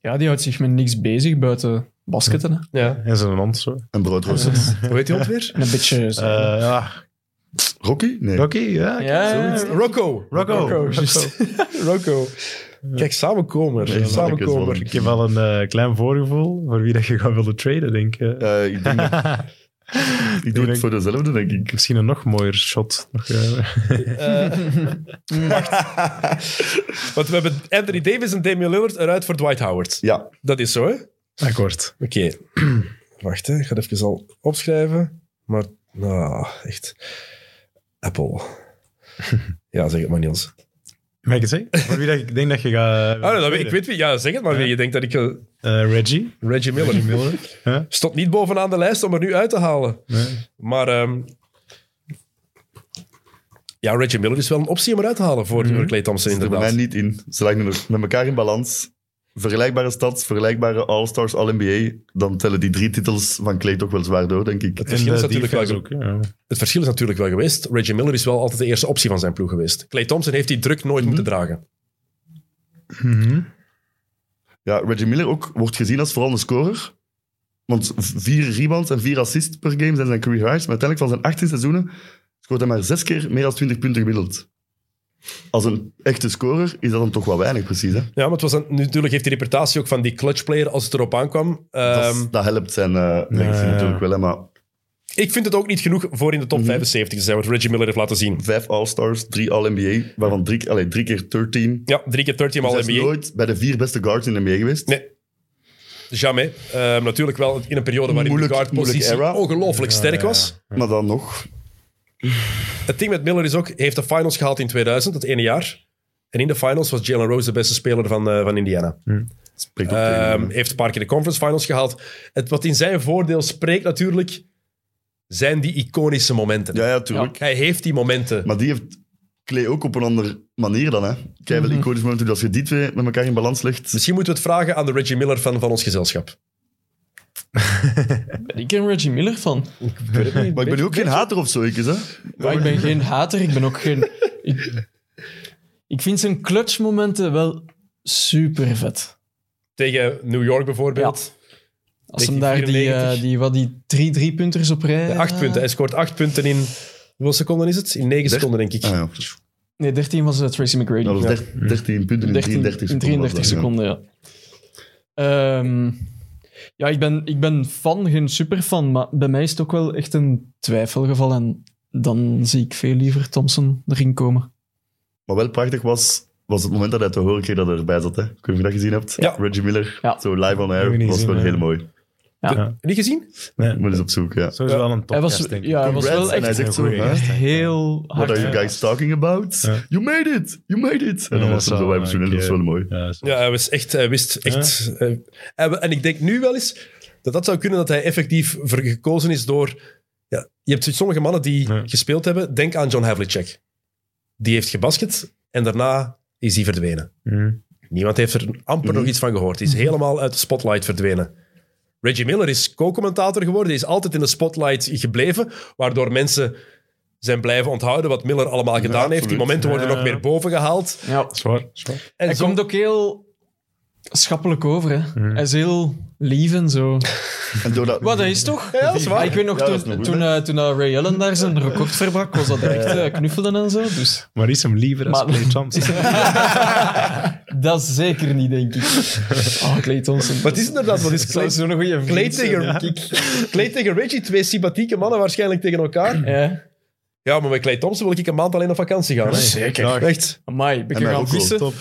S4: ja, die houdt zich met niks bezig buiten basketten. hè.
S1: Ja.
S3: en zijn hond zo.
S2: En broodroosters.
S1: Hoe heet die hond weer?
S4: En een beetje... zo.
S3: Eh, ja.
S2: Rocky? Nee.
S3: Rocky, ja.
S1: Eh,
S4: ja, ja, Oh, ja.
S1: Rocco.
S3: Rocco.
S1: Rocco.
S3: Rocco.
S1: juist. Rocco. Kijk, samenkomer.
S2: Ja,
S1: samenkomer.
S2: dat
S3: Ik heb wel een eh, klein voorgevoel voor wie dat je gaat willen traden, denk ik. Eh,
S2: Eh, ik, denk dat- ik doe
S3: denk-
S2: het voor dezelfde, denk ik.
S3: Misschien een nog mooier shot. Nog, eh,
S1: Want we hebben Anthony Davis en Damian Lillard eruit voor Dwight Howard.
S2: Ja,
S1: Dat is zo, hè?
S3: akkoord.
S1: Oké. Wacht, hè. ik ga het even al opschrijven. Maar, nou, echt. Apple. Ja, zeg het maar, Niels.
S3: Mag ik het zeggen? Voor wie dat ik denk dat je gaat.
S1: Ah, dat weet, ik weet wie. Ja, zeg het maar. wie. Je denkt dat ik... eh,
S3: Eh, Reggie.
S1: Reggie Miller.
S3: Ja.
S1: Stond niet bovenaan de lijst om er nu uit te halen.
S3: Nee.
S1: Maar... ehm, ja, Reggie Miller is wel een optie om eruit te halen voor, voor Clay Thompson,
S2: ze Dus er bij
S1: inderdaad.
S2: mij niet in. Ze lijken er met elkaar in balans. Vergelijkbare stads, vergelijkbare All-Stars, All-NBA. Dan tellen die drie titels van Clay toch wel zwaar door, denk ik.
S1: Het verschil,
S3: En
S1: is
S3: de
S1: natuurlijk wel,
S3: defense ook. Ja.
S1: het verschil is natuurlijk wel geweest. Reggie Miller is wel altijd de eerste optie van zijn ploeg geweest. Clay Thompson heeft die druk nooit
S2: Mhm.
S1: moeten dragen.
S3: Mhm.
S2: Ja, Reggie Miller ook wordt gezien als vooral een scorer. Want v- vier rebounds en vier assists per game zijn zijn career highs. Maar uiteindelijk van zijn 18 seizoenen scoort hij maar zes keer meer dan 20 punten gemiddeld. Als een echte scorer is dat dan toch wel weinig, precies. Hè?
S1: Ja, maar het was een, natuurlijk heeft die reputatie ook van die clutch player als het erop aankwam.
S2: Dat,
S1: Ehm,
S2: is- dat helpt zijn eh legacy
S3: ja, ja.
S2: natuurlijk wel. Hè? Maar
S1: Ik vind het ook niet genoeg voor in de top
S2: Mhm.
S1: 75 te zijn, wat Reggie Miller heeft laten zien.
S2: vijf All-Stars, drie All-NBA, waarvan drie, allee, drie keer 13.
S1: Ja, drie keer 13
S2: Dus Hij
S1: al
S2: is
S1: NBA.
S2: nooit bij de vier beste guards in de NBA geweest.
S1: Nee. Jamais. Ehm, natuurlijk wel in een periode waarin
S2: Moeilijk-
S1: de guardpositie
S2: moeilijke era.
S1: ongelooflijk sterk was.
S2: Maar dan nog.
S1: Het ding met Miller is ook, hij heeft de finals gehaald in 2000, dat ene jaar. En in de finals was Jalen Rose de beste speler van, eh, van Indiana.
S2: Spreekt ook tegen hem,
S1: Ehm,
S2: hè.
S1: heeft een paar keer de conference finals gehaald. Het, wat in zijn voordeel spreekt natuurlijk, zijn die iconische momenten.
S2: ja, ja, tuurlijk.
S1: Hij heeft die momenten.
S2: Maar die heeft Clay ook op een andere manier dan. hè. Kijk,
S4: Mhm.
S2: wel iconisch moment hoe als je die twee met elkaar in balans legt.
S1: Misschien moeten we het vragen aan de Reggie Miller van, van ons gezelschap.
S4: Ben ik een Reggie Miller van?
S2: Maar ik ben ook geen hater of zo, ik is, hè? Ah,
S4: Maar ik ben geen hater, ik ben ook geen... Ik, ik vind zijn clutchmomenten wel super vet.
S1: Tegen New York bijvoorbeeld.
S4: Als hem daar die, eh,
S1: 1994.
S4: die, wat die drie driepunters op rij... eh,
S1: Ja, acht punten. Hij scoort acht punten in... Hoeveel seconden is het? In negen seconden, denk ik.
S2: Ah, ja.
S4: Nee, 13 was eh, Tracy McGrady.
S2: Dat was der- 13 punten in
S4: 13
S2: 33
S4: in
S2: seconden.
S4: 33
S2: was dat, ja.
S4: seconden, ja. Ehm, ja, ik ben, ik ben fan, geen superfan, maar bij mij is het ook wel echt een twijfelgeval. En dan zie ik veel liever Thompson erin komen.
S2: Maar wel prachtig was, was het moment dat hij te horen kreeg dat hij erbij zat. Hè? Ik weet niet of je dat gezien hebt.
S1: Ja.
S2: Reggie Miller,
S4: Ja.
S2: zo live on
S3: Heb ik
S2: air,
S3: niet
S2: was
S3: gezien,
S2: wel
S3: ja.
S2: heel mooi.
S4: Ja.
S3: Ja.
S1: Niet gezien?
S3: Nee,
S2: Ik moet eens op zoek, ja.
S3: sowieso wel een
S4: Hij
S3: podcast,
S4: was,
S3: denk ik.
S4: ja, hij was
S2: Congrats,
S4: wel
S2: en hij
S4: echt
S2: zegt
S3: een
S2: zo,
S3: goeie
S2: hè?
S3: gast.
S4: heel
S2: What
S4: hard.
S2: are you guys talking about?
S3: Ja.
S2: You made it! You made it! En dan
S3: Ja,
S2: was hem
S3: zo,
S2: zo bij
S3: ik,
S2: dat was wel
S3: eh,
S2: mooi.
S3: Ja, zo.
S1: Ja, hij, was echt, hij wist echt... eh, en we- en ik denk nu wel eens dat dat zou kunnen dat hij effectief ver- gekozen is door... Ja, je hebt sommige mannen die
S3: Ja.
S1: gespeeld hebben. Denk aan John Havlicek. Die heeft gebasket en daarna is hij verdwenen.
S3: Mhm.
S1: Niemand heeft er amper nog iets van gehoord. Die is helemaal uit de spotlight verdwenen. Reggie Miller is co-commentator geworden. Die is altijd in de spotlight gebleven, waardoor mensen zijn blijven onthouden wat Miller allemaal gedaan heeft. Die
S2: absoluut.
S1: momenten worden
S3: Ja.
S1: nog meer boven gehaald.
S4: Ja.
S3: Zwaar, zwaar.
S1: En
S4: Hij
S1: zo-
S4: komt ook heel schappelijk over. Hè. Hij is heel lief en zo.
S2: En door dat...
S4: Hmm. Wat, dat is toch?
S1: Ja, dat is waar.
S4: Ik weet nog,
S2: Ja, dat is
S4: toen,
S2: nog goed,
S4: toen,
S2: hè?
S4: eh, toen eh, Ray Allen daar zijn record verbrak, was dat direct eh, knuffelen en zo. Dus
S3: Maar is hem liever als
S4: Maar-
S3: Clay Thompson?
S4: dat is zeker niet, denk ik. Oh, Clay Thompson.
S1: Wat is inderdaad? Wat is
S4: Dat
S1: Clay,
S4: zou zo'n goede vriend
S1: Clay
S4: zijn,
S1: tegen-
S4: denk ik.
S1: Clay tegen Reggie? Twee sympathieke mannen waarschijnlijk tegen elkaar.
S4: Ja.
S1: Ja, maar met Clay Thompson wil ik een maand alleen op vakantie gaan. hè.
S3: Zeker.
S1: Echt.
S4: Amai, ben ik
S2: En mij
S4: gaan
S2: ook wel.
S4: vissen?
S3: Top.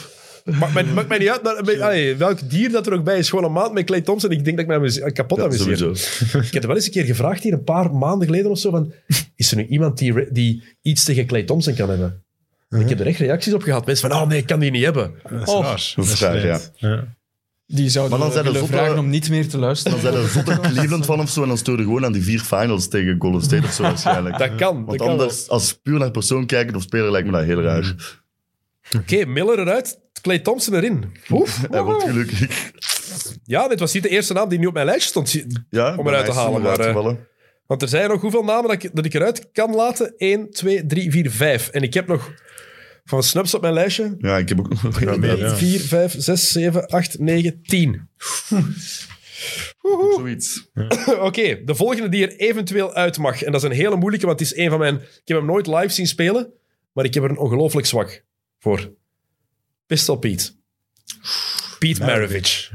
S1: Maakt mij, maakt mij niet uit. maar- maar- allee, welk dier dat er ook bij is, gewoon een maand met Clay Thompson. Ik denk dat ik mij amuse- kapot
S2: Ja,
S1: amuseer.
S2: sowieso.
S1: Ik heb er wel eens een keer gevraagd hier, een paar maanden geleden of zo, van, is er nu iemand die, die iets tegen Clay Thompson kan hebben? En Ik heb er echt reacties op gehad. Mensen van, oh nee, ik kan die niet hebben.
S3: Dat is
S4: Oh.
S3: raar.
S2: Dat is raar,
S3: vreemd. ja.
S4: Die zouden
S2: Maar dan zijn er
S4: willen
S2: zotte-
S4: vragen om niet meer te
S2: Dan
S4: luisteren.
S2: zijn er zotte Cleveland van of zo en dan stoor je gewoon aan die vier finals tegen Golden State of zo waarschijnlijk.
S1: Dat kan. Dat kan
S2: Want
S1: wel. Mm.
S2: anders, als puur naar persoon kijken of speler, lijkt me dat heel raar.
S1: Oké, Miller eruit, Clay Thompson erin. Oef.
S2: Hij wordt gelukkig.
S1: Ja, dit was niet de eerste naam die nu op mijn lijstje stond.
S2: Ja,
S1: Om eruit te halen, maar, eh,
S2: uitgevallen.
S1: Want er zijn nog hoeveel namen dat ik, dat ik eruit kan laten? 1, 2, 3, 4, 5. En ik heb nog van Snaps op mijn lijstje.
S2: Ja, ik heb ook nog... Ja,
S3: meer,
S2: dat-
S3: ja.
S1: 4, 5, 6, 7, 8, 9, 10.
S2: Zoiets.
S1: Oké, de volgende die er eventueel uit mag. En dat is een hele moeilijke, want het is een van mijn... Ik heb hem nooit live zien spelen, maar ik heb er een ongelooflijk zwak voor. Pistol Pete. Pete Maravich.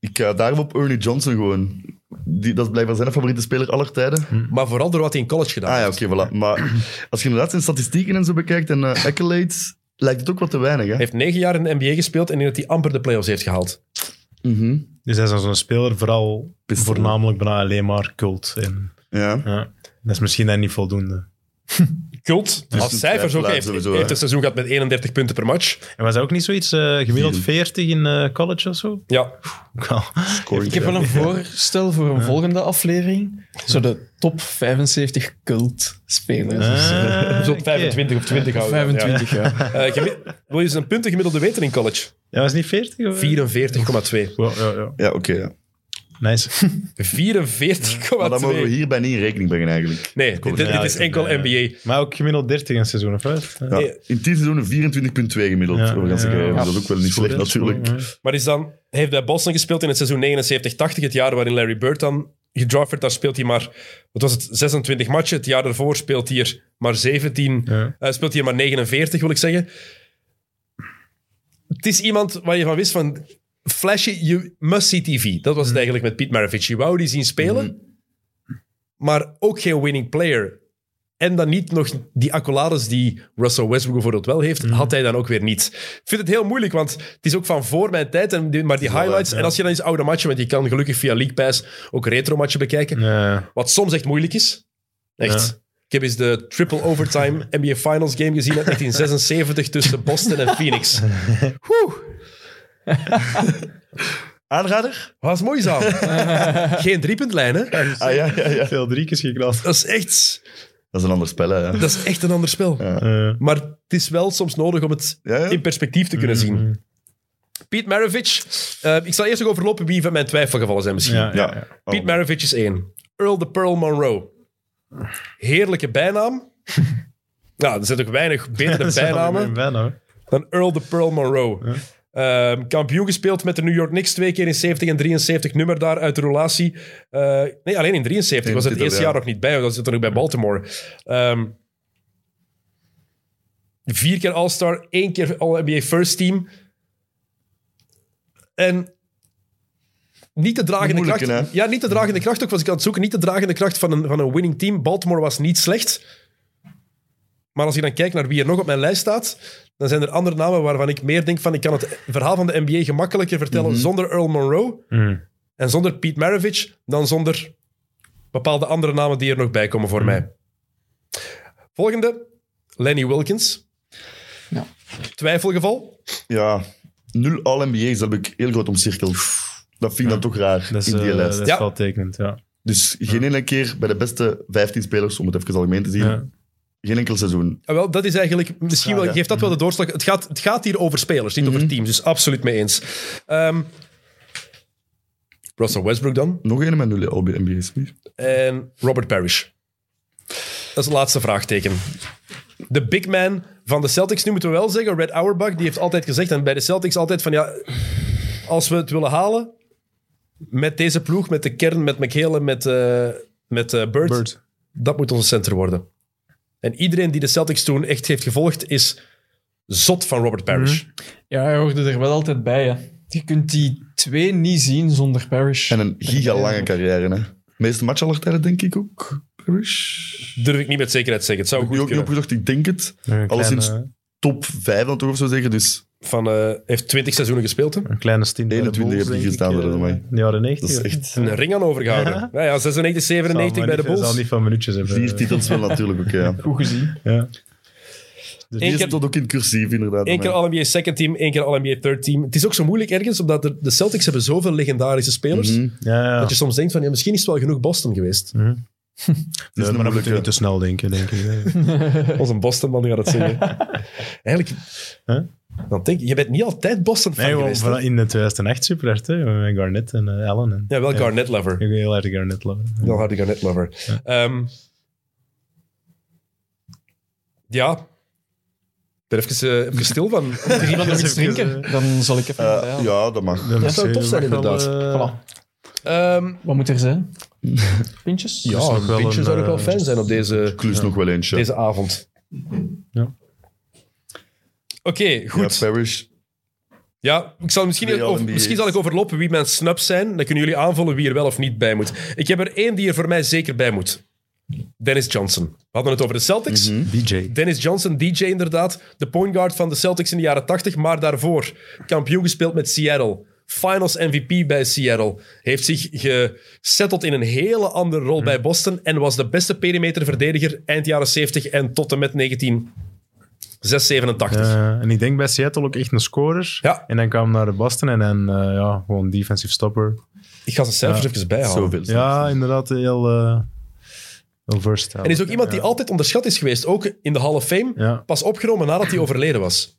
S2: Ik ga daarom op Ernie Johnson gewoon. Die, dat is blijkbaar zijn favoriete speler aller tijden.
S1: Maar vooral door wat hij in college gedaan
S2: Ah ja,
S1: heeft.
S2: oké, voilà. Maar als je inderdaad zijn statistieken en zo bekijkt en eh, accolades, lijkt het ook wat te weinig, hè?
S1: Hij heeft negen jaar in de NBA gespeeld en in dat hij amper de playoffs heeft gehaald.
S2: Mhm.
S3: Dus hij is dan zo'n speler vooral
S2: Pistool.
S3: voornamelijk bijna alleen maar cult. En,
S2: Ja.
S3: ja. Dat is misschien dan niet voldoende.
S1: Kult, als
S2: een
S1: cijfers ook
S2: twijfelaar
S1: heeft.
S2: Dus sowieso,
S1: heeft
S2: hè.
S1: een seizoen gehad met 31 punten per match.
S3: En was hij ook niet zoiets eh, gemiddeld
S2: Vier.
S3: 40 in eh, college of zo?
S1: Ja,
S3: Ook wel.
S4: Ik heb wel een voorstel voor een volgende aflevering. Zo de top 75 cult-spelers.
S3: Ah,
S1: dus op
S3: oké.
S1: 25 of 20 houden.
S4: 25, eh, ja.
S1: Ja. Eh, gemi- wil je eens een punten gemiddelde weten in college?
S3: Ja, was het niet 40? Of?
S1: 44,2. 44,2.
S3: Ja, ja, ja.
S2: Ja, oké. ja.
S3: Nice.
S2: Maar dat mogen we hierbij niet in rekening brengen, eigenlijk.
S1: Nee, dit, dit
S3: Ja,
S1: is
S3: ik-
S1: enkel
S3: ja.
S1: NBA.
S3: Maar ook gemiddeld 30 een seizoen, of wat?
S2: Ja.
S1: Nee.
S2: In 10 seizoenen 24,2 gemiddeld.
S3: Ja,
S2: over de ganse
S3: ja,
S2: carrière.
S3: ja.
S2: Dat is ook wel niet slecht, natuurlijk.
S1: Maar is dan, hij heeft bij Boston gespeeld in het seizoen 79-80, het jaar waarin Larry Bird dan gedraft werd. Daar speelt hij maar, wat was het, 26 matchen. Het jaar daarvoor speelt hij er maar 17,
S3: Ja.
S1: eh, speelt hij er maar 49, wil ik zeggen. Het is iemand waar je van wist van, flashy, you must see TV. Dat was het eigenlijk met Pete Maravich. Je wou die zien spelen,
S2: Mm-hmm.
S1: maar ook geen winning player. En dan niet nog die accolades die Russell Westbrook bijvoorbeeld wel heeft, had hij dan ook weer niet. Ik vind het heel moeilijk, want het is ook van voor mijn tijd, en die- maar die highlights. En als je dan eens oude matchen, want je kan gelukkig via League Pass ook retro matchen bekijken,
S3: Ja.
S1: wat soms echt moeilijk is. Echt. Ik heb eens de triple overtime NBA Finals game gezien uit 1976 tussen Boston en Phoenix.
S2: Aanrader?
S1: Was moeizaam. Geen driepuntlijn, hè?
S2: Ah ja, ja, ja.
S3: Veel drie keer gekrast.
S1: Dat is echt,
S2: Dat is een ander spel, hè. ja.
S1: dat is echt een ander spel.
S3: Eh,
S1: Maar het is wel soms nodig om het
S2: Ja, ja.
S1: in perspectief te kunnen zien. Piet Maravich. eh, ik zal eerst nog overlopen wie van mijn twijfelgevallen zijn misschien.
S3: ja, ja,
S2: Ja.
S3: ja.
S2: Oh.
S1: Piet Maravich is één. Earl de Pearl Monroe. Heerlijke bijnaam. nou, er zijn toch weinig betere bijnamen
S3: Bijna, hoor.
S1: dan Earl de Pearl Monroe. Ehm, kampioen gespeeld met de New York Knicks twee keer in 70 en 73. Nummer daar uit de relatie. Eh, nee, alleen in 73 was het
S2: titel,
S1: eerste
S2: ja.
S1: jaar nog niet bij. want Dat zit er ook bij Baltimore. Ehm, vier keer All-Star, één keer All-NBA First Team. En niet de dragende
S2: Moeilijke,
S1: kracht.
S2: hè?
S1: Ja, niet de dragende kracht ook, was ik aan het zoeken. Niet de dragende kracht van een, van een winning team. Baltimore was niet slecht. Maar als je dan kijkt naar wie er nog op mijn lijst staat, dan zijn er andere
S2: Mhm.
S1: namen waarvan ik meer denk van ik kan het verhaal van de NBA gemakkelijker vertellen zonder Earl Monroe. En zonder Piet Maravich dan zonder bepaalde andere namen die er nog bij komen voor mij. Volgende, Lenny Wilkins.
S4: Ja.
S1: Twijfelgeval.
S2: Ja, nul All-NBA's, dat heb ik heel groot omcirkeld. Dat vind ik dan toch raar
S3: Dat is,
S2: in die
S3: eh,
S2: lijst.
S3: dat is
S1: Ja.
S3: wel tekenend, ja.
S2: Dus geen enkele keer bij de beste 15 spelers, om het even algemeen te zien,
S3: Ja.
S2: geen enkel seizoen.
S1: Ah, wel, dat is eigenlijk, misschien
S2: Ja,
S1: wel,
S2: ja.
S1: geeft dat wel de doorslag. Het gaat, het gaat hier over spelers, niet over teams, dus absoluut mee eens. Ehm, Russell Westbrook dan
S2: Nog een met nul All-NBA's. niet?
S1: en Ehm, Robert Parrish. Dat is het laatste vraagteken. De big man van de Celtics, nu moeten we wel zeggen, Red Auerbach, die heeft altijd gezegd, en bij de Celtics altijd van ja, als we het willen halen, met deze ploeg, met de kern, met McHale, en met, eh, met eh, Bird,
S3: Bird.
S1: dat moet onze center worden. En iedereen die de Celtics toen echt heeft gevolgd, is zot van Robert Parrish.
S4: Ja, hij hoorde er wel altijd bij. Hè. Je kunt die twee niet zien zonder Parrish.
S2: En een gigalange carrière, hè. Meeste match aller tijden, denk ik ook. Parrish.
S1: Durf ik niet met zekerheid te zeggen. Het zou
S2: Ik heb
S1: goed
S2: ook niet
S1: kunnen.
S2: opgezocht, ik denk het.
S3: Nog Een
S2: Alleszins-
S3: kleine,
S2: Top 5 dan toch, of zo zeggen. Dus
S1: Van, eh, heeft 20 seizoenen gespeeld. Hè?
S3: een kleine 10 bij de
S2: 21
S3: Bulls,
S2: heb ik
S3: denk
S2: gestaan,
S3: ik,
S2: dat
S3: eh,
S2: mij.
S3: in de jaren 90.
S2: dat is
S3: ja.
S2: echt
S1: Een ring aan overgehouden.
S3: Ja.
S1: Nou ja, 96,
S3: Zal
S1: 97 bij de
S3: maar niet-
S1: Bulls.
S3: Zal niet van minuutjes hebben.
S2: vier
S1: Eh.
S2: titels wel natuurlijk ook, ja.
S4: Goed gezien.
S3: Ja.
S1: Eén
S2: Dus die
S1: keer-
S2: is dat ook in cursief, inderdaad.
S1: Eén keer
S2: dan,
S1: All-NBA second team, één keer All-NBA third team. Het is ook zo moeilijk ergens, omdat er- de Celtics hebben zoveel legendarische spelers,
S2: Mhm.
S3: Ja, ja.
S1: dat je soms denkt van, ja, misschien is het wel genoeg Boston geweest.
S2: is
S3: Nee,
S2: een
S3: maar dan moeten we
S2: moeilijke.
S3: niet te snel denken, denk ik. Nee.
S1: Onze Boston-man gaat het zeggen. Eigenlijk,
S3: Huh?
S1: dan denk ik, je bent niet altijd Boston-fan
S3: Nee, want
S1: geweest. hè?
S3: vooral in de 2008 super hard, hè, met Garnett en eh, Allen. En,
S1: Ja, wel Garnett-lover.
S3: Ik ben heel erg Garnett lover.
S1: Wel harde Garnett-lover. Ehm, ja. Ik ben even, eh, even stil van.
S4: Wil iemand nog iets
S3: even,
S4: drinken? Dan zal ik even...
S2: Eh, ja, dat mag.
S3: Dat
S1: zou tof zijn, inderdaad.
S3: eh,
S4: Voilà.
S1: Ehm,
S4: Wat moet er zijn? Pintjes?
S1: ja,
S3: nog
S1: een
S3: wel
S1: pintje
S3: een,
S1: zou ook wel
S3: eh,
S1: fijn zijn op deze,
S2: Klus nog wel eentje.
S1: deze avond.
S3: Ja.
S1: Oké, goed.
S2: Ja, Parrish.
S1: Ja, ik zal misschien,
S2: Twee
S1: over-
S2: All-NBA's.
S1: misschien zal ik overlopen wie mijn snubs zijn. Dan kunnen jullie aanvullen wie er wel of niet bij moet. Ik heb er één die er voor mij zeker bij moet. Dennis Johnson. We hadden het over de Celtics.
S3: DJ.
S1: Dennis Johnson, DJ inderdaad. De point guard van de Celtics in de jaren 80, maar daarvoor kampioen gespeeld met Seattle. Finals MVP bij Seattle. Heeft zich gesetteld in een hele andere rol bij Boston en was de beste perimeterverdediger eind jaren 70 en tot en met 1987.
S3: Eh, en ik denk bij Seattle ook echt een scorer.
S1: Ja.
S3: En dan kwam naar de Boston en dan eh, ja, gewoon defensive stopper.
S1: Ik ga zijn cijfers even bijhouden.
S2: Zoveel.
S3: Ja, inderdaad, heel, eh heel versatile.
S1: En is ook iemand die altijd onderschat is geweest, ook in de Hall of Fame.
S3: Ja.
S1: Pas opgenomen nadat hij overleden was.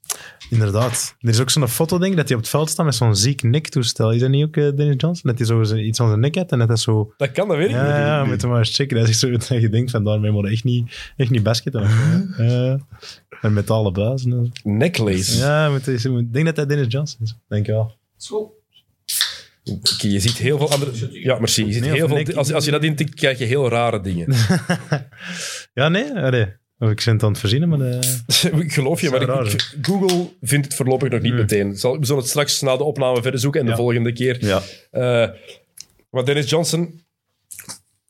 S3: Inderdaad. Er is ook zo'n foto, denk ik, dat hij op het veld staat met zo'n ziek nektoestel. Is dat niet ook eh, Dennis Johnson? Dat hij zo zijn- iets aan zijn nek had en dat hij zo...
S1: Dat kan, dat weet ik
S3: Ja,
S1: niet.
S3: ja, ja, moet hem maar eens checken. Dat is zo dat je denkt van, daarmee moet je echt niet, echt niet basketten. Eh, en metalen buizen. en zo.
S1: Necklace.
S3: Ja, moet, is- moet- ik denk dat dat Dennis Johnson is. Denk je wel.
S1: Oké, je ziet heel veel andere... Ja, merci. Je ziet
S3: Nee,
S1: heel
S3: of
S1: veel...
S3: Nick-
S1: Als, als je dat intikt, krijg je heel rare dingen.
S3: Ja, nee? Allee. Of ik ben het aan het verzinnen, maar... eh,
S1: ik geloof je,
S3: Dat zou
S1: maar
S3: raar
S1: ik, Google vindt het voorlopig nog niet meteen. Zal, we zullen het straks na de opname verder zoeken en de
S3: Ja.
S1: volgende keer.
S2: Ja.
S1: Eh, maar Dennis Johnson,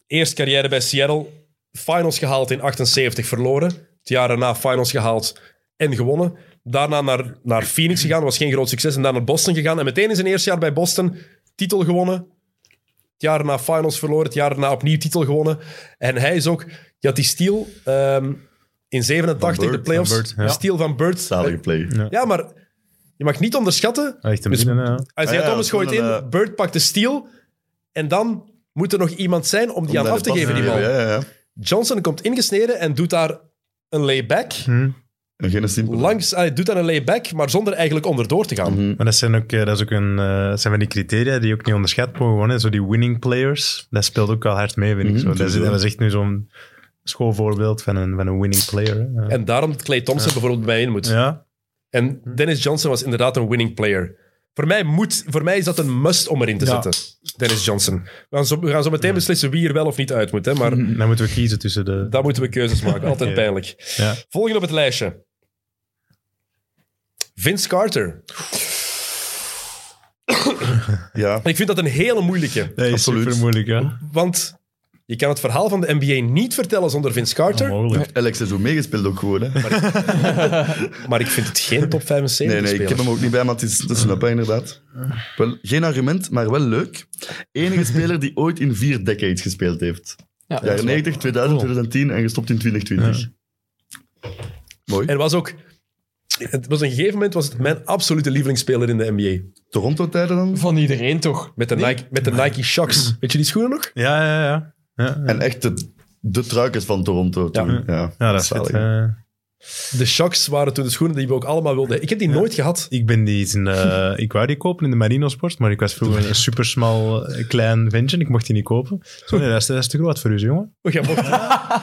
S1: eerst carrière bij Seattle, finals gehaald in 78, verloren. Het jaar daarna finals gehaald en gewonnen. Daarna naar, naar Phoenix gegaan, was geen groot succes. En dan naar Boston gegaan. En meteen in zijn eerste jaar bij Boston, titel gewonnen. Het jaar daarna finals verloren, het jaar daarna opnieuw titel gewonnen. En hij is ook, je had die steal ehm, in 87,
S2: Van Bird,
S1: de playoffs.
S3: van Bird, ja.
S1: De steal van Bird.
S2: Zalige play.
S1: Ja, maar je mag niet onderschatten.
S3: echt een
S1: Dus-
S3: binnen, eh. ja.
S1: Isaiah
S2: Ah ja,
S1: Thomas
S2: dat
S1: gooit
S2: is
S1: in,
S2: wel een, eh,
S1: Bird pakt de steal. En dan moet er nog iemand zijn om die aan af te geven, die bal.
S2: Ja, ja, ja.
S1: Johnson komt ingesneden en doet daar een layback.
S3: Hm.
S2: En geen simpele.
S1: Langs, ah, hij doet daar een layback, maar zonder eigenlijk onderdoor te gaan.
S2: Mhm.
S3: Maar dat zijn ook, eh, dat is ook een, eh, dat zijn van die criteria die je ook niet onderschat mogen worden. hè. Zo die winning players, dat speelt ook wel hard mee, vind ik.
S2: Mhm,
S3: zo. Dat, is,
S2: sowieso.
S3: dat is echt nu zo'n schoolvoorbeeld van een, van een winning player. hè. Ja.
S1: En daarom dat Clay Thompson bijvoorbeeld bij mij in moet.
S3: ja,
S1: En Dennis Johnson was inderdaad een winning player. Voor mij, moet, voor mij is dat een must om erin te
S3: Ja.
S1: zetten, Dennis Johnson. We gaan, zo, we gaan zo meteen beslissen wie er wel of niet uit moet. Hè, maar
S3: dan moeten we kiezen tussen de...
S1: daar moeten we keuzes maken. Altijd
S3: Oké.
S1: pijnlijk.
S3: Mhm. Ja.
S1: Volgende op het lijstje. Vince Carter.
S2: Ja.
S1: Ik vind dat een hele moeilijke.
S3: Dat is
S2: Absoluut.
S3: super moeilijk, ja.
S1: Want Je kan het verhaal van de NBA niet vertellen zonder Vince Carter,
S3: Onmogelijk.
S2: Alex is ook meegespeeld ook gewoon. Hè.
S1: maar ik vind het geen top 75
S2: nee, nee, ik heb
S1: speler.
S2: hem ook niet bij, maar het is, het is een hè, inderdaad. Wel, geen argument, maar wel leuk. Enige speler die ooit in vier decades gespeeld heeft.
S4: Ja,
S2: Jaren 90,
S1: Oh.
S2: 2000, 2010 en gestopt in 2020. Mooi.
S1: En was ook... Het was een gegeven moment was het mijn absolute lievelingsspeler in de NBA.
S2: Toronto-tijden dan?
S4: Van iedereen toch?
S1: Met de, Nike, met de Nike Shocks. Weet je die schoenen nog?
S3: Ja, ja, ja. Ja, ja.
S2: En echt de, de truikers van Toronto toen. Ja,
S3: ja dat is het.
S2: Zalig.
S3: eh.
S1: De Shocks waren toen de schoenen die we ook allemaal wilden. Ik heb die nooit gehad.
S3: Ik ben die in de, ik wou die kopen in de Marino Sport, maar ik was vroeger een supersmal eh, klein ventje. Ik mocht die niet kopen. Zo, nee, dat is, dat is te groot voor u, jongen.
S1: Oh, jij mocht-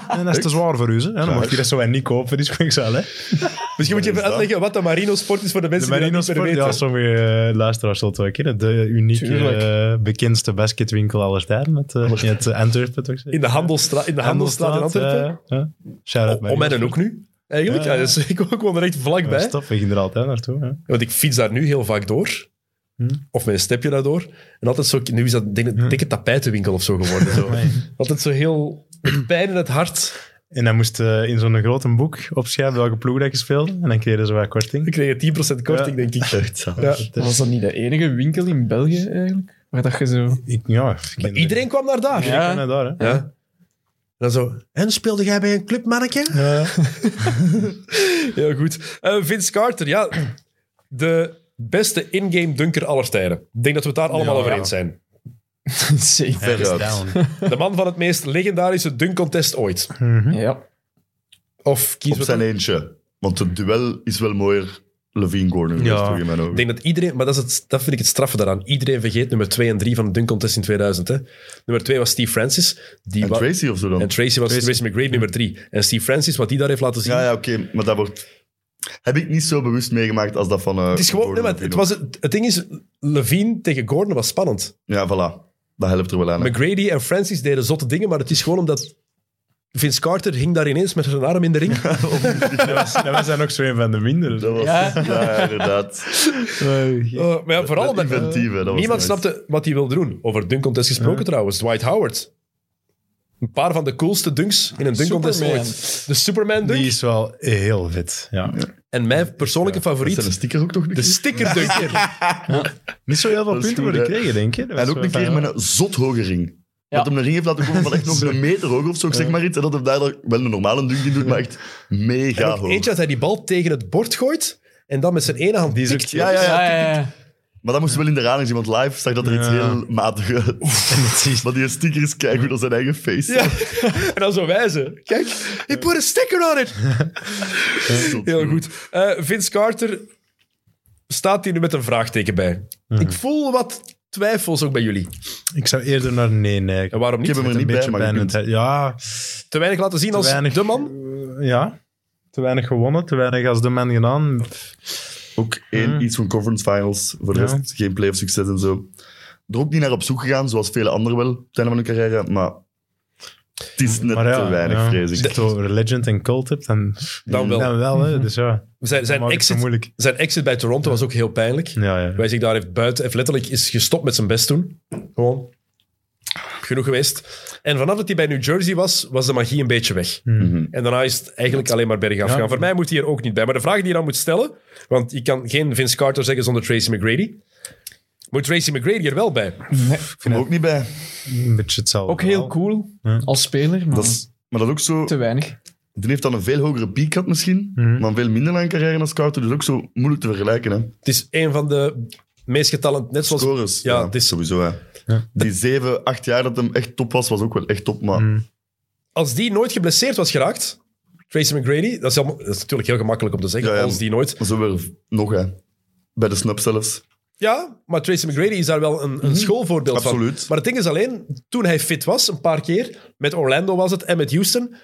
S3: En dat is te zwaar voor u. hè. dan
S2: Ja.
S3: mocht je dat zo en niet kopen, dus die springzaal. Hè?
S1: Misschien moet je
S2: Wat is
S1: even
S2: dat?
S1: uitleggen wat de Marino Sport is voor de
S3: De
S1: mensen die
S3: Marino
S1: dat niet meer
S3: Sport,
S1: weten.
S3: ja, sommige eh, luisteraars zullen het wel kennen. De unieke,
S4: Tuurlijk.
S3: eh, bekendste basketwinkel aller tijden. Het, eh, in het eh, Antwerpen, toch?
S1: In de Handelsstraat in, de Handelstraat in Antwerpen.
S3: Shout-out
S1: Om en ook nu, eigenlijk.
S3: eh, Ja,
S1: Ja,
S3: ja.
S1: dus ik ook wel er echt vlakbij.
S3: Stop, we gingen er altijd naartoe. hè.
S1: Want ik fiets daar nu heel vaak door.
S3: Hm.
S1: Of met een stepje daardoor. En altijd zo... Nu is dat een dikke,
S3: Hm.
S1: dikke tapijtenwinkel of zo geworden. Zo.
S3: Amai.
S1: altijd zo heel... met Pijn in het hart.
S3: En dan moest eh, in zo'n grote boek opschrijven welke ploeg dat je speelde. En dan kreeg je zo wat korting. Dus
S1: Ik kreeg 10% korting, denk ik.
S2: Echt zalig.
S1: Ja.
S4: Was dat niet de enige winkel in België eigenlijk? Waar dat je zo...
S3: Ik, ja, ik
S1: Maar
S3: ken-
S1: iedereen kwam naar daar.
S3: iedereen ken dat daar, hè.
S1: Ja. En dan zo... En speelde jij bij een club, manneke?
S3: Ja.
S1: Heel goed. Eh, Vince Carter, ja. De beste in-game dunker aller tijden. Ik denk dat we het daar allemaal
S3: Ja,
S1: over
S3: ja.
S1: eens zijn.
S4: Zeker.
S2: Veruit.
S1: De man van het meest legendarische dunk-contest ooit.
S3: Mhm.
S4: Ja.
S1: Of kies
S2: Op
S1: wat
S2: zijn
S1: dan-
S2: eentje. Want het duel is wel mooier Levine Gordon.
S3: Ja.
S2: Ja. In mijn ogen.
S1: Ik denk dat iedereen... Maar dat, is het, dat vind ik het straffe daaraan. Iedereen vergeet nummer 2 en 3 van de dunk-contest in 2000. Hè. Nummer 2 was Steve Francis. Die
S2: en
S1: wa-
S2: Tracy of zo dan?
S1: en Tracy was Tracy,
S3: Tracy.
S1: McGrady nummer 3. En Steve Francis, wat die daar heeft laten zien...
S2: Ja, ja oké, maar dat wordt... Heb ik niet zo bewust meegemaakt als dat van... eh,
S1: Het is gewoon...
S2: Gordon
S1: Nee, maar het,
S2: Levine
S1: was, het het ding is, Levine tegen Gordon was spannend.
S2: Ja, voilà. Dat helpt er wel aan. hè.
S1: McGrady en Francis deden zotte dingen, maar het is gewoon omdat Vince Carter hing daar ineens met zijn arm in de ring.
S3: Dat was, dat was dan ook zo een van de dus mindere.
S2: Dat was,
S4: Ja.
S2: ja. inderdaad.
S1: Eh, maar ja, vooral
S2: Dat
S1: omdat-
S2: inventieve, dat was
S1: niemand
S2: nice.
S1: snapte wat hij wilde doen. Over dunkcontest gesproken trouwens. Dwight Howard. Een paar van de coolste dunks in een dunkcontest
S4: Superman.
S1: ooit. De Superman dunk.
S3: Die is wel heel vet. Ja.
S1: En mijn persoonlijke
S2: Is er een
S1: favoriet,
S2: sticker ook nog?
S1: de
S2: niet?
S1: sticker dunk.
S3: Niet zo heel veel
S2: Dat is
S3: punten
S2: goed,
S3: worden
S2: hè.
S3: gekregen, denk je. Dat was
S2: En ook
S3: wel
S2: een keer
S3: fijn.
S2: met een zot hoge ring.
S4: Ja.
S2: Dat hem een ring heeft laten komen van echt nog een meter hoog of zo, ik zeg maar iets. En dat hem daar dan wel een normale dunk in doet, maar echt
S1: En
S2: mega
S1: ook
S2: hoog.
S1: eentje dat hij die bal tegen het bord gooit en dan met zijn ene hand
S3: Die is ook-
S1: tikt.
S2: Ja, ja, ja.
S4: Ja, ja, ja.
S2: Maar dat moest wel in de radar zien, want live zag dat er iets
S3: Ja.
S2: heel matig uit. Maar die sticker is keigoed als zijn eigen face.
S1: Ja. En dan zo wijzen. Kijk, he put a sticker on it. Heel goed. Eh, Vince Carter staat hier nu met een vraagteken bij. Ik voel wat twijfels ook bij jullie.
S3: Ik zou eerder naar nee neigen.
S1: En waarom
S2: Ik
S1: niet?
S2: heb hem er niet bij, maar je kunt-
S3: het, ja,
S1: Te weinig laten zien
S3: te
S1: als
S3: weinig.
S1: de man.
S3: eh, ja, te weinig gewonnen, te weinig als de man gedaan.
S2: Ook één,
S3: Hmm.
S2: iets van conference finals. Voor de
S3: Ja.
S2: rest geen playoff succes en zo. Er ook niet naar op zoek gegaan, zoals vele anderen wel, op het einde van hun carrière. Maar het is net
S3: Maar ja,
S2: te weinig,
S3: ja.
S2: vrees
S3: Als
S2: ik.
S3: je het over Legend en Cult hebt, dan,
S1: Dan wel.
S3: dan wel. Hè. Dus ja,
S1: Zijn, zijn,
S3: dan maakt het zo
S1: exit,
S3: moeilijk.
S1: zijn exit bij Toronto was ook heel pijnlijk.
S3: Ja, ja.
S1: Wij zich daar heeft buiten, heeft letterlijk is gestopt met zijn best doen. Gewoon. Genoeg geweest. En vanaf dat hij bij New Jersey was, was de magie een beetje weg.
S2: Mhm.
S1: En daarna is het eigenlijk alleen maar bergaf
S3: Ja.
S1: gaan. Voor mij moet hij er ook niet bij. Maar de vraag die je dan moet stellen, want je kan geen Vince Carter zeggen zonder Tracy McGrady. Moet Tracy McGrady er wel bij?
S2: Ik vind hem ook niet bij.
S3: Een beetje hetzelfde.
S4: Ook heel
S3: verhaal.
S4: cool
S3: Ja.
S4: als speler, maar
S2: Dat is, maar dat is ook zo...
S4: te weinig.
S2: Die heeft dan een veel hogere piek gehad misschien,
S3: Mhm.
S2: maar een veel minder lange carrière als Carter. Dus ook zo moeilijk te vergelijken. Hè.
S1: Het is een van de meest getalent, net zoals
S2: Scores,
S1: ja,
S2: ja,
S1: het is-
S2: sowieso. Hè.
S3: Ja.
S2: Die zeven, acht jaar dat hem echt top was, was ook wel echt top. Maar
S3: Mm.
S1: als die nooit geblesseerd was geraakt, Tracy McGrady, dat is, allemaal- dat is natuurlijk heel gemakkelijk om te zeggen,
S2: Ja, ja.
S1: als die nooit.
S2: zo weer nog, hè. Bij de snap zelfs.
S1: Ja, maar Tracy McGrady is daar wel een, een schoolvoorbeeld van.
S2: Mhm. Absoluut.
S1: Maar het ding is alleen, toen hij fit was, een paar keer, met Orlando was het en met Houston,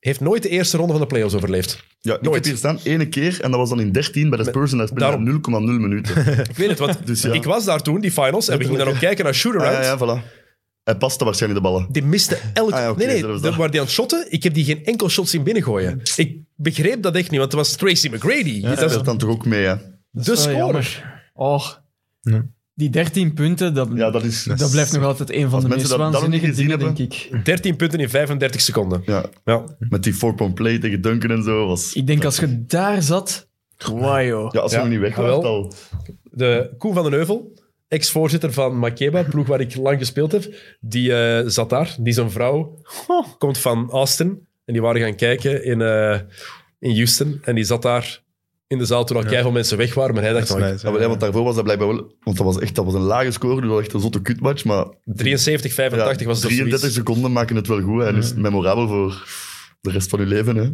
S1: heeft nooit de eerste ronde van de playoffs overleefd.
S2: Ja, ik
S1: Nooit.
S2: heb hier staan, ene keer, en dat was dan in 13 bij de Spurs, en daar speelde hij
S1: daarom-
S2: 0,0 minuten.
S1: Ik weet het, want
S2: Dus ja.
S1: ik was daar toen, die finals, en we gingen dan ook kijken naar
S2: Ah,
S1: shoot-arounds.
S2: ja, ja, voilà. Hij paste waarschijnlijk de ballen.
S1: Die miste elk...
S2: Ah ja, oké,
S1: nee,
S2: dat
S1: nee,
S2: was
S1: de,
S2: dat.
S1: waar die aan het shotten, ik heb die geen enkel shot zien binnengooien. Ik begreep dat echt niet, want het was Tracy McGrady.
S2: Ja,
S1: dat is
S2: dat dan toch ook mee, hè.
S1: de
S4: wel
S1: scorer.
S4: jammer. Oh, die 13 punten, dat,
S2: Ja, dat is...
S4: dat blijft nog altijd een van
S2: Als
S4: de meest
S2: mensen dat- dat nog niet
S4: waanzinnige
S2: gezien
S4: dingen, denk
S2: hebben.
S4: ik.
S1: 13 punten in 35 seconden.
S2: Ja,
S1: Ja.
S2: met die four-point play tegen Duncan en zo was...
S4: Ik denk als je daar zat... Wow, joh.
S2: Ja, als
S1: Ja,
S2: hij nog niet weg
S1: jawel.
S2: was al...
S1: De Koen van den Heuvel, ex-voorzitter van Makeba, ploeg waar ik lang gespeeld heb, die eh, zat daar. Die zijn vrouw
S2: Oh.
S1: komt van Austin. En die waren gaan kijken in, eh, in Houston. En die zat daar in de zaal toen al jij van mensen weg waren. Maar hij dacht,
S3: Dat is
S1: van,
S3: nice,
S2: Ja, maar ja, want daarvoor was dat blijkbaar wel... Want dat was echt dat was een lage score, dus dat was echt een zotte kutmatch, maar...
S1: 73,
S2: ja,
S1: 85 was het of
S2: 33
S1: zoiets.
S2: seconden maken het wel goed en is het memorabel voor de rest van je leven. Hè.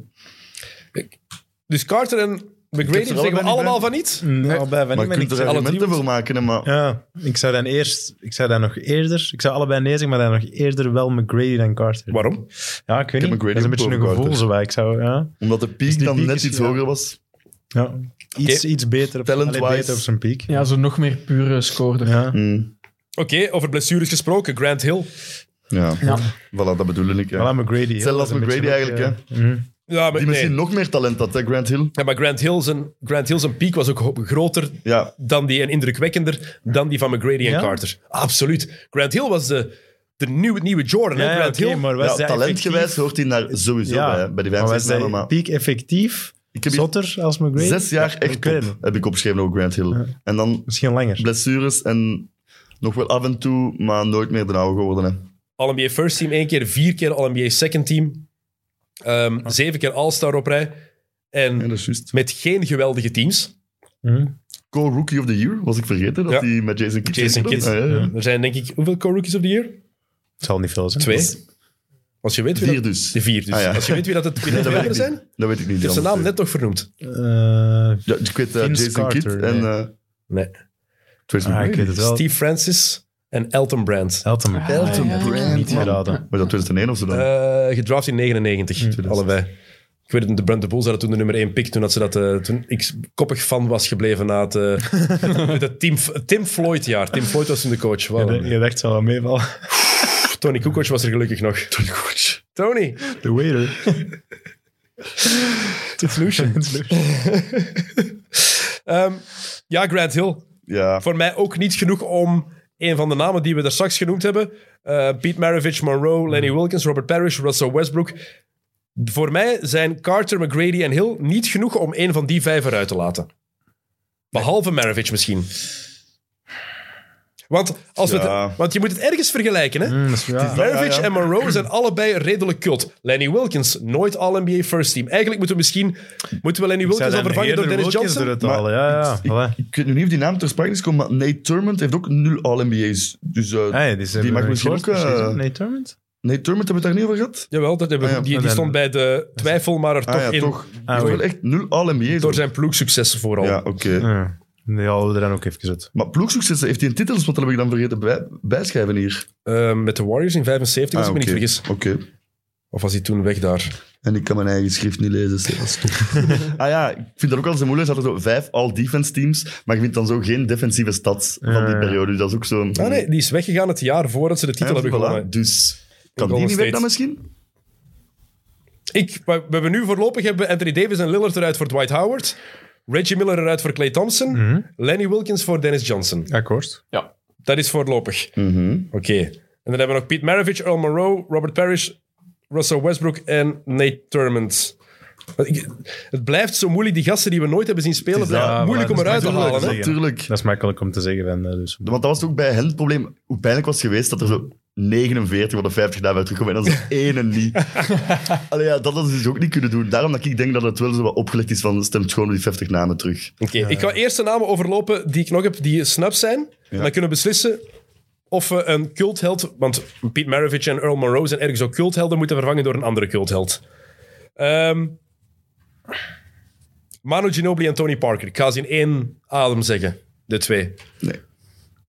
S1: Dus Carter en McGrady
S2: Ik heb
S1: zeggen
S2: er
S1: we
S2: allebei
S1: allemaal van niet.
S3: Nee, allebei
S2: Maar
S3: van niet,
S2: je
S3: Mm, maar ik
S2: kunt er
S3: zou-
S2: argumenten voor maken, hè, maar...
S3: Ja, ik zou dan eerst, ik zou dan nog eerder, ik zou allebei nee zeggen, maar dan nog eerder wel McGrady dan Carter.
S1: Waarom?
S3: Ja, ik weet
S2: heb
S3: niet.
S2: McGrady
S3: Dat is een
S2: ook
S3: beetje een
S2: boven
S3: gevoel,
S2: Carter.
S3: zo waar. Ik zou, ja,
S2: Omdat de
S3: Dus
S2: piek
S3: die
S2: dan
S3: piek
S2: net
S3: is-
S2: iets
S3: ja.
S2: hoger was.
S3: ja. Iets, iets beter, op,
S2: Talent-wise.
S3: allee, beter op zijn piek.
S4: Ja, zo nog meer pure scoorder.
S3: Ja.
S2: Mm.
S1: Oké, over blessures gesproken. Grant Hill.
S2: Ja.
S4: Ja.
S2: voilà, dat bedoel ik. Ja.
S3: Voilà, McGrady. hè.
S2: Hetzelfde
S3: Dat is
S2: als
S3: een
S2: McGrady
S3: beetje ook,
S2: eigenlijk,
S3: eh, mhm.
S1: Ja, maar,
S2: Die
S1: nee.
S2: misschien nog meer talent had, hè, Grant Hill.
S1: ja, maar Grant Hill zijn, Grant Hill zijn piek was ook ho- groter
S2: Ja,
S1: dan die en indrukwekkender dan die van McGrady en
S3: Ja?
S1: Carter. Absoluut. Grant Hill was de, de nieuwe, nieuwe Jordan. hè?
S3: Ja, ja,
S1: Grant
S3: oké,
S1: Hill.
S3: maar was
S2: ja
S3: hij
S2: talentgewijs
S3: effectief?
S2: hoort hij daar sowieso bij, hè, bij die
S3: maar was
S2: 65
S3: hij
S2: namen, maar
S3: piek effectief
S2: Ik heb hier
S3: zotter als McGrady?
S2: zes jaar echt
S3: ik weet
S2: top,
S3: het.
S2: heb ik opgeschreven over Grant Hill. En dan
S3: Misschien langer.
S2: blessures en nog wel af en toe, maar nooit meer de oude geworden. Hè.
S1: All-NBA First Team één keer, vier keer All-NBA Second Team. Ehm, Zeven keer All-Star op rij.
S2: Ah. Ja,
S1: En
S2: dat is juist.
S1: met geen geweldige teams.
S3: Mhm.
S2: Co-rookie of the year, was ik vergeten, dat
S1: Ja.
S2: hij met Jason Kidd...
S1: Jason
S2: speelde.
S1: Kidd.
S2: Ah, ja, ja.
S1: Er zijn denk ik, hoeveel co-rookies of the year?
S3: Het zal niet veel zijn. Eh,
S1: Twee. Als je weet wie
S2: Vier
S1: dat...
S2: dus.
S1: De vier dus.
S2: Ah, ja.
S1: Als je weet wie dat het wie
S2: Nee,
S1: dat
S2: dat,
S1: de
S2: weet ik
S1: anderen zijn.
S2: niet. dat weet ik niet.
S1: Ik heb zijn naam
S2: anders.
S1: net nog vernoemd.
S3: Eh,
S2: Ja, ik weet eh,
S3: Vince
S2: Jason
S3: Carter,
S2: Kidd en...
S3: nee.
S2: eh,
S1: Nee.
S2: Tracy
S3: ah, ik
S2: McGrady.
S3: weet het wel.
S1: Steve Francis en Elton Brand.
S3: Helton McGrady.
S2: Elton
S4: ja, ja.
S2: Brand,
S3: Niet
S2: man.
S3: geraden.
S2: Was dat 2001 of zo dan?
S1: Eh, gedraft in 99,
S2: Hmm.
S1: allebei. Ik weet het, de Brent de Bulls hadden toen de nummer 1 pick, toen, had ze dat, eh, toen ik koppig fan was gebleven na het, eh, het Tim, Tim Floyd-jaar. Tim Floyd was toen de coach. Wow.
S3: Je- Je dacht wel meevallen.
S1: Tony Kukoc was er gelukkig nog. Tony Tony,
S3: The waiter.
S1: it's Lucian. Ehm, ja, Grant Hill.
S2: Ja.
S1: Voor mij ook niet genoeg om een van de namen die we daar straks genoemd hebben. eh, Pete Maravich, Monroe, Lenny
S2: Mhm.
S1: Wilkins, Robert Parrish, Russell Westbrook. Voor mij zijn Carter, McGrady en Hill niet genoeg om een van die vijf eruit te laten. Behalve Maravich misschien. Want, als we
S2: Ja.
S1: het- want je moet het ergens vergelijken. Hè?
S3: Mm, dat is- ja.
S1: Maravich
S2: Ja, ja.
S1: en Monroe zijn allebei redelijk cult. Lenny Wilkins, nooit All-NBA First Team. Eigenlijk moeten we misschien moeten we Lenny Wilkins al
S3: Zou dan
S1: vervangen door
S3: eerder
S1: Dennis
S3: Wilkins
S1: Johnson.
S3: door het halen, Ja, ja. voilà.
S2: Ik weet nu niet of die naam ter sprake is gekomen, maar Nate Turment heeft ook nul All-NBA's. Dus eh,
S3: Hey, die
S2: Die
S3: zijn
S2: mag
S3: we
S2: misschien
S3: kort
S2: ook, eh,
S3: precies, hè? Nee, Torment?
S2: Nate Turment hebben we het daar niet over gehad?
S1: Jawel, dat hebben we,
S2: Ah, ja.
S1: die, die
S3: En-
S1: stond bij de twijfel, maar er
S2: Ah
S1: toch
S2: ja,
S1: in.
S2: toch.
S3: Ah,
S2: Hij
S3: oei.
S2: heeft wel echt nul All-NBA's.
S1: Door zijn ploegsuccessen vooral.
S2: Ja, oké.
S3: Ja. Die halen we er dan ook even uit.
S2: Maar ploegsuccessen, heeft hij een titels? Want dat heb ik dan vergeten bij, bijschrijven hier.
S1: Eh, met de Warriors in 75, als
S2: Ah,
S1: ik me
S2: oké.
S1: niet vergis.
S2: Oké.
S1: Of was hij toen weg daar?
S2: En ik kan mijn eigen schrift niet lezen. dus Dat is top. ah ja, ik vind dat ook altijd zo moeilijk. Ze hadden zo vijf all-defense teams, maar je vindt dan zo geen defensieve stats van die
S3: ja.
S2: periode. Dus dat is ook zo'n...
S1: Ah nee, die is weggegaan het jaar voordat ze de titel
S2: Ah,
S1: hebben
S2: voilà.
S1: gewonnen.
S2: Dus kan die
S1: Golden
S2: niet weg dan
S1: State.
S2: misschien?
S1: Ik, we we hebben nu voorlopig hebben we Anthony Davis en Lillard eruit voor Dwight Howard. Reggie Miller eruit voor Clay Thompson.
S2: Mhm.
S1: Lenny Wilkins voor Dennis Johnson.
S3: Akkoord.
S4: Ja.
S1: Dat is voorlopig.
S2: Mhm.
S1: Oké. En dan hebben we nog Pete Maravich, Earl Monroe, Robert Parrish, Russell Westbrook en Nate Thurmond. Ik- Het blijft zo moeilijk. Die gasten die we nooit hebben zien spelen,
S2: Het is dat.
S1: blijft
S3: Ja,
S1: moeilijk
S3: voilà,
S1: om
S3: dat is
S1: eruit te
S3: makkelijk
S1: halen.
S3: te
S1: hè?
S3: zeggen.
S2: Natuurlijk.
S3: Dat is makkelijk om te zeggen. En, eh, dus.
S2: Want dat was ook bij hen het probleem. Hoe pijnlijk was het geweest dat er zo 49 van de 50 daar werd teruggekomen en dan zo'n ene niet. Allee, ja, dat hadden ze dus ook niet kunnen doen. Daarom dat ik denk dat het wel zo wat opgelegd is van stemt gewoon die 50 namen terug.
S1: Oké, ik
S2: Eh.
S1: ga eerst de namen overlopen die ik nog heb, die snap zijn. En dan kunnen we beslissen of we een cultheld... Want Pete Maravich en Earl Monroe zijn ergens ook culthelden, moeten vervangen door een andere cultheld. Ehm Manu Ginobili en Tony Parker. Ik ga ze in één adem zeggen, de twee.
S2: Nee.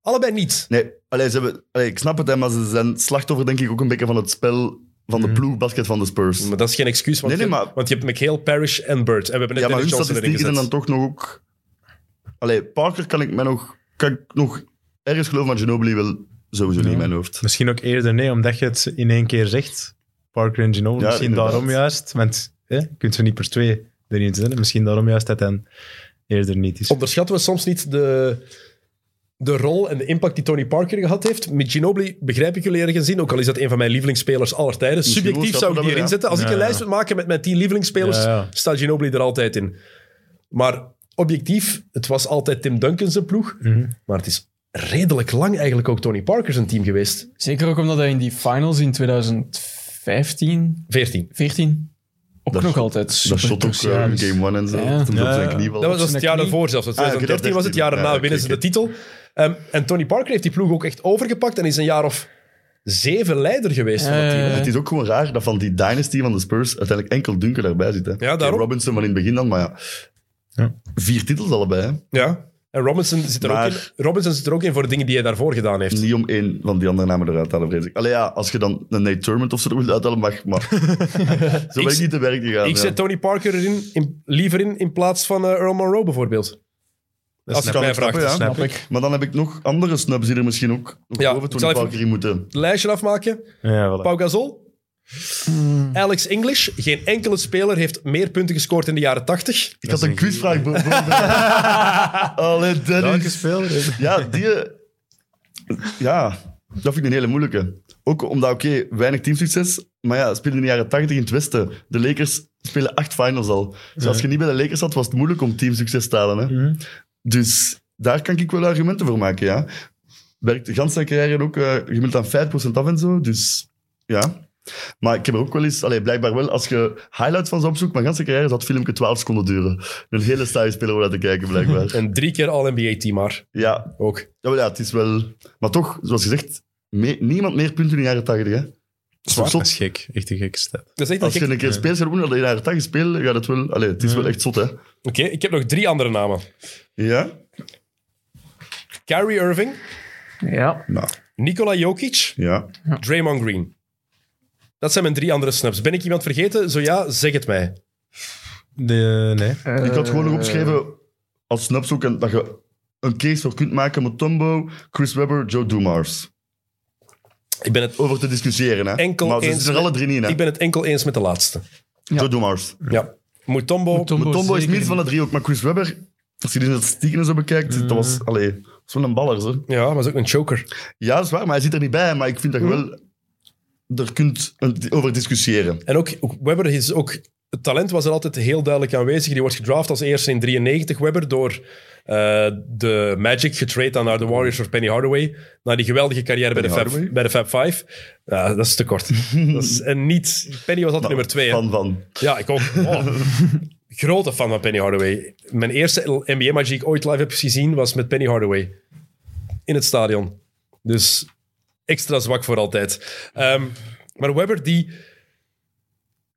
S1: Allebei niet.
S2: Nee, allee, ze hebben, allee, ik snap het, hè, maar ze zijn slachtoffer denk ik ook een beetje van het spel van
S1: Mm.
S2: de ploegbasket van de Spurs.
S1: Maar dat is geen excuus, want,
S2: Nee, nee,
S1: je,
S2: maar-
S1: want je hebt McHale, Parrish en Bird. En we hebben net
S2: ja, maar hun
S1: Dennis Johnson erin
S2: statistieken zijn dan
S1: gezet.
S2: toch nog ook... Allee, Parker kan ik, mij nog, kan ik nog ergens geloven, maar Ginobili wil sowieso niet in mijn hoofd.
S3: Misschien ook eerder nee, omdat je het in één keer zegt. Parker en Ginobili.
S2: Ja,
S3: misschien
S2: inderdaad.
S3: daarom juist. Want hè, je kunt ze niet per twee erin zetten. Misschien daarom juist dat dan eerder niet is.
S1: Onderschatten we soms niet de, de rol en de impact die Tony Parker gehad heeft. Met Ginobili begrijp ik jullie ergens in, ook al is dat een van mijn lievelingsspelers aller tijden.
S2: Misschien
S1: Subjectief
S2: wel
S1: zou ik
S2: schappen
S1: die
S2: dat we
S1: erin zetten.
S2: daar-
S1: Als ik
S3: Ja,
S1: een
S3: ja.
S1: lijst moet maken met mijn tien lievelingsspelers,
S3: Ja, ja.
S1: staat Ginobili er altijd in. Maar objectief, het was altijd Tim Duncan zijn ploeg.
S3: Mhm.
S1: Maar het is redelijk lang eigenlijk ook Tony Parker zijn team geweest.
S4: Zeker ook omdat hij in die finals in 2015,
S1: 14.
S4: 14 ook
S2: Dat
S4: nog
S2: shot-
S4: altijd super
S2: Dat shot ook eh,
S4: cruciaal is.
S2: game one en zo.
S4: Ja.
S2: Dat hem
S3: Ja.
S2: op zijn knie wel.
S1: Dat was, was het
S4: zijn
S1: jaar
S4: knie.
S1: daarvoor zelfs. Dat
S2: Ah,
S1: 2013 was het jaar
S2: 13,
S1: daarna,
S2: ja,
S1: winnen ze de
S2: oké,
S1: titel. Ehm, en Tony Parker heeft die ploeg ook echt overgepakt en is een jaar of zeven leider geweest van dat team.
S4: Eh,
S2: Het is ook gewoon raar dat van die dynasty van de Spurs uiteindelijk enkel Duncan daarbij zit. Hè. Oké,
S1: daarom.
S2: Robinson van in het begin dan, maar ja.
S3: Ja.
S2: Vier titels allebei. hè.
S1: Ja. En Robinson zit, er
S2: Maar-
S1: ook in, Robinson zit er ook in voor de dingen die hij daarvoor gedaan heeft.
S2: Niet om één van die andere namen eruit te halen, vrees ik. Allee ja, als je dan een Nate Tournament of zo er wilt uithalen, mag. Maar zo ben ik niet te werk gegaan.
S1: Ik
S2: ja.
S1: zet Tony Parker erin, in- liever in in plaats van eh, Earl Monroe bijvoorbeeld. Als je
S2: snap
S1: het mij
S2: ik,
S1: vraagt.
S2: snap ik, ja.
S4: Snap ik.
S2: Maar dan heb ik nog andere snubs die er misschien ook nog
S1: Ja,
S2: boven
S1: ik zal
S2: Tony
S1: even-
S2: Parker in moeten.
S1: Het lijstje afmaken.
S3: Ja, voilà.
S1: Pau Gasol.
S4: Hmm.
S1: Alex English. Geen enkele speler heeft meer punten gescoord in de jaren 80.
S2: Ik had een quizvraag be- voorbereid. Allee,
S3: Welke
S2: Dennis.
S3: speler?
S2: Ja, die... eh, Ja, dat vind ik een hele moeilijke. Ook omdat, oké, weinig teamsucces, maar ja, speelde in de jaren 80 in het Westen. De Lakers spelen acht finals al. Dus als je niet bij de Lakers zat, was het moeilijk om teamsucces te halen. Hè?
S3: Mhm.
S2: Dus daar kan ik wel argumenten voor maken, ja. Werkt de ganse carrière ook, eh, je moet aan 5% af en zo, dus ja. Maar ik heb er ook wel eens, allee, blijkbaar wel, als je highlights van zou opzoeken, mijn ganse carrière zou het filmpje 12 seconden duren. Een hele saaie speler om naar te kijken, blijkbaar.
S1: En drie keer All-NBA-team maar
S2: Ja,
S1: ook.
S2: ja, maar ja, het is wel... Maar toch, zoals gezegd, me- niemand meer punten in de jaren 80, hè. Zot.
S3: Dat is gek. Echt een gekke stad.
S1: Dat is echt een
S2: Als
S1: gek-
S2: je een keer speelt gaat doen, dat je in de jaren 80 speelt, gaat het wel... Allee, het is wel echt zot, hè.
S1: Oké, ik heb nog drie andere namen.
S2: Ja?
S1: Kyrie Irving,
S4: Ja.
S2: Nou,
S1: Nikola Jokic,
S2: ja.
S1: Draymond Green. Dat zijn mijn drie andere snaps. Ben ik iemand vergeten? Zo ja, zeg het mij.
S3: De, nee.
S2: Ik had gewoon
S4: eh,
S2: nog opgeschreven, als snaps ook, en dat je een case voor kunt maken met Tombo, Chris Webber, Joe Dumars.
S1: Ik ben het,
S2: Over te discussiëren, hè.
S1: Enkel
S2: maar ze
S1: eens
S2: zitten er
S1: met-
S2: alle drie in, hè.
S1: ik ben het enkel eens met de laatste.
S4: Ja.
S2: Joe Dumars.
S1: Ja. Mutombo.
S4: Mutombo.
S2: Maar Tombo is
S4: zeker
S2: minst
S4: niet.
S2: van de drie ook, maar Chris Webber, als je die statistieken zo bekijkt, dat was... Allee, dat is wel een baller, zo.
S1: Ja, maar is ook een choker.
S2: Ja, dat is waar, maar hij zit er niet bij. Maar ik vind dat
S3: Hm.
S2: je wel... Er kunt een- over discussiëren.
S1: En ook, ook Webber is ook... Het talent was er altijd heel duidelijk aanwezig. Die wordt gedraft als eerste in 93 Webber door eh, de Magic, getrade aan naar de Warriors voor Penny Hardaway. Na die geweldige carrière bij de,
S2: Penny
S1: Fab,
S2: Hardaway?
S1: bij de Fab Five. Ja, dat is te kort. dat is, en niet... Penny was altijd nummer twee. hè.
S2: Nou, Van, van.
S1: Ja, ik ook. Oh. Grote fan van Penny Hardaway. Mijn eerste NBA-match die ik ooit live heb gezien was met Penny Hardaway. In het stadion. Dus extra zwak voor altijd. Ehm, maar Webber, die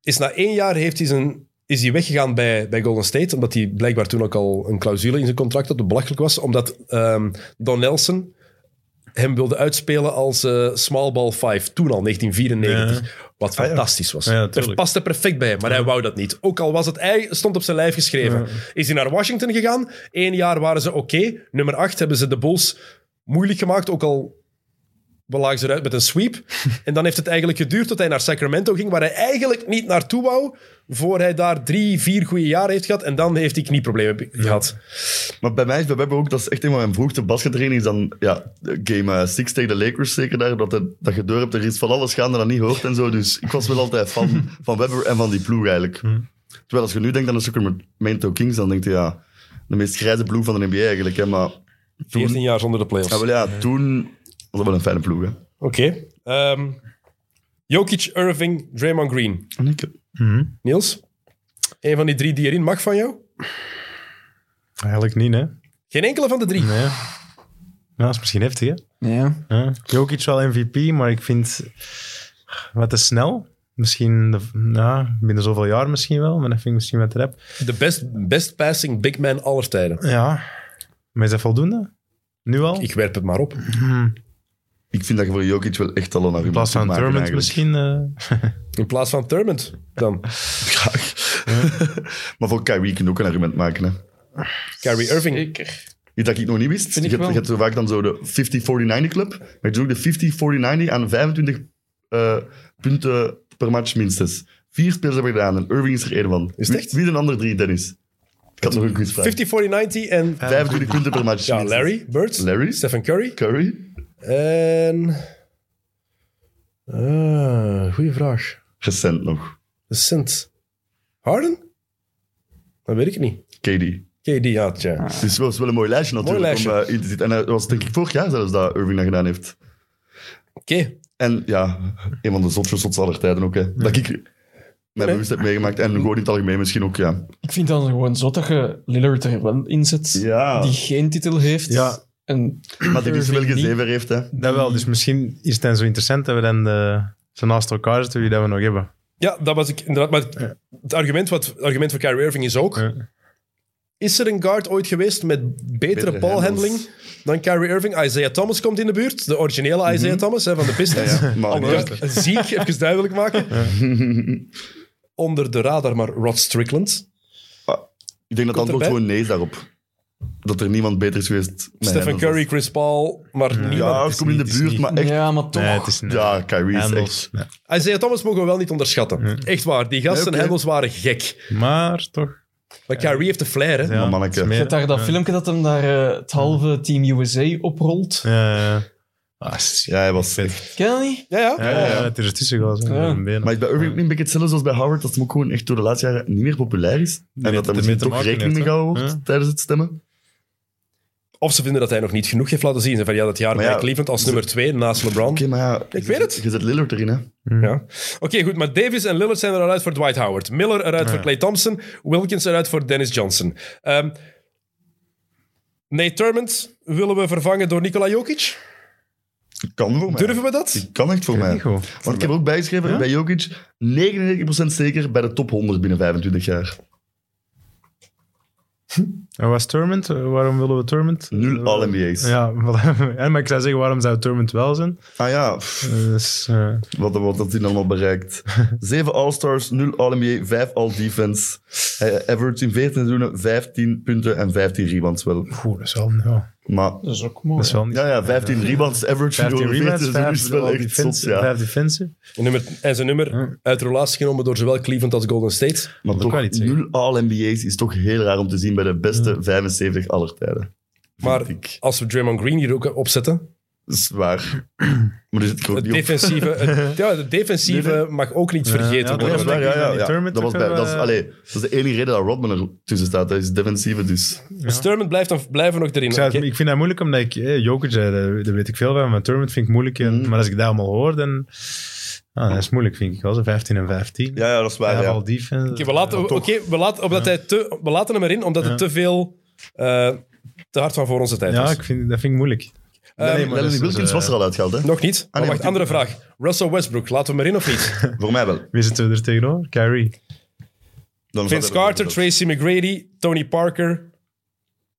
S1: is na één jaar heeft hij zijn, is hij weggegaan bij, bij Golden State. Omdat hij blijkbaar toen ook al een clausule in zijn contract had, dat belachelijk was. Omdat ehm, Don Nelson hem wilde uitspelen als eh, small ball 5. Toen al, 1994. Wat
S3: ja.
S1: fantastisch was.
S3: Ja,
S1: Het
S3: natuurlijk.
S1: paste perfect bij hem, maar hij wou dat niet. Ook al was het hij, stond op zijn lijf geschreven. Is hij naar Washington gegaan? Eén jaar waren ze oké. Nummer acht hebben ze de Bulls moeilijk gemaakt, ook al we lagen ze eruit met een sweep. en dan heeft het eigenlijk geduurd tot hij naar Sacramento ging, waar hij eigenlijk niet naartoe wou, voor hij daar drie, vier goede jaren heeft gehad. En dan heeft hij knieproblemen be- gehad.
S2: Maar bij mij is bij Webber ook, dat is echt een van mijn vroegste baskettraining. Is dan ja, game 6 tegen de Lakers zeker daar. Dat, het- dat je door hebt, er is van alles gaande dat niet hoort en zo. Dus ik was wel altijd fan van Webber en van die ploeg eigenlijk.
S3: Hm.
S2: Terwijl als je nu denkt aan de Sacramento Kings, dan denk je ja, de meest grijze ploeg van de NBA eigenlijk. Hè, maar
S1: 14 jaar zonder de playoffs.
S2: ja, wel, ja, toen was dat wel een fijne ploeg. Hè.
S1: Oké. Ehm, Jokic, Irving, Draymond Green.
S2: En ik,
S1: Niels, een van die drie die erin mag van jou?
S3: Eigenlijk niet, hè?
S1: Geen enkele van de drie.
S3: Nee. Nou, dat is misschien heftig, hè?
S4: Ja.
S3: Ja. Jokic wel MVP, maar ik vind wat te snel. Misschien de, nou, binnen zoveel jaar misschien wel, maar dat vind ik misschien wat rap.
S1: De best, best passing big man aller tijden.
S3: Ja, maar is dat voldoende? Nu al?
S1: Ik werp het maar op.
S2: ik vind dat je voor Jokic wel echt al een argument
S3: in plaats van
S2: kunt maken
S3: Tournament
S2: eigenlijk.
S3: misschien? eh,
S1: In plaats van Thurmond dan.
S2: Graag. maar voor Kyrie kun je ook een argument maken. Hè.
S1: Kyrie Irving.
S4: Zeker.
S2: Iets dat ik nog niet wist.
S4: Vind
S2: je,
S4: ik
S2: hebt,
S4: wel.
S2: je hebt zo vaak dan zo de 50-40-90 club. Maar je doet ook de 50-40-90 aan 25 eh, punten per match minstens. Vier spelers hebben gedaan en Irving is er één van.
S1: Is het echt?
S2: Wie, wie de andere drie, Dennis? Ik had nog een quizvraag.
S1: 50, 40, 90 en
S2: 25 punten per match.
S1: ja,
S2: minstens.
S1: Larry Bird.
S2: Larry?
S1: Stephen Curry.
S2: Curry?
S1: En... Ah, goeie vraag.
S2: Recent nog.
S1: Recent. Harden? Dat weet ik niet.
S2: KD.
S1: KD, ja, tja.
S2: Dus het was wel een mooi lijstje natuurlijk
S1: lijstje.
S2: om eh, in te zitten. En dat was denk ik vorig jaar zelfs dat Irving dat gedaan heeft.
S1: Oké.
S2: En ja, een van de zotste shots aller tijden ook. Hè. Dat ik mijn bewust heb meegemaakt. En gewoon in het algemeen misschien ook, ja.
S4: Ik vind dan gewoon zo dat je Lillard er wel in zet,
S2: Ja,
S4: die geen titel heeft.
S3: Ja.
S4: En
S2: maar die dus wel
S4: Irving niet.
S2: gezever heeft. Hè.
S3: Dat wel, dus misschien is het dan zo interessant dat we dan eh, zo naast elkaar zitten wie dat we nog hebben.
S1: Ja, dat was ik inderdaad. Maar het, het argument, wat, het argument voor Kyrie Irving is ook...
S3: Ja.
S1: Is er een guard ooit geweest met betere,
S2: Betere
S1: ballhandeling
S2: handles.
S1: dan Kyrie Irving? Isaiah Thomas komt in de buurt. De originele Isaiah Thomas hè, van de Pistons.
S2: Mhm. Ja, maar
S1: Onder- Zie ik, even duidelijk maken. Onder de radar, maar Rod Strickland.
S2: ah, ik denk dat het antwoord
S1: erbij?
S2: gewoon nee is daarop. Dat er niemand beter is geweest. met
S1: Stephen
S2: Handels.
S1: Curry, Chris Paul, maar niemand.
S2: Ja,
S3: het
S2: het
S3: is
S2: komt in
S3: niet-
S2: de
S3: het is
S2: buurt,
S3: niet-
S2: maar echt...
S4: ja, maar toch.
S3: Nee, het is een
S2: Ja, Kyrie is
S3: handels.
S2: echt...
S1: Isaiah Thomas mogen we wel niet onderschatten. Echt waar, die gasten
S2: Nee, oké.
S1: handels waren gek.
S3: Maar toch.
S1: Maar Kyrie heeft de flair, hè.
S3: Ja,
S2: manneke.
S3: het is meer-
S4: Je hebt daar dat filmpje dat hem daar eh, het halve Team USA oprolt.
S3: Ja, ja, ja. Ah, shit.
S2: Ja, hij was echt...
S4: Ken je dat niet?
S1: Ja, ja.
S3: Ja, ja, ja, het is ertussen gegaan. zo,
S4: Ja.
S3: met een benen.
S2: Maar is bij Irving ook niet een beetje hetzelfde als bij Howard, dat hem ook gewoon echt door de laatste jaren niet meer populair is? En
S3: weet
S2: dat
S3: het
S2: er
S3: ermee
S2: misschien
S3: te
S2: toch
S3: maken
S2: rekening mee
S3: heeft, hè?
S2: gehouden wordt
S3: Ja.
S2: tijdens het stemmen?
S1: Of ze vinden dat hij nog niet genoeg heeft laten zien. Ze Van, ja, dat jaar
S2: Maar
S1: bij
S2: ja,
S1: Cleveland als nummer twee naast LeBron.
S2: Oké, maar ja...
S1: Ik weet het.
S2: Je zet Lillard erin, hè.
S1: Ja. Oké, goed. Maar Davis en Lillard zijn eruit voor Dwight Howard. Miller eruit voor Clay Thompson. Wilkins eruit voor Dennis Johnson. Ehm Nate Turmond willen we vervangen door Nikola Jokic.
S2: Kan voor mij.
S1: Durven we dat?
S2: Die kan echt voor mij.
S3: niet goed.
S2: Want ik heb er ook bijgeschreven, bij Jokic, 99% zeker bij de top 100 binnen 25 jaar.
S3: En was Torment? Eh, Waarom willen we Torment?
S2: Nul All-NBA's.
S3: Ja, voilà. Ja, maar ik zou zeggen, waarom zou Torment wel zijn?
S2: Ah ja, pff,
S3: Eh, Dus, eh,
S2: wat wordt dat hij allemaal bereikt. 7 All-Stars, 0 All-NBA, 5 All-Defense. Hij average in 14 seizoenen 15 punten en 15 rebounds wel.
S3: goh, dat is wel, ja,
S2: Maar
S4: Dat is ook mooi.
S3: dat is wel niet...
S2: ja, ja 15 rebounds average
S3: 15
S2: door 14
S3: rebounds,
S2: seizoenen
S3: 5
S2: is wel echt zot,
S3: defensive.
S2: ja.
S3: vijf defensive.
S1: Een Nummer, en zijn nummer uit relatie genomen door zowel Cleveland als Golden State.
S2: Maar
S3: Dat kan
S2: toch,
S3: niet zeggen.
S2: nul All-NBA's is toch heel raar om te zien bij de beste 75 aller tijden.
S1: Maar
S2: Vind ik.
S1: als we Draymond Green hier ook opzetten.
S2: Dat is waar. Maar er zit gewoon
S1: Het
S2: niet op.
S1: defensieve, het- ja, het defensieve
S2: Nee,
S1: mag ook niet vergeten
S3: ja,
S2: Ja, dat
S1: worden.
S2: is waar, ja,
S3: denk ik dat
S2: ja,
S3: die
S2: ja.
S3: Thurman
S2: Dat, was
S3: toch
S2: bij,
S3: wel,
S2: dat, is,
S3: eh,
S2: allee, dat is de enige reden dat Rodman er tussen staat. Dat is defensieve, dus...
S1: Dus Thurmond blijft dan, blijven nog erin.
S3: Ik, zou het-
S1: Oké.
S3: ik vind dat moeilijk, omdat ik... Eh, Jokic, eh, daar daar weet ik veel van, maar Torment vind ik moeilijk. en- Maar als ik dat allemaal hoor, dan... Ah, dat is moeilijk, vind ik wel. Zo 15 en 15.
S2: Ja, ja dat is waar,
S3: Vijf
S2: ja.
S3: al defense.
S1: Oké, we laten,
S2: toch.
S1: oké, we laten, omdat hij te, we laten hem erin omdat het te veel, eh, te hard van voor onze tijd
S3: Ja,
S1: was.
S3: ik vind, dat vind ik moeilijk.
S1: nee,
S3: dat
S2: Lennon
S3: is-
S2: Ehm, Wilkins
S3: eh,
S2: was er al uitgehaald, hè?
S1: Nog niet? Maar
S2: nee,
S1: wacht,
S2: want-
S1: andere vraag. Russell Westbrook, laten we hem erin of niet?
S2: Voor mij wel.
S3: Wie zitten we er tegenover? Kyrie.
S2: Dan
S1: Vince
S2: staat er-
S1: Carter, Tracy McGrady, Tony Parker,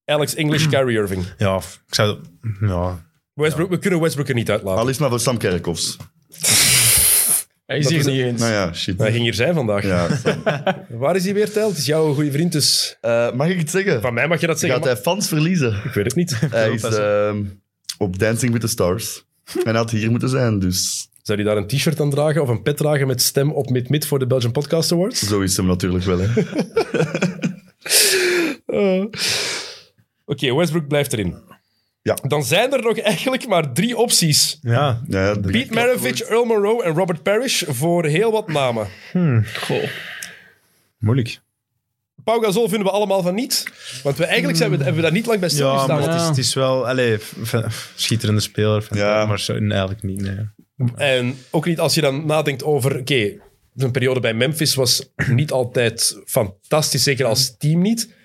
S1: Alex English, Kyrie Irving.
S3: Ja, f- ik zou... Ja,
S1: Westbrook, we kunnen Westbrook er niet uitlaten.
S2: Al Ah, is het maar voor Sam Kerkhoffs.
S4: Hij is
S1: Dat
S4: hier
S1: is-
S4: niet eens.
S2: Nou ja, shit.
S1: Hij ging hier zijn vandaag.
S2: Ja, Sam.
S1: Waar is hij weer, Tijl? Het is jouw goede vriend, dus
S2: Eh, mag ik het zeggen?
S1: van mij mag je dat zeggen.
S2: Gaat hij fans verliezen?
S1: maar Ik weet het niet.
S2: Hij is
S3: dat is-
S2: ehm, op Dancing with the Stars. En had hier moeten zijn, dus
S1: Zou hij daar een t-shirt aan dragen of een pet dragen met stem op mid-mid voor de Belgian Podcast Awards?
S2: zo is hem natuurlijk wel. Hè.
S1: Eh. Oké, Westbrook blijft erin.
S2: Ja.
S1: Dan zijn er nog eigenlijk maar drie opties.
S3: ja
S2: Ja, het
S1: Pete
S2: begint-
S1: Maravich, Earl Monroe en Robert Parrish voor heel wat namen.
S3: moeilijk.
S1: Pau Gasol vinden we allemaal van niet. Want we eigenlijk zijn we, hebben we daar niet lang bij
S3: Hmm. Ja,
S1: stilgestaan.
S3: maar het
S1: gestaan.
S3: is, het is wel... Allee, f- f- schitterende speler. Van,
S2: Ja.
S3: Maar zo, nee, eigenlijk niet, nee.
S1: En ook niet als je dan nadenkt over... Oké, zijn periode bij Memphis was niet altijd fantastisch. Zeker als team niet.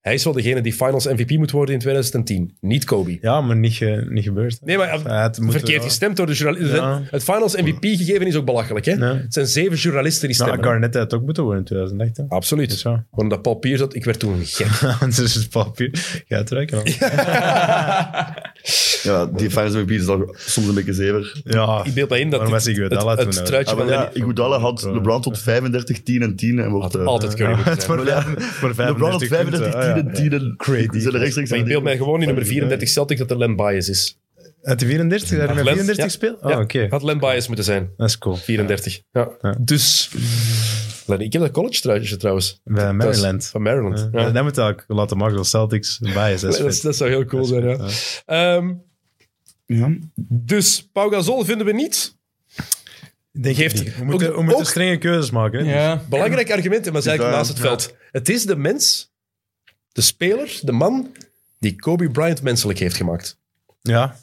S1: Hij is wel degene die finals MVP moet worden in 2010. Niet Kobe.
S3: Ja, maar niet, ge- niet gebeurd.
S1: Nee, maar
S3: Ja, het moet
S1: verkeerd
S3: wel.
S1: gestemd door de journalisten.
S3: Ja.
S1: Het finals MVP gegeven is ook belachelijk. Hè?
S3: Ja.
S1: Het zijn zeven journalisten die
S3: Nou,
S1: stemmen.
S3: Garnett had het ook moeten worden in 2008. hè.
S1: Absoluut.
S3: Is zo.
S1: Gewoon dat Paul Pierce had, ik werd toen gek.
S3: Anders is het papier. Ja, het rekken dan.
S2: Ja, die fans MVP is al soms een beetje zever.
S3: Ja.
S1: Ik beeld mij in dat
S3: Waarom
S1: het,
S3: was ik Iguodala
S1: het, het
S3: toen, hè?
S1: truitje
S2: Ah,
S1: van
S2: maar ja, Iguodala had LeBron tot 35, 10 en 10 en wordt... eh,
S1: altijd Curry moeten
S3: Het
S1: zijn.
S3: wordt
S2: Ja.
S3: voor
S2: LeBron had
S3: 35 punten.
S2: 35, 10
S3: Ah, ja.
S2: en 10 en... Crazy. Zullen rechtstreeks
S1: Maar ik beeld mij gewoon in nummer 34 Celtic dat er Len Bias is.
S3: Had hij 34? Had hij met
S1: Lens,
S3: 34
S1: ja.
S3: speel?
S1: Ja,
S3: Oh, oké.
S1: Had Len Bias moeten zijn.
S3: Dat is cool.
S1: 34. Ja.
S3: Ja.
S1: Dus Lenny. Ik heb dat college truitje trouwens.
S3: Bij
S1: Dat is
S3: Maryland.
S1: Van Maryland.
S3: Ja.
S1: Ja.
S3: Dat moet ook laten maken dat Celtics erbij is. Dat is
S1: Dat,
S3: vet.
S1: dat zou heel cool
S3: Dat is
S1: zijn, ja.
S3: vet,
S1: Ehm,
S2: Ja.
S1: dus Pau Gasol vinden we niet.
S3: Ik denk
S1: Geeft-
S3: het niet. we moeten, we moeten
S1: ook-
S3: strenge keuzes maken. hè.
S4: Ja.
S1: Belangrijk argument, maar dat is eigenlijk
S2: Ja,
S1: naast het veld. Het is de mens, de speler, de man die Kobe Bryant menselijk heeft gemaakt.
S3: ja.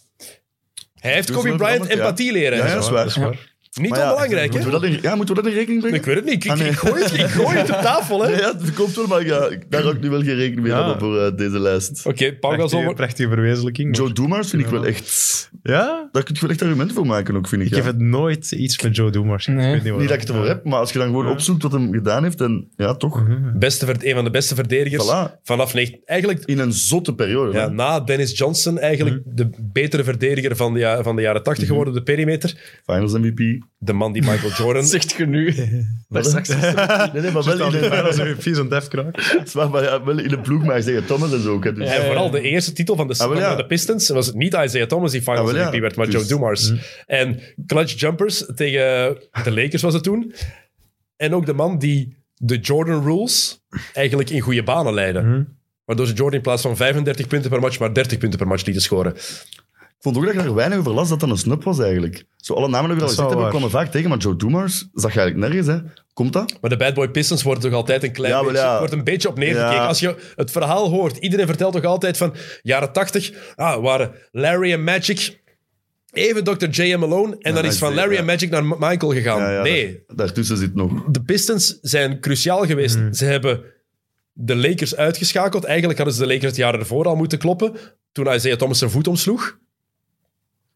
S1: Hij heeft
S2: Doe
S1: Kobe
S2: ze wel
S1: Bryant
S2: veranderd, ja.
S1: empathie leren.
S2: Ja,
S1: en
S2: ja,
S1: zo.
S2: dat is waar.
S1: Niet
S2: Maar ja,
S1: onbelangrijk, hè?
S2: moeten we dat in, ja, moeten we dat in rekening brengen?
S1: Ik weet het niet. Ik,
S2: Ah, nee.
S1: ik gooi het, ik gooi het op tafel, hè?
S2: Ja, ja, het komt wel, maar ik ga- ik- daar hou ik nu wel geen rekening mee
S3: Ja.
S2: hebben voor eh, deze lijst.
S1: Oké, Pau Gasol...
S3: Prachtige,
S1: wordt-
S3: prachtige verwezenlijking.
S2: Joe Doemars vind ik wel echt...
S3: Ja?
S2: Daar kun je wel echt argumenten voor maken ook, vind ik.
S3: Ik
S2: ja.
S3: heb het nooit iets met Joe Doemers.
S4: Nee.
S3: Ik weet waarom.
S2: Niet dat ik het ervoor heb, maar als je dan gewoon
S3: Ja.
S2: opzoekt wat hem gedaan heeft, dan ja, toch.
S1: Beste, verd- een van de beste verdedigers
S2: Voilà.
S1: vanaf... negen- Eigenlijk
S2: In een zotte periode.
S1: ja,
S2: hè.
S1: na Dennis Johnson eigenlijk
S2: Mhm.
S1: de betere verdediger van de, ja- van de jaren 80 geworden op de perimeter.
S2: Finals MVP.
S1: De man die Michael Jordan...
S4: Zegt genu. Daar straks.
S2: Nee, nee, maar
S3: Zit
S2: wel
S3: al
S2: in
S3: die
S2: de,
S3: als een vies aan def kraakt.
S2: het is waar, maar ja, wel in de ploeg, maar ik zeg het, Thomas en zo ook. Hè, dus.
S1: En vooral de eerste titel van de,
S2: Ah, wel, ja.
S1: van de Pistons was het niet Isaiah Thomas die Finals
S2: Ah, wel, ja.
S1: MVP werd, maar Joe
S2: Dus-
S1: Dumars. En clutch jumpers tegen de Lakers was het toen. En ook de man die de Jordan rules eigenlijk in goede banen leidde.
S2: Mm.
S1: Waardoor ze Jordan in plaats van 35 punten per match maar 30 punten per match lieten scoren.
S2: Ik vond ook dat ik er weinig over las dat dat een snub was eigenlijk. Zo, alle namen die we al
S3: Dat is wel
S2: gezegd hebben,
S3: waar.
S2: kwamen vaak tegen, maar Joe Doemars zag je eigenlijk nergens. Hè. Komt dat?
S1: Maar de Bad Boy Pistons worden toch altijd een klein
S2: Ja, wel,
S1: beetje,
S2: ja.
S1: wordt een beetje op neergekeken.
S2: Ja.
S1: Als je het verhaal hoort, iedereen vertelt toch altijd van jaren 80, ah, waren Larry en Magic, even Dr. J en Malone, en dan
S2: dat
S1: is
S2: is
S1: van
S2: het,
S1: Larry
S2: ja.
S1: en Magic naar Ma- Michael gegaan.
S2: Ja, ja,
S1: Ah, nee,
S2: daar- daartussen zit nog.
S1: de Pistons zijn cruciaal geweest.
S2: Hmm.
S1: Ze hebben de Lakers uitgeschakeld. Eigenlijk hadden ze de Lakers het jaar ervoor al moeten kloppen, toen Isaiah Thomas zijn voet omsloeg.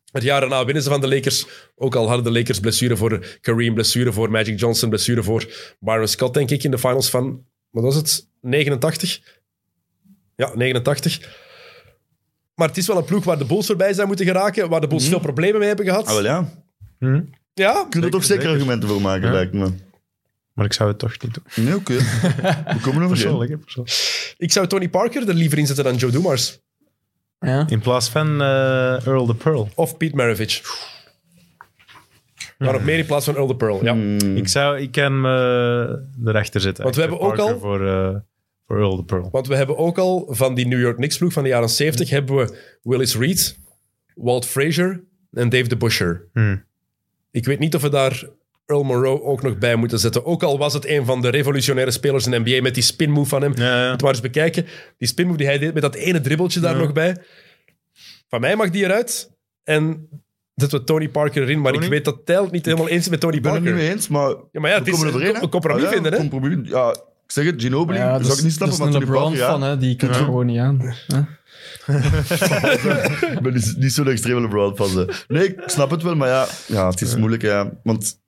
S1: Het jaar daarna winnen ze van de Lakers. Ook al hadden de Lakers blessure voor Kareem, blessure voor Magic Johnson, blessure voor Byron Scott, denk ik, in de finals van, wat was het, 89? Ja, 89. Maar het is wel een ploeg waar de Bulls voorbij zijn moeten geraken, waar de Bulls veel problemen mee hebben gehad.
S2: Hmm. Ah, wel ja.
S1: Ja,
S2: Kun je er toch zeker
S3: zeker.
S2: argumenten voor maken,
S3: Ja.
S2: lijkt me.
S3: Maar ik zou het toch niet doen.
S2: Nee, oké. We komen over geen.
S3: Persoonlijk, hè, persoonlijk.
S1: ik zou Tony Parker er liever in zetten dan Joe Dumars.
S4: Ja.
S3: In plaats van eh, Earl the Pearl.
S1: of Pete Maravich. Maar op meer in plaats van Earl the Pearl.
S2: Hmm. Mm,
S1: Ja.
S3: Ik zou, ik kan me erachter zitten.
S1: Hmm. Want we hebben ook
S3: Parker
S1: al-
S3: Voor, eh, voor Earl the Pearl.
S1: Want we hebben ook al van die New York Knicks ploeg van de jaren 70 hebben we Willis Reed, Walt Frazier en Dave de Busher.
S3: Hmm.
S1: Ik weet niet of we daar Earl Monroe ook nog bij moeten zetten. Ook al was het een van de revolutionaire spelers in de NBA met die spin move van hem.
S3: Ja, ja.
S1: Het maar eens bekijken. Die spin move die hij deed met dat ene dribbeltje daar nog bij. Van mij mag die eruit. En zetten we Tony Parker erin. Maar ik
S3: Tony?
S1: weet dat Tijl niet helemaal eens is met Tony
S2: Ik ben het
S1: Parker.
S2: niet mee eens, maar,
S1: Ja, maar ja, het
S2: we
S1: is
S2: komen
S1: een
S2: overeen.
S1: co-
S2: hè.
S1: een compromis
S2: Ah, ja,
S1: vinden, hè?
S2: compromis. Ja, ik zeg het, Ginobili,
S4: Ja,
S2: dat zou ik niet snappen,
S4: dat
S2: maar
S4: is een
S2: Tony
S4: LeBron
S2: Parker, ja.
S4: van, hè? die kan er gewoon niet aan. hè.
S2: Ik ben dus niet zo'n extreme LeBron fan. hè. Nee, ik snap het wel, maar ja, ja het is moeilijk. Ja, want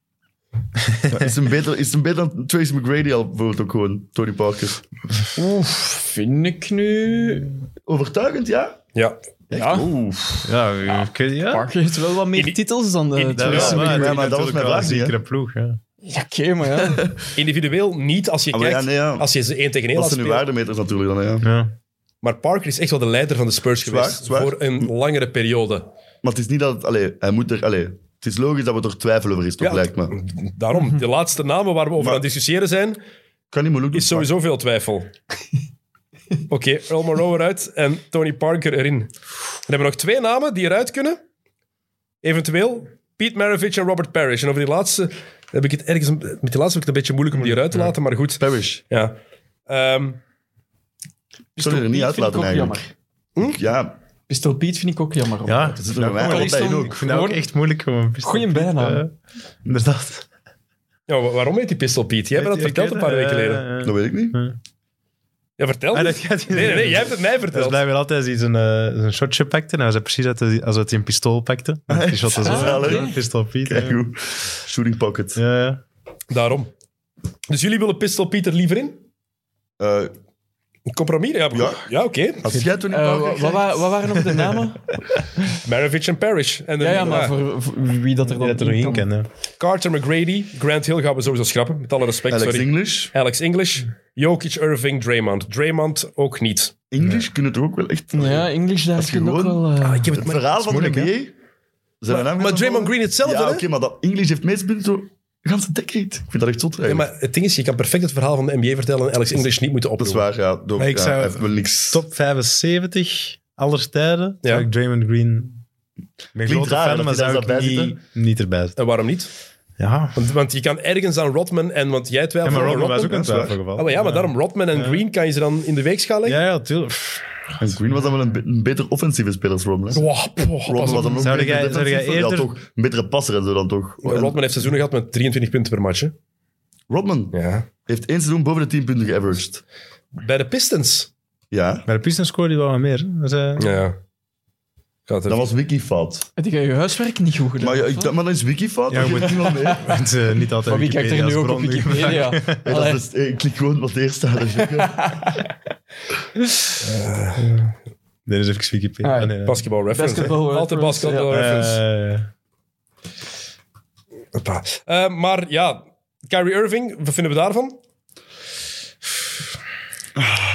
S2: ja, is hem beter, is hem beter dan Tracy McGrady al bijvoorbeeld ook gewoon, Tony Parker?
S4: Oeh, vind ik nu.
S2: Overtuigend, ja?
S1: Ja,
S4: Ja,
S2: Oeh.
S3: Ja,
S1: Ah,
S3: ik weet- ja.
S4: Parker heeft wel wat meer titels dan de.
S3: Dat wel,
S4: Tracy
S3: maar
S4: McGrady.
S3: het is
S2: maar dat was
S3: natuurlijk
S2: mijn
S3: wel
S2: vraag
S3: een
S2: niet, hè.
S3: zekere ploeg. Ja.
S4: Ja, oké, maar ja.
S1: Individueel niet als je
S2: Ah, maar
S1: kijkt,
S2: ja, nee, ja.
S1: als je ze één tegen één
S2: Dat
S1: laat
S2: zijn nu
S1: spelen.
S2: waardemeters natuurlijk dan, ja.
S3: Ja.
S1: Maar Parker is echt wel de leider van de Spurs
S2: Zwaar,
S1: geweest
S2: zwaar.
S1: voor een langere periode.
S2: Maar het is niet dat... het- Allee, hij moet er... Allee, het is logisch dat we er twijfel over is, toch,
S1: Ja,
S2: lijkt me. Ik
S1: Daarom, de laatste namen waar we over
S2: Maar-
S1: aan het discussiëren zijn,
S2: kan niet moeilijk doen.
S1: is sowieso veel twijfel. Oké, Earl Monroe eruit en Tony Parker erin. Dan hebben we nog twee namen die eruit kunnen. Eventueel Pete Maravich en Robert Parrish. En over die laatste heb ik het ergens... een- Met die laatste heb ik het een beetje moeilijk om die eruit te laten, maar goed.
S2: Parrish.
S1: Ja. Ehm,
S2: Ik zou die er niet uit
S4: Vind ik
S2: laten,
S4: ook
S2: eigenlijk.
S4: jammer.
S2: Ik- Ja,
S4: Pistol Pete vind ik ook jammer. hoor.
S3: ja.
S2: dat zit er bij mij
S4: kan
S2: altijd
S4: ik
S2: in
S4: stom-
S2: ook.
S3: Ik vind dat ook
S4: Gewoon-
S3: echt moeilijk om een pistool-
S4: Goeie bijnaam.
S3: Eh, inderdaad.
S1: ja, wa- waarom heet die Pistol Pete? Jij hebt me dat
S3: Ik
S1: verteld
S3: weet
S1: een paar
S3: het,
S1: weken
S3: eh,
S1: geleden.
S3: eh,
S2: Dat weet ik niet.
S1: Ja, vertel.
S3: Ah,
S1: me.
S3: dat gaat niet.
S1: nee, nee, nee, jij hebt het mij
S3: Dat is
S1: verteld.
S3: blijkbaar altijd als hij zijn, eh, zijn shotje pakte. Nou, was dat precies uit de- als hij een pistool pakte. Die shot is
S4: Ah,
S3: zo.
S4: oké.
S3: ja, Pistool Piet.
S2: Kijk
S3: Ja.
S2: hoe. Shooting pocket.
S3: Ja, ja.
S1: Daarom. Dus jullie willen Pistol Pieter liever in?
S2: Eh,
S1: Een compromis? Ja,
S2: Ja.
S1: ja. oké.
S2: als jij Tony
S4: Eh,
S2: Parker
S4: wa-
S2: krijgt-
S4: wat, wa- wat waren nog de namen?
S1: Maravich en Parrish. En dan-
S4: Ja, ja,
S1: ja.
S4: maar voor, voor wie dat er dan
S3: Dat er nog in kan. hè.
S1: Carter McGrady, Grant Hill gaan we sowieso schrappen. Met alle respect,
S2: Alex
S1: sorry.
S2: English.
S1: Alex English, Jokic, Irving, Draymond. Draymond ook niet.
S2: English kunnen toch ook wel echt...
S4: Ja, English daar
S2: Als je
S4: vind ik ook
S2: gewoon- Ah,
S4: wel... eh,
S1: Ah, heb
S2: Het verhaal van de NBA... Zijn we nou
S1: Maar
S2: met-
S1: Draymond Green hetzelfde,
S2: Ja,
S1: hè?
S2: oké, maar dat English heeft meest punten De ganse decade. Ik vind dat echt zot.
S1: Nee,
S2: eigenlijk.
S1: maar het ding is, je kan perfect het verhaal van de NBA vertellen en Alex English niet moeten
S2: dat is
S1: opdoen.
S2: waar, ja. Door,
S3: Maar ik
S2: ja,
S3: zou-
S2: hij heeft wel niks.
S3: Top 75 aller tijden. Ja.
S1: Ja.
S3: ik Draymond Green. Ik ben
S2: Klinkt
S3: grote
S2: raar,
S3: fan,
S2: dat
S3: maar
S2: hij daar
S3: zou
S2: zou
S3: ik
S2: bij
S3: niet, niet erbij zitten.
S1: En waarom niet?
S3: Ja,
S1: Want, want je kan ergens aan Rodman en... Want jij
S3: ja
S1: twijfelt
S3: maar
S1: aan
S3: Rodman was ook
S1: Rodman.
S3: een
S2: dat is waar.
S3: twijfelgeval.
S1: Ah, maar ja, maar daarom Rodman en
S3: Ja.
S1: Green kan je ze dan in de week schalen.
S3: Ja, ja, tuurlijk. Pff,
S2: En Green was dan wel een, be- een beter offensieve speler als Rodman. hè?
S1: Wow, poh, pas
S2: Rodman
S1: op.
S2: was dan nog
S3: Zou
S2: beter
S3: jij- zou
S2: defensief.
S3: jij eerder-
S2: Ja, toch. Een betere passer en zo dan toch. En
S1: Rodman heeft seizoenen gehad met 23 punten per match. hè.
S2: Rodman heeft één seizoen boven de 10 punten geaveraged.
S1: Bij de Pistons.
S2: Ja,
S3: Maar de Pistons scoorde die wel wat meer. hè. Dus, eh,
S1: Ja. Gaat
S2: dat
S1: er.
S2: was Wiki fout.
S4: Heb jij je huiswerk niet goed gedaan?
S2: Maar, ja, ik, dacht, maar dan is Wiki fout.
S3: Ja,
S2: Ja,
S3: je moet-
S2: niemand mee.
S3: want, eh, niet altijd
S4: Van wie kijkt er nu ook op Wikipedia?
S2: Hey, dat
S4: Allee.
S2: is, dus- hey, ik klik gewoon wat eerst staat. dat is ook, eh, hè.
S3: Dit is even Wikipedia.
S4: Ah,
S3: Ah, nee, nee.
S1: Basketball reference. hè.
S4: Basketball
S1: Altijd
S4: reference,
S1: basketball
S3: Eh,
S1: reference. Hoppa. Eh, maar ja, Kyrie Irving, wat vinden we daarvan?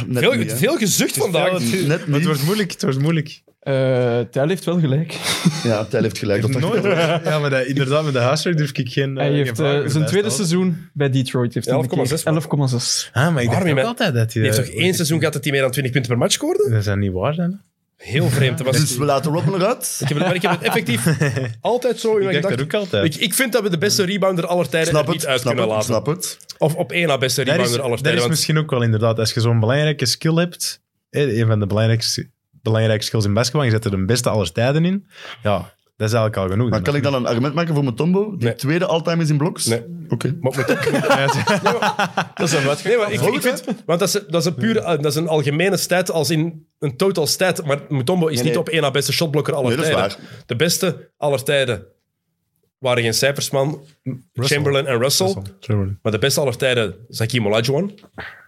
S2: Net
S1: Veel,
S2: niet, hè.
S1: veel gezucht vandaag.
S2: het- Net
S3: het
S2: niet.
S3: wordt moeilijk, het wordt moeilijk.
S4: Eh, Tijl heeft wel gelijk.
S2: Ja, Tijl heeft gelijk. Dat dacht ik
S3: Nooit. Ja, maar dat, inderdaad, met de huiswerk durf ik geen... eh,
S4: hij
S3: geen
S4: heeft eh,
S3: vragen erbij
S4: zijn tweede
S3: stellen.
S4: seizoen bij Detroit. heeft hij
S1: 11,6
S4: bekeerd. 11,6.
S3: Ah, maar ik
S1: Waarom
S3: dacht ook
S1: je-
S3: altijd dat hij...
S1: Die heeft
S3: dat-
S1: toch één seizoen gehad dat hij meer dan 20 punten per match scoorde?
S3: Dat zou niet waar zijn. hè?
S1: Heel vreemd. Dat was,
S2: Dus we laten Rodman eruit.
S1: ik, heb, het- maar ik heb het effectief altijd zo in
S3: Ik
S1: mijn
S3: dacht dat
S1: gedachten.
S3: ook altijd.
S1: Ik, ik vind dat we de beste rebounder aller tijden
S2: Snap
S1: er
S2: het,
S1: niet uit
S2: snap
S1: kunnen
S2: het,
S1: laten.
S2: snap het.
S1: Of op één na beste
S3: Dat
S1: rebounder
S3: is,
S1: aller
S3: dat
S1: tijden.
S3: is
S1: want-
S3: misschien ook wel inderdaad, als je zo'n belangrijke skill hebt, eh, een van de belangrijkste, belangrijke skills in basketbal, je zet er de beste aller tijden in, ja, dat is eigenlijk al genoeg.
S2: Maar kan ik dan een argument maken voor Mutombo? Die
S1: Nee.
S2: tweede all-time is in bloks?
S1: Nee.
S2: Oké.
S1: Maar met dat is een nee, maar ik, ik vind, Want dat is, dat is een pure, dat is een algemene stat als in een total stat. Maar Mutombo is
S2: nee.
S1: niet op één na beste shotblokker aller
S2: Nee, dat is
S1: tijden. De beste aller tijden waren geen cijfers man. Chamberlain en Russell. Maar de beste aller tijden is Hakim Olajuwon.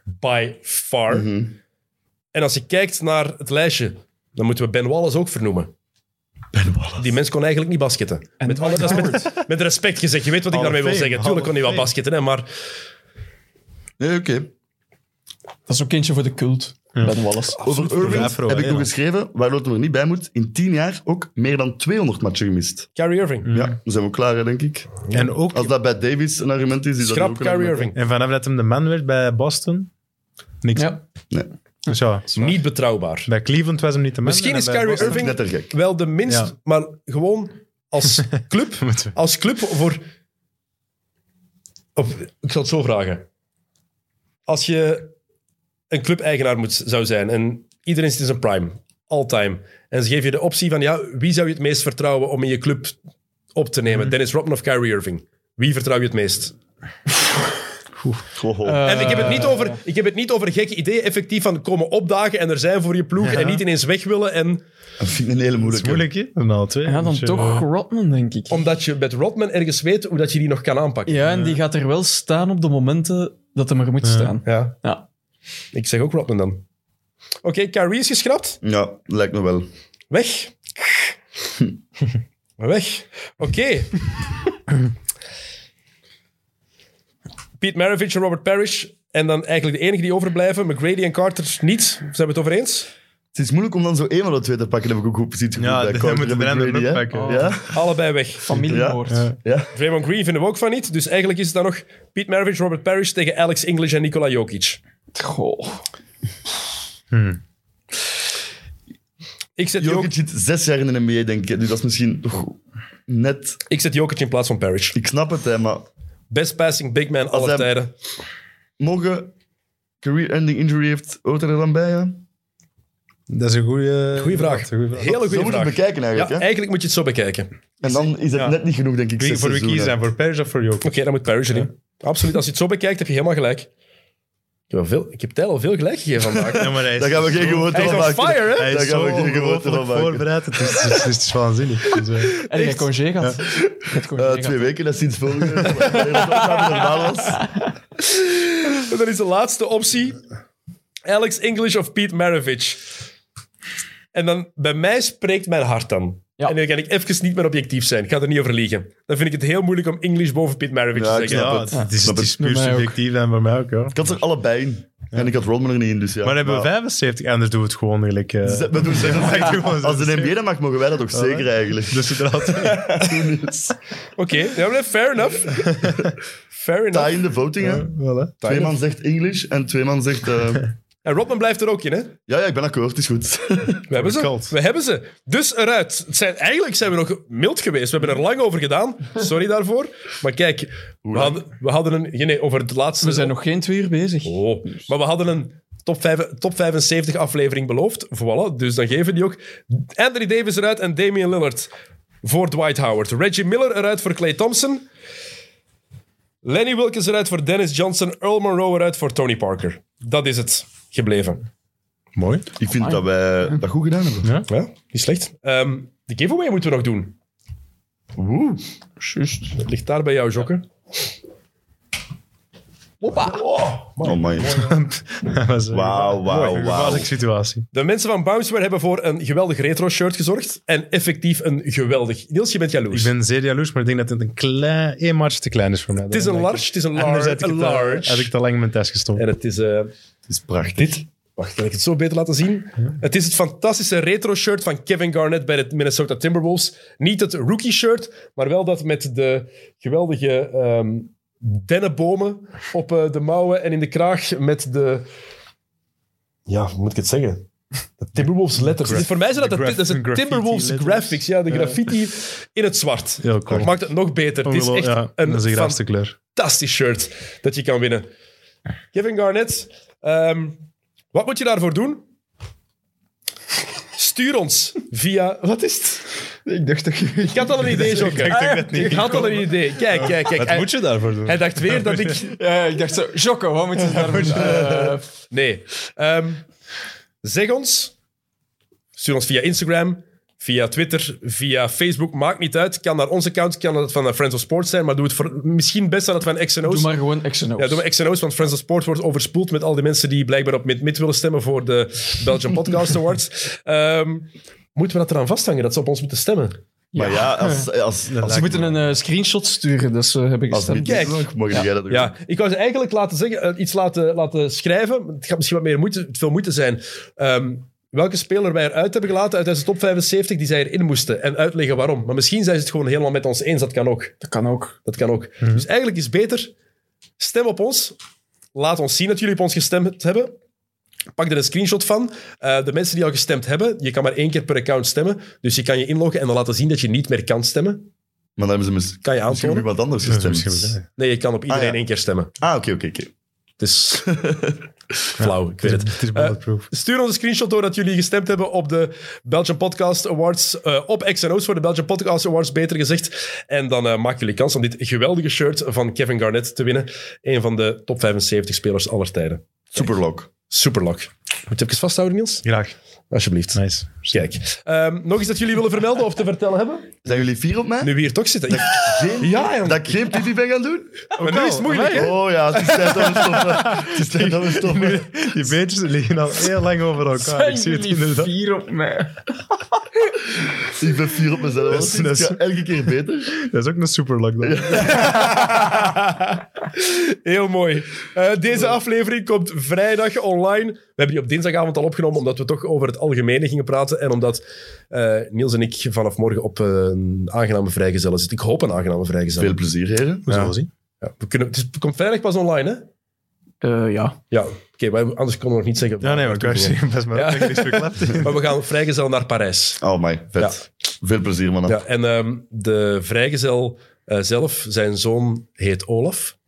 S1: By far.
S2: Mhm.
S1: En als je kijkt naar het lijstje, dan moeten we Ben Wallace ook vernoemen. Die mens kon eigenlijk niet basketten. Met, alle, dat is met, met respect gezegd. Je weet wat ik
S3: Hall of
S1: daarmee wil
S3: Fame,
S1: zeggen.
S3: Hall
S1: Tuurlijk kon hij
S3: of
S1: wel
S3: Fame.
S1: basketten, hè, maar...
S2: Nee, oké.
S4: Dat is ook eentje voor de cult. Ben Wallace.
S2: Over
S3: voor de
S2: Irving
S3: afro,
S2: heb
S3: hè,
S2: ik nog
S3: ja.
S2: geschreven, waar Lotte er niet bij moet, in tien jaar ook meer dan 200 matchen gemist.
S1: Kyrie Irving.
S2: Ja, dan zijn we klaar, hè, denk ik.
S3: En ook,
S2: Als dat bij Davis een argument is, is dat
S1: Schrap
S2: ook een
S1: Kyrie
S2: argument.
S1: Irving.
S3: en vanaf dat hem de man werd bij Boston, niks.
S4: Ja.
S2: Nee,
S3: Dus ja,
S1: Niet betrouwbaar.
S3: bij Cleveland was hem niet de man.
S1: Misschien
S3: en
S1: is
S3: bij
S1: Kyrie
S3: Boston-
S2: dat is
S1: Irving
S2: net er gek.
S1: wel de minst,
S3: Ja.
S1: maar gewoon als club,
S3: Moeten we-
S1: als club voor... Of, ik zal het zo vragen. Als je een club-eigenaar moet, zou zijn en iedereen zit in zijn prime, all-time, en ze geven je de optie van ja, wie zou je het meest vertrouwen om in je club op te nemen? Dennis Rodman of Kyrie Irving? Wie vertrouw je het meest?
S2: Ho, ho.
S4: Eh.
S1: En ik heb, het niet over, ik heb het niet over gekke ideeën, effectief van komen opdagen en er zijn voor je ploeg en niet ineens weg willen. En
S2: dat vind ik een hele
S3: Dat is
S2: moeilijke.
S3: moeilijk, hè? Nou, twee.
S4: Ja, dan
S3: Dus, eh,
S4: toch Rodman, denk ik.
S1: omdat je met Rodman ergens weet hoe dat je die nog kan aanpakken.
S4: Ja, en die gaat er wel staan op de momenten dat hem er moet staan.
S1: Ja.
S4: Ja.
S1: Ik zeg ook Rodman dan. Oké, Kyrie is geschrapt.
S2: Ja, lijkt me wel.
S1: Weg. Weg. Oké. Pete Maravich en Robert Parrish. En dan eigenlijk de enige die overblijven, McGrady en Carter niet. Zijn we het over eens?
S2: Het is moeilijk om dan zo één van de twee te pakken, heb ik ook goed precies gevoeld.
S3: Ja,
S2: bij
S3: dan
S2: Carter
S3: moet je
S2: en
S3: de
S2: McGrady,
S3: random
S2: hè.
S3: pakken. Oh.
S2: Ja?
S1: Allebei weg.
S4: Familiemoord.
S3: Ja.
S2: ja,
S1: Draymond Green vinden we ook van niet. Dus eigenlijk is het dan nog Pete Maravich, Robert Parrish tegen Alex English en Nikola Jokic.
S4: Goh.
S1: Ik zet Jokic,
S2: Jokic zit zes jaar in de NBA, denk ik. Dus dat is misschien toch net...
S1: ik zet Jokic in plaats van Parrish.
S2: Ik snap het, hè, maar
S1: Best passing big man aller
S2: hij-
S1: tijden.
S2: mogen career-ending injury heeft hoort er dan bij, ja?
S3: Dat is een goede
S1: Goeie vraag. Hele goede
S2: Zo moet je
S1: vraag.
S2: het bekijken
S1: ja,
S2: eigenlijk, hè?
S1: eigenlijk moet je het zo bekijken. Oké,
S2: En dan is het net niet genoeg, denk ik.
S3: Wie
S2: zes
S3: voor wie
S2: seizoenen.
S3: kiezen zijn? Voor Paris of voor Jokic?
S1: dan moet Parrish erin. Absoluut, als je het zo bekijkt, heb je helemaal gelijk. Ik heb, al veel, ik heb Tijl al veel gelijk gegeven vandaag.
S3: Ja, maar hij is
S2: Daar gaan we geen gewoonte
S1: Hij is
S2: van
S1: on
S2: maken.
S1: fire, hè?
S3: Hij
S2: Daar
S3: is
S2: gaan
S3: zo
S2: we geen
S3: ongelooflijk
S2: gewoonte van maken.
S3: voorbereid. Het is, het is, het is waanzinnig. Dus, eh,
S4: En jij congé gaat. Je hebt congé
S2: Eh,
S4: gehad.
S2: twee weken, dat is sinds vorige week. Maar dat is ook wat normaal was.
S1: Dan is de laatste optie Alex English of Pete Maravich. En dan, bij mij spreekt mijn hart dan.
S4: Ja.
S1: En dan kan ik even niet meer objectief zijn. Ik ga er niet over liegen. Dan vind ik het heel moeilijk om English boven Pete Maravich
S2: Ja,
S1: te
S2: ik
S1: zeggen.
S2: snap
S3: ja,
S2: het.
S3: het is,
S2: Snap
S3: het
S2: het.
S3: is puur
S4: Bij mij ook.
S3: subjectief en voor mij ook. Ja.
S2: Ik had ze er allebei in. En ik had Rodman er niet in, dus ja.
S3: Maar hebben we 75, anders doen we het gewoon gelijk. eh,
S2: Ze- we doen ze-
S3: Ja, echt gewoon zo.
S2: Als de NBA dat mag, mogen wij dat ook zeker eigenlijk.
S3: Dus inderdaad.
S1: Oké, ja, maar fair enough. fair enough.
S2: Tie in de voting, hè.
S3: voilà.
S2: Twee man zegt English en twee man zegt... eh,
S1: En Rodman blijft er ook in, hè?
S2: ja, ja, ik ben akkoord, is goed.
S1: We hebben ze.
S3: Cult.
S1: We hebben ze. Dus eruit. Het zijn, eigenlijk zijn we nog mild geweest. We hebben er lang over gedaan. Sorry daarvoor. Maar kijk, we hadden, we hadden een... ja, Nee, over het laatste...
S4: We zijn nog geen twee uur bezig.
S1: Oh, maar we hadden een top, vijf- top 75 aflevering beloofd. Voilà, dus dan geven die ook. Anthony Davis eruit en Damian Lillard voor Dwight Howard. Reggie Miller eruit voor Clay Thompson. Lenny Wilkins eruit voor Dennis Johnson. Earl Monroe eruit voor Tony Parker. Dat is het gebleven.
S3: Mooi.
S2: Ik vind dat wij dat goed gedaan hebben.
S1: Ja, niet slecht. Ehm, de giveaway moeten we nog doen.
S2: Oeh.
S4: Juist.
S1: Dat ligt daar bij jou, Jokke.
S2: Oh my.
S3: Dat was een
S2: Wauw,
S3: mooi,
S2: wauw,
S3: een
S2: wauw.
S3: gevaarlijke situatie.
S1: De mensen van Bounceware hebben voor een geweldig retro-shirt gezorgd. En effectief een geweldig... Niels, je bent jaloers.
S3: Ik ben zeer jaloers, maar ik denk dat het een klein, één maatje te klein is voor mij.
S1: Het is een large, het is een
S3: Anders
S1: large,
S3: had ik,
S1: een
S3: het, eh,
S1: large.
S3: had ik het al lang in mijn test gestopt.
S1: En het is... eh,
S2: Het is prachtig.
S1: Dit. Wacht, kan ik het zo beter laten zien? Het is het fantastische retro-shirt van Kevin Garnett bij de Minnesota Timberwolves. Niet het rookie-shirt, maar wel dat met de geweldige ehm, dennenbomen op eh, de mouwen en in de kraag met de... Ja, hoe moet ik het zeggen? De Timberwolves letters. Voor mij zijn dat,
S3: de
S1: de,
S3: graf-
S1: dat is het
S3: graffiti
S1: Timberwolves
S3: letters.
S1: graphics. Ja, de graffiti in het zwart.
S3: Heel cool.
S1: Dat maakt het nog beter. Het is echt
S3: ja,
S1: een
S3: dat is de
S1: fan-
S3: graafste kleur.
S1: fantastisch shirt dat je kan winnen. Kevin Garnett, ehm, wat moet je daarvoor doen? Stuur ons via... Wat is het?
S2: Ik dacht dat je...
S1: Ik had al een idee, Jokke.
S3: dacht dat ik dat niet
S1: Ik had al een idee. Kijk, kijk, kijk. Hij,
S3: je daarvoor doen?
S1: hij dacht weer dat ik...
S4: Ja, ik dacht zo, Jocko, wat moeten ze daarvoor doen? Eh,
S1: Nee. Ehm, zeg ons. Stuur ons via Instagram, via Twitter, via Facebook. Maakt niet uit. Kan naar onze account, kan dat van eh, Friends of Sports zijn. Maar doe het voor, misschien best aan dat van
S4: doe
S1: X&O's.
S4: maar gewoon action
S1: Ja, doen we X en O's, want Friends of Sport wordt overspoeld met al die mensen die blijkbaar op mid-mid willen stemmen voor de Belgian Podcast Awards. Ehm, moeten we dat eraan vasthangen, dat ze op ons moeten stemmen?
S2: Maar ja, als... als, als,
S4: Ze moeten een eh, screenshot sturen, dus eh, heb ik
S2: als
S4: gestemd.
S2: dit is
S1: Kijk.
S2: nog, mogen jij dat ook
S1: Ja, ik wou ze eigenlijk laten zeggen, eh, iets laten, laten schrijven. Het gaat misschien wat meer moeite, veel moeite zijn. Ehm, welke speler wij eruit hebben gelaten uit deze top 75 die zij erin moesten. En uitleggen waarom. Maar misschien zijn ze het gewoon helemaal met ons eens. Dat kan ook.
S4: Dat kan ook.
S1: Dat kan ook. Dus eigenlijk is het beter, stem op ons. Laat ons zien dat jullie op ons gestemd hebben. Pak er een screenshot van. Eh, de mensen die al gestemd hebben, je kan maar één keer per account stemmen. Dus je kan je inloggen en dan laten zien dat je niet meer kan stemmen.
S2: Maar dan hebben ze mis,
S1: Kan je
S2: misschien
S1: aantonen?
S2: nog iemand anders gestemd.
S1: Nee, je kan op iedereen
S2: Ah, ja.
S1: één keer stemmen.
S2: Ah, oké, oké, oké.
S1: Het is flauw, ik weet het.
S3: is eh, bulletproof.
S1: Stuur ons een screenshot door dat jullie gestemd hebben op de Belgian Podcast Awards. eh, op X&O's voor de Belgian Podcast Awards, beter gezegd. En dan eh, maken jullie kans om dit geweldige shirt van Kevin Garnett te winnen. Een van de top 75 spelers aller tijden.
S2: Superlock.
S1: Superlok. Moet je even vasthouden, Niels?
S3: Graag.
S1: Alsjeblieft.
S3: Nice.
S1: Kijk. Ehm, nog iets dat jullie willen vermelden of te vertellen hebben?
S2: Zijn jullie vier op mij?
S1: Nu we hier toch zitten.
S2: Geen-
S1: Ja, jong.
S2: Dat ik geen pipi ben gaan doen?
S1: maar nu is het moeilijk, hè?
S2: Oh ja, het is tijd dat we stoppen. Het is tijd dat we stoppen.
S3: Die beentjes liggen al heel lang over elkaar. Ik zie het inderdaad.
S4: vier op mij?
S2: Ik ben vier op mezelf.
S3: Dat is-
S2: Het
S3: dat is-
S2: gaat elke keer beter.
S3: Dat is ook een super lockdown.
S1: Heel mooi. Eh, deze aflevering komt vrijdag online. We hebben die op dinsdagavond al opgenomen, omdat we toch over het algemene gingen praten. En omdat eh, Niels en ik vanaf morgen op een aangename vrijgezellen zitten. Ik hoop een aangename vrijgezellen.
S2: Veel plezier, heren.
S3: Zullen we zien.
S1: Ja, we kunnen, het, is- het komt vrijdag pas online, hè?
S4: Eh, ja.
S1: Ja, oké, maar anders konden we nog niet zeggen.
S3: Ja, nee, maar ik wou zeggen, best maar
S1: Ja.
S3: dat ik niks verklapt.
S1: Maar we gaan vrijgezel naar Parijs.
S2: Oh my, vet. Veel plezier, mannen.
S1: Ja, en ehm, de vrijgezel eh, zelf, zijn zoon heet Olaf.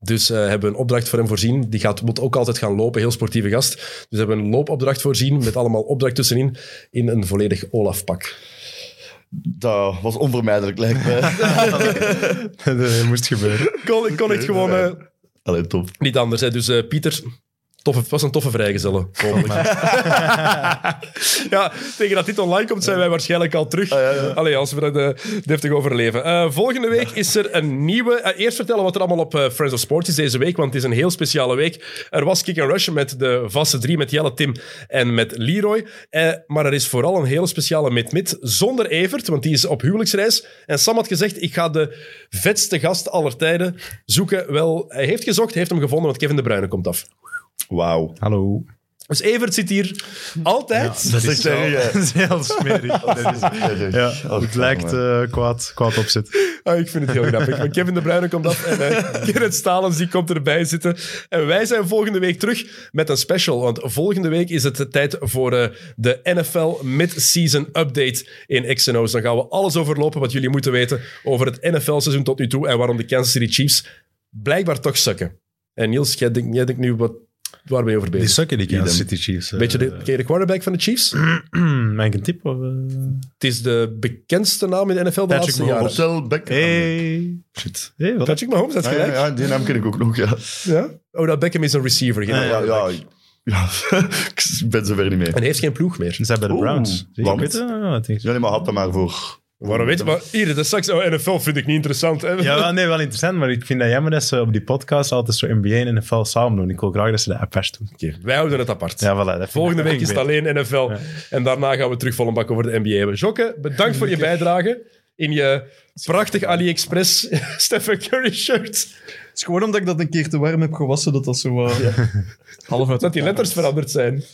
S1: Dus eh, hebben we een opdracht voor hem voorzien. Die gaat, moet ook altijd gaan lopen, heel sportieve gast. Dus hebben we een loopopdracht voorzien met allemaal opdracht tussenin in een volledig Olaf-pak.
S2: Dat was onvermijdelijk, lijkt mij.
S3: Dat eh, moest gebeuren.
S1: Kon, ik kon het gewoon eh,
S2: Allee, top.
S1: niet anders. Hè. Dus eh, Pieter, toffe, was een toffe vrijgezelle. ja, tegen dat dit online komt zijn wij waarschijnlijk al terug. Allee, als we dat eh, deftig overleven. Eh, volgende week is er een nieuwe... eh, eerst vertellen wat er allemaal op eh, Friends of Sports is deze week, want het is een heel speciale week. Er was Kick and Rush met de vaste drie, met Jelle, Tim en met Leroy. Eh, maar er is vooral een hele speciale mid-mid zonder Evert, want die is op huwelijksreis. En Sam had gezegd, ik ga de vetste gast aller tijden zoeken. Wel, hij heeft gezocht, heeft hem gevonden, want Kevin De Bruyne komt af.
S2: Wauw.
S3: Hallo.
S1: Dus Evert zit hier altijd.
S2: Dat zegt
S3: wel-
S2: hij, ja.
S3: dat is heel smerig. Dat is- ja,
S2: Oh,
S3: het lijkt eh, kwaad, kwaad op zit.
S1: Ah, ik vind het heel grappig. Maar Kevin De Bruyne komt af en eh, Gerrit Stalens die komt erbij zitten. En wij zijn volgende week terug met een special. Want volgende week is het de tijd voor eh, de NFL Mid-Season Update in XNO's. Dan gaan we alles overlopen wat jullie moeten weten over het NFL-seizoen tot nu toe en waarom de Kansas City Chiefs blijkbaar toch sukken. En Niels, jij denkt, jij denkt nu, wat, waar ben je over
S3: Die
S1: bezig?
S3: sukken, die Kansas
S2: Idem.
S3: City Chiefs. eh.
S1: Weet je de, ken je de quarterback van de Chiefs?
S3: Mijn ik een tip? Of, eh?
S1: Het is de bekendste naam in de NFL de
S3: Patrick
S1: laatste jaren.
S3: Mahomes.
S2: Hotel Beckham.
S3: Hey.
S2: Shit.
S3: Hey, wat?
S1: Patrick Mahomes, dat is
S2: Ah, ja,
S1: gelijk.
S2: ja, die naam ken ik ook nog, ja.
S1: Ja? Oh, dat Beckham is een receiver. geen
S3: Ah,
S2: Ja, ja, ik- ja. ik ben zover niet mee.
S1: En heeft geen ploeg meer.
S3: Ze zijn bij de
S2: Oeh,
S3: Browns. Zie je,
S2: want-
S3: ik weet het, ah, het is-
S2: Ja, nee, maar had dat maar voor.
S1: Waarom weet je? Maar hier, de straks. Oh, NFL vind ik niet interessant. Hè?
S3: Ja, wel, nee, wel interessant, maar ik vind dat jammer dat ze op die podcast altijd zo NBA en NFL samen doen. Ik wil graag dat ze dat apart doen.
S1: Oké, wij houden het apart.
S3: Ja, voilà, dat vind ik
S1: Volgende
S3: wel
S1: week is het
S3: beter.
S1: alleen NFL. En daarna gaan we terug vol een bak over de NBA hebben. Jokke, bedankt voor je bijdrage. In je prachtig AliExpress Stephen Curry shirt.
S4: Het is gewoon omdat ik dat een keer te warm heb gewassen, dat dat zo eh, half uit...
S1: Dat die letters veranderd zijn.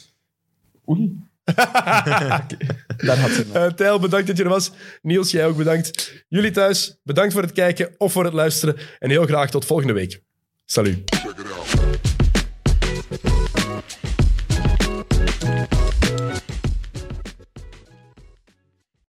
S4: Oei. Daar had ze hem.
S1: Eh Tijl, bedankt dat je er was. Niels, jij ook bedankt. Jullie thuis, bedankt voor het kijken of voor het luisteren. En heel graag tot volgende week. Salut.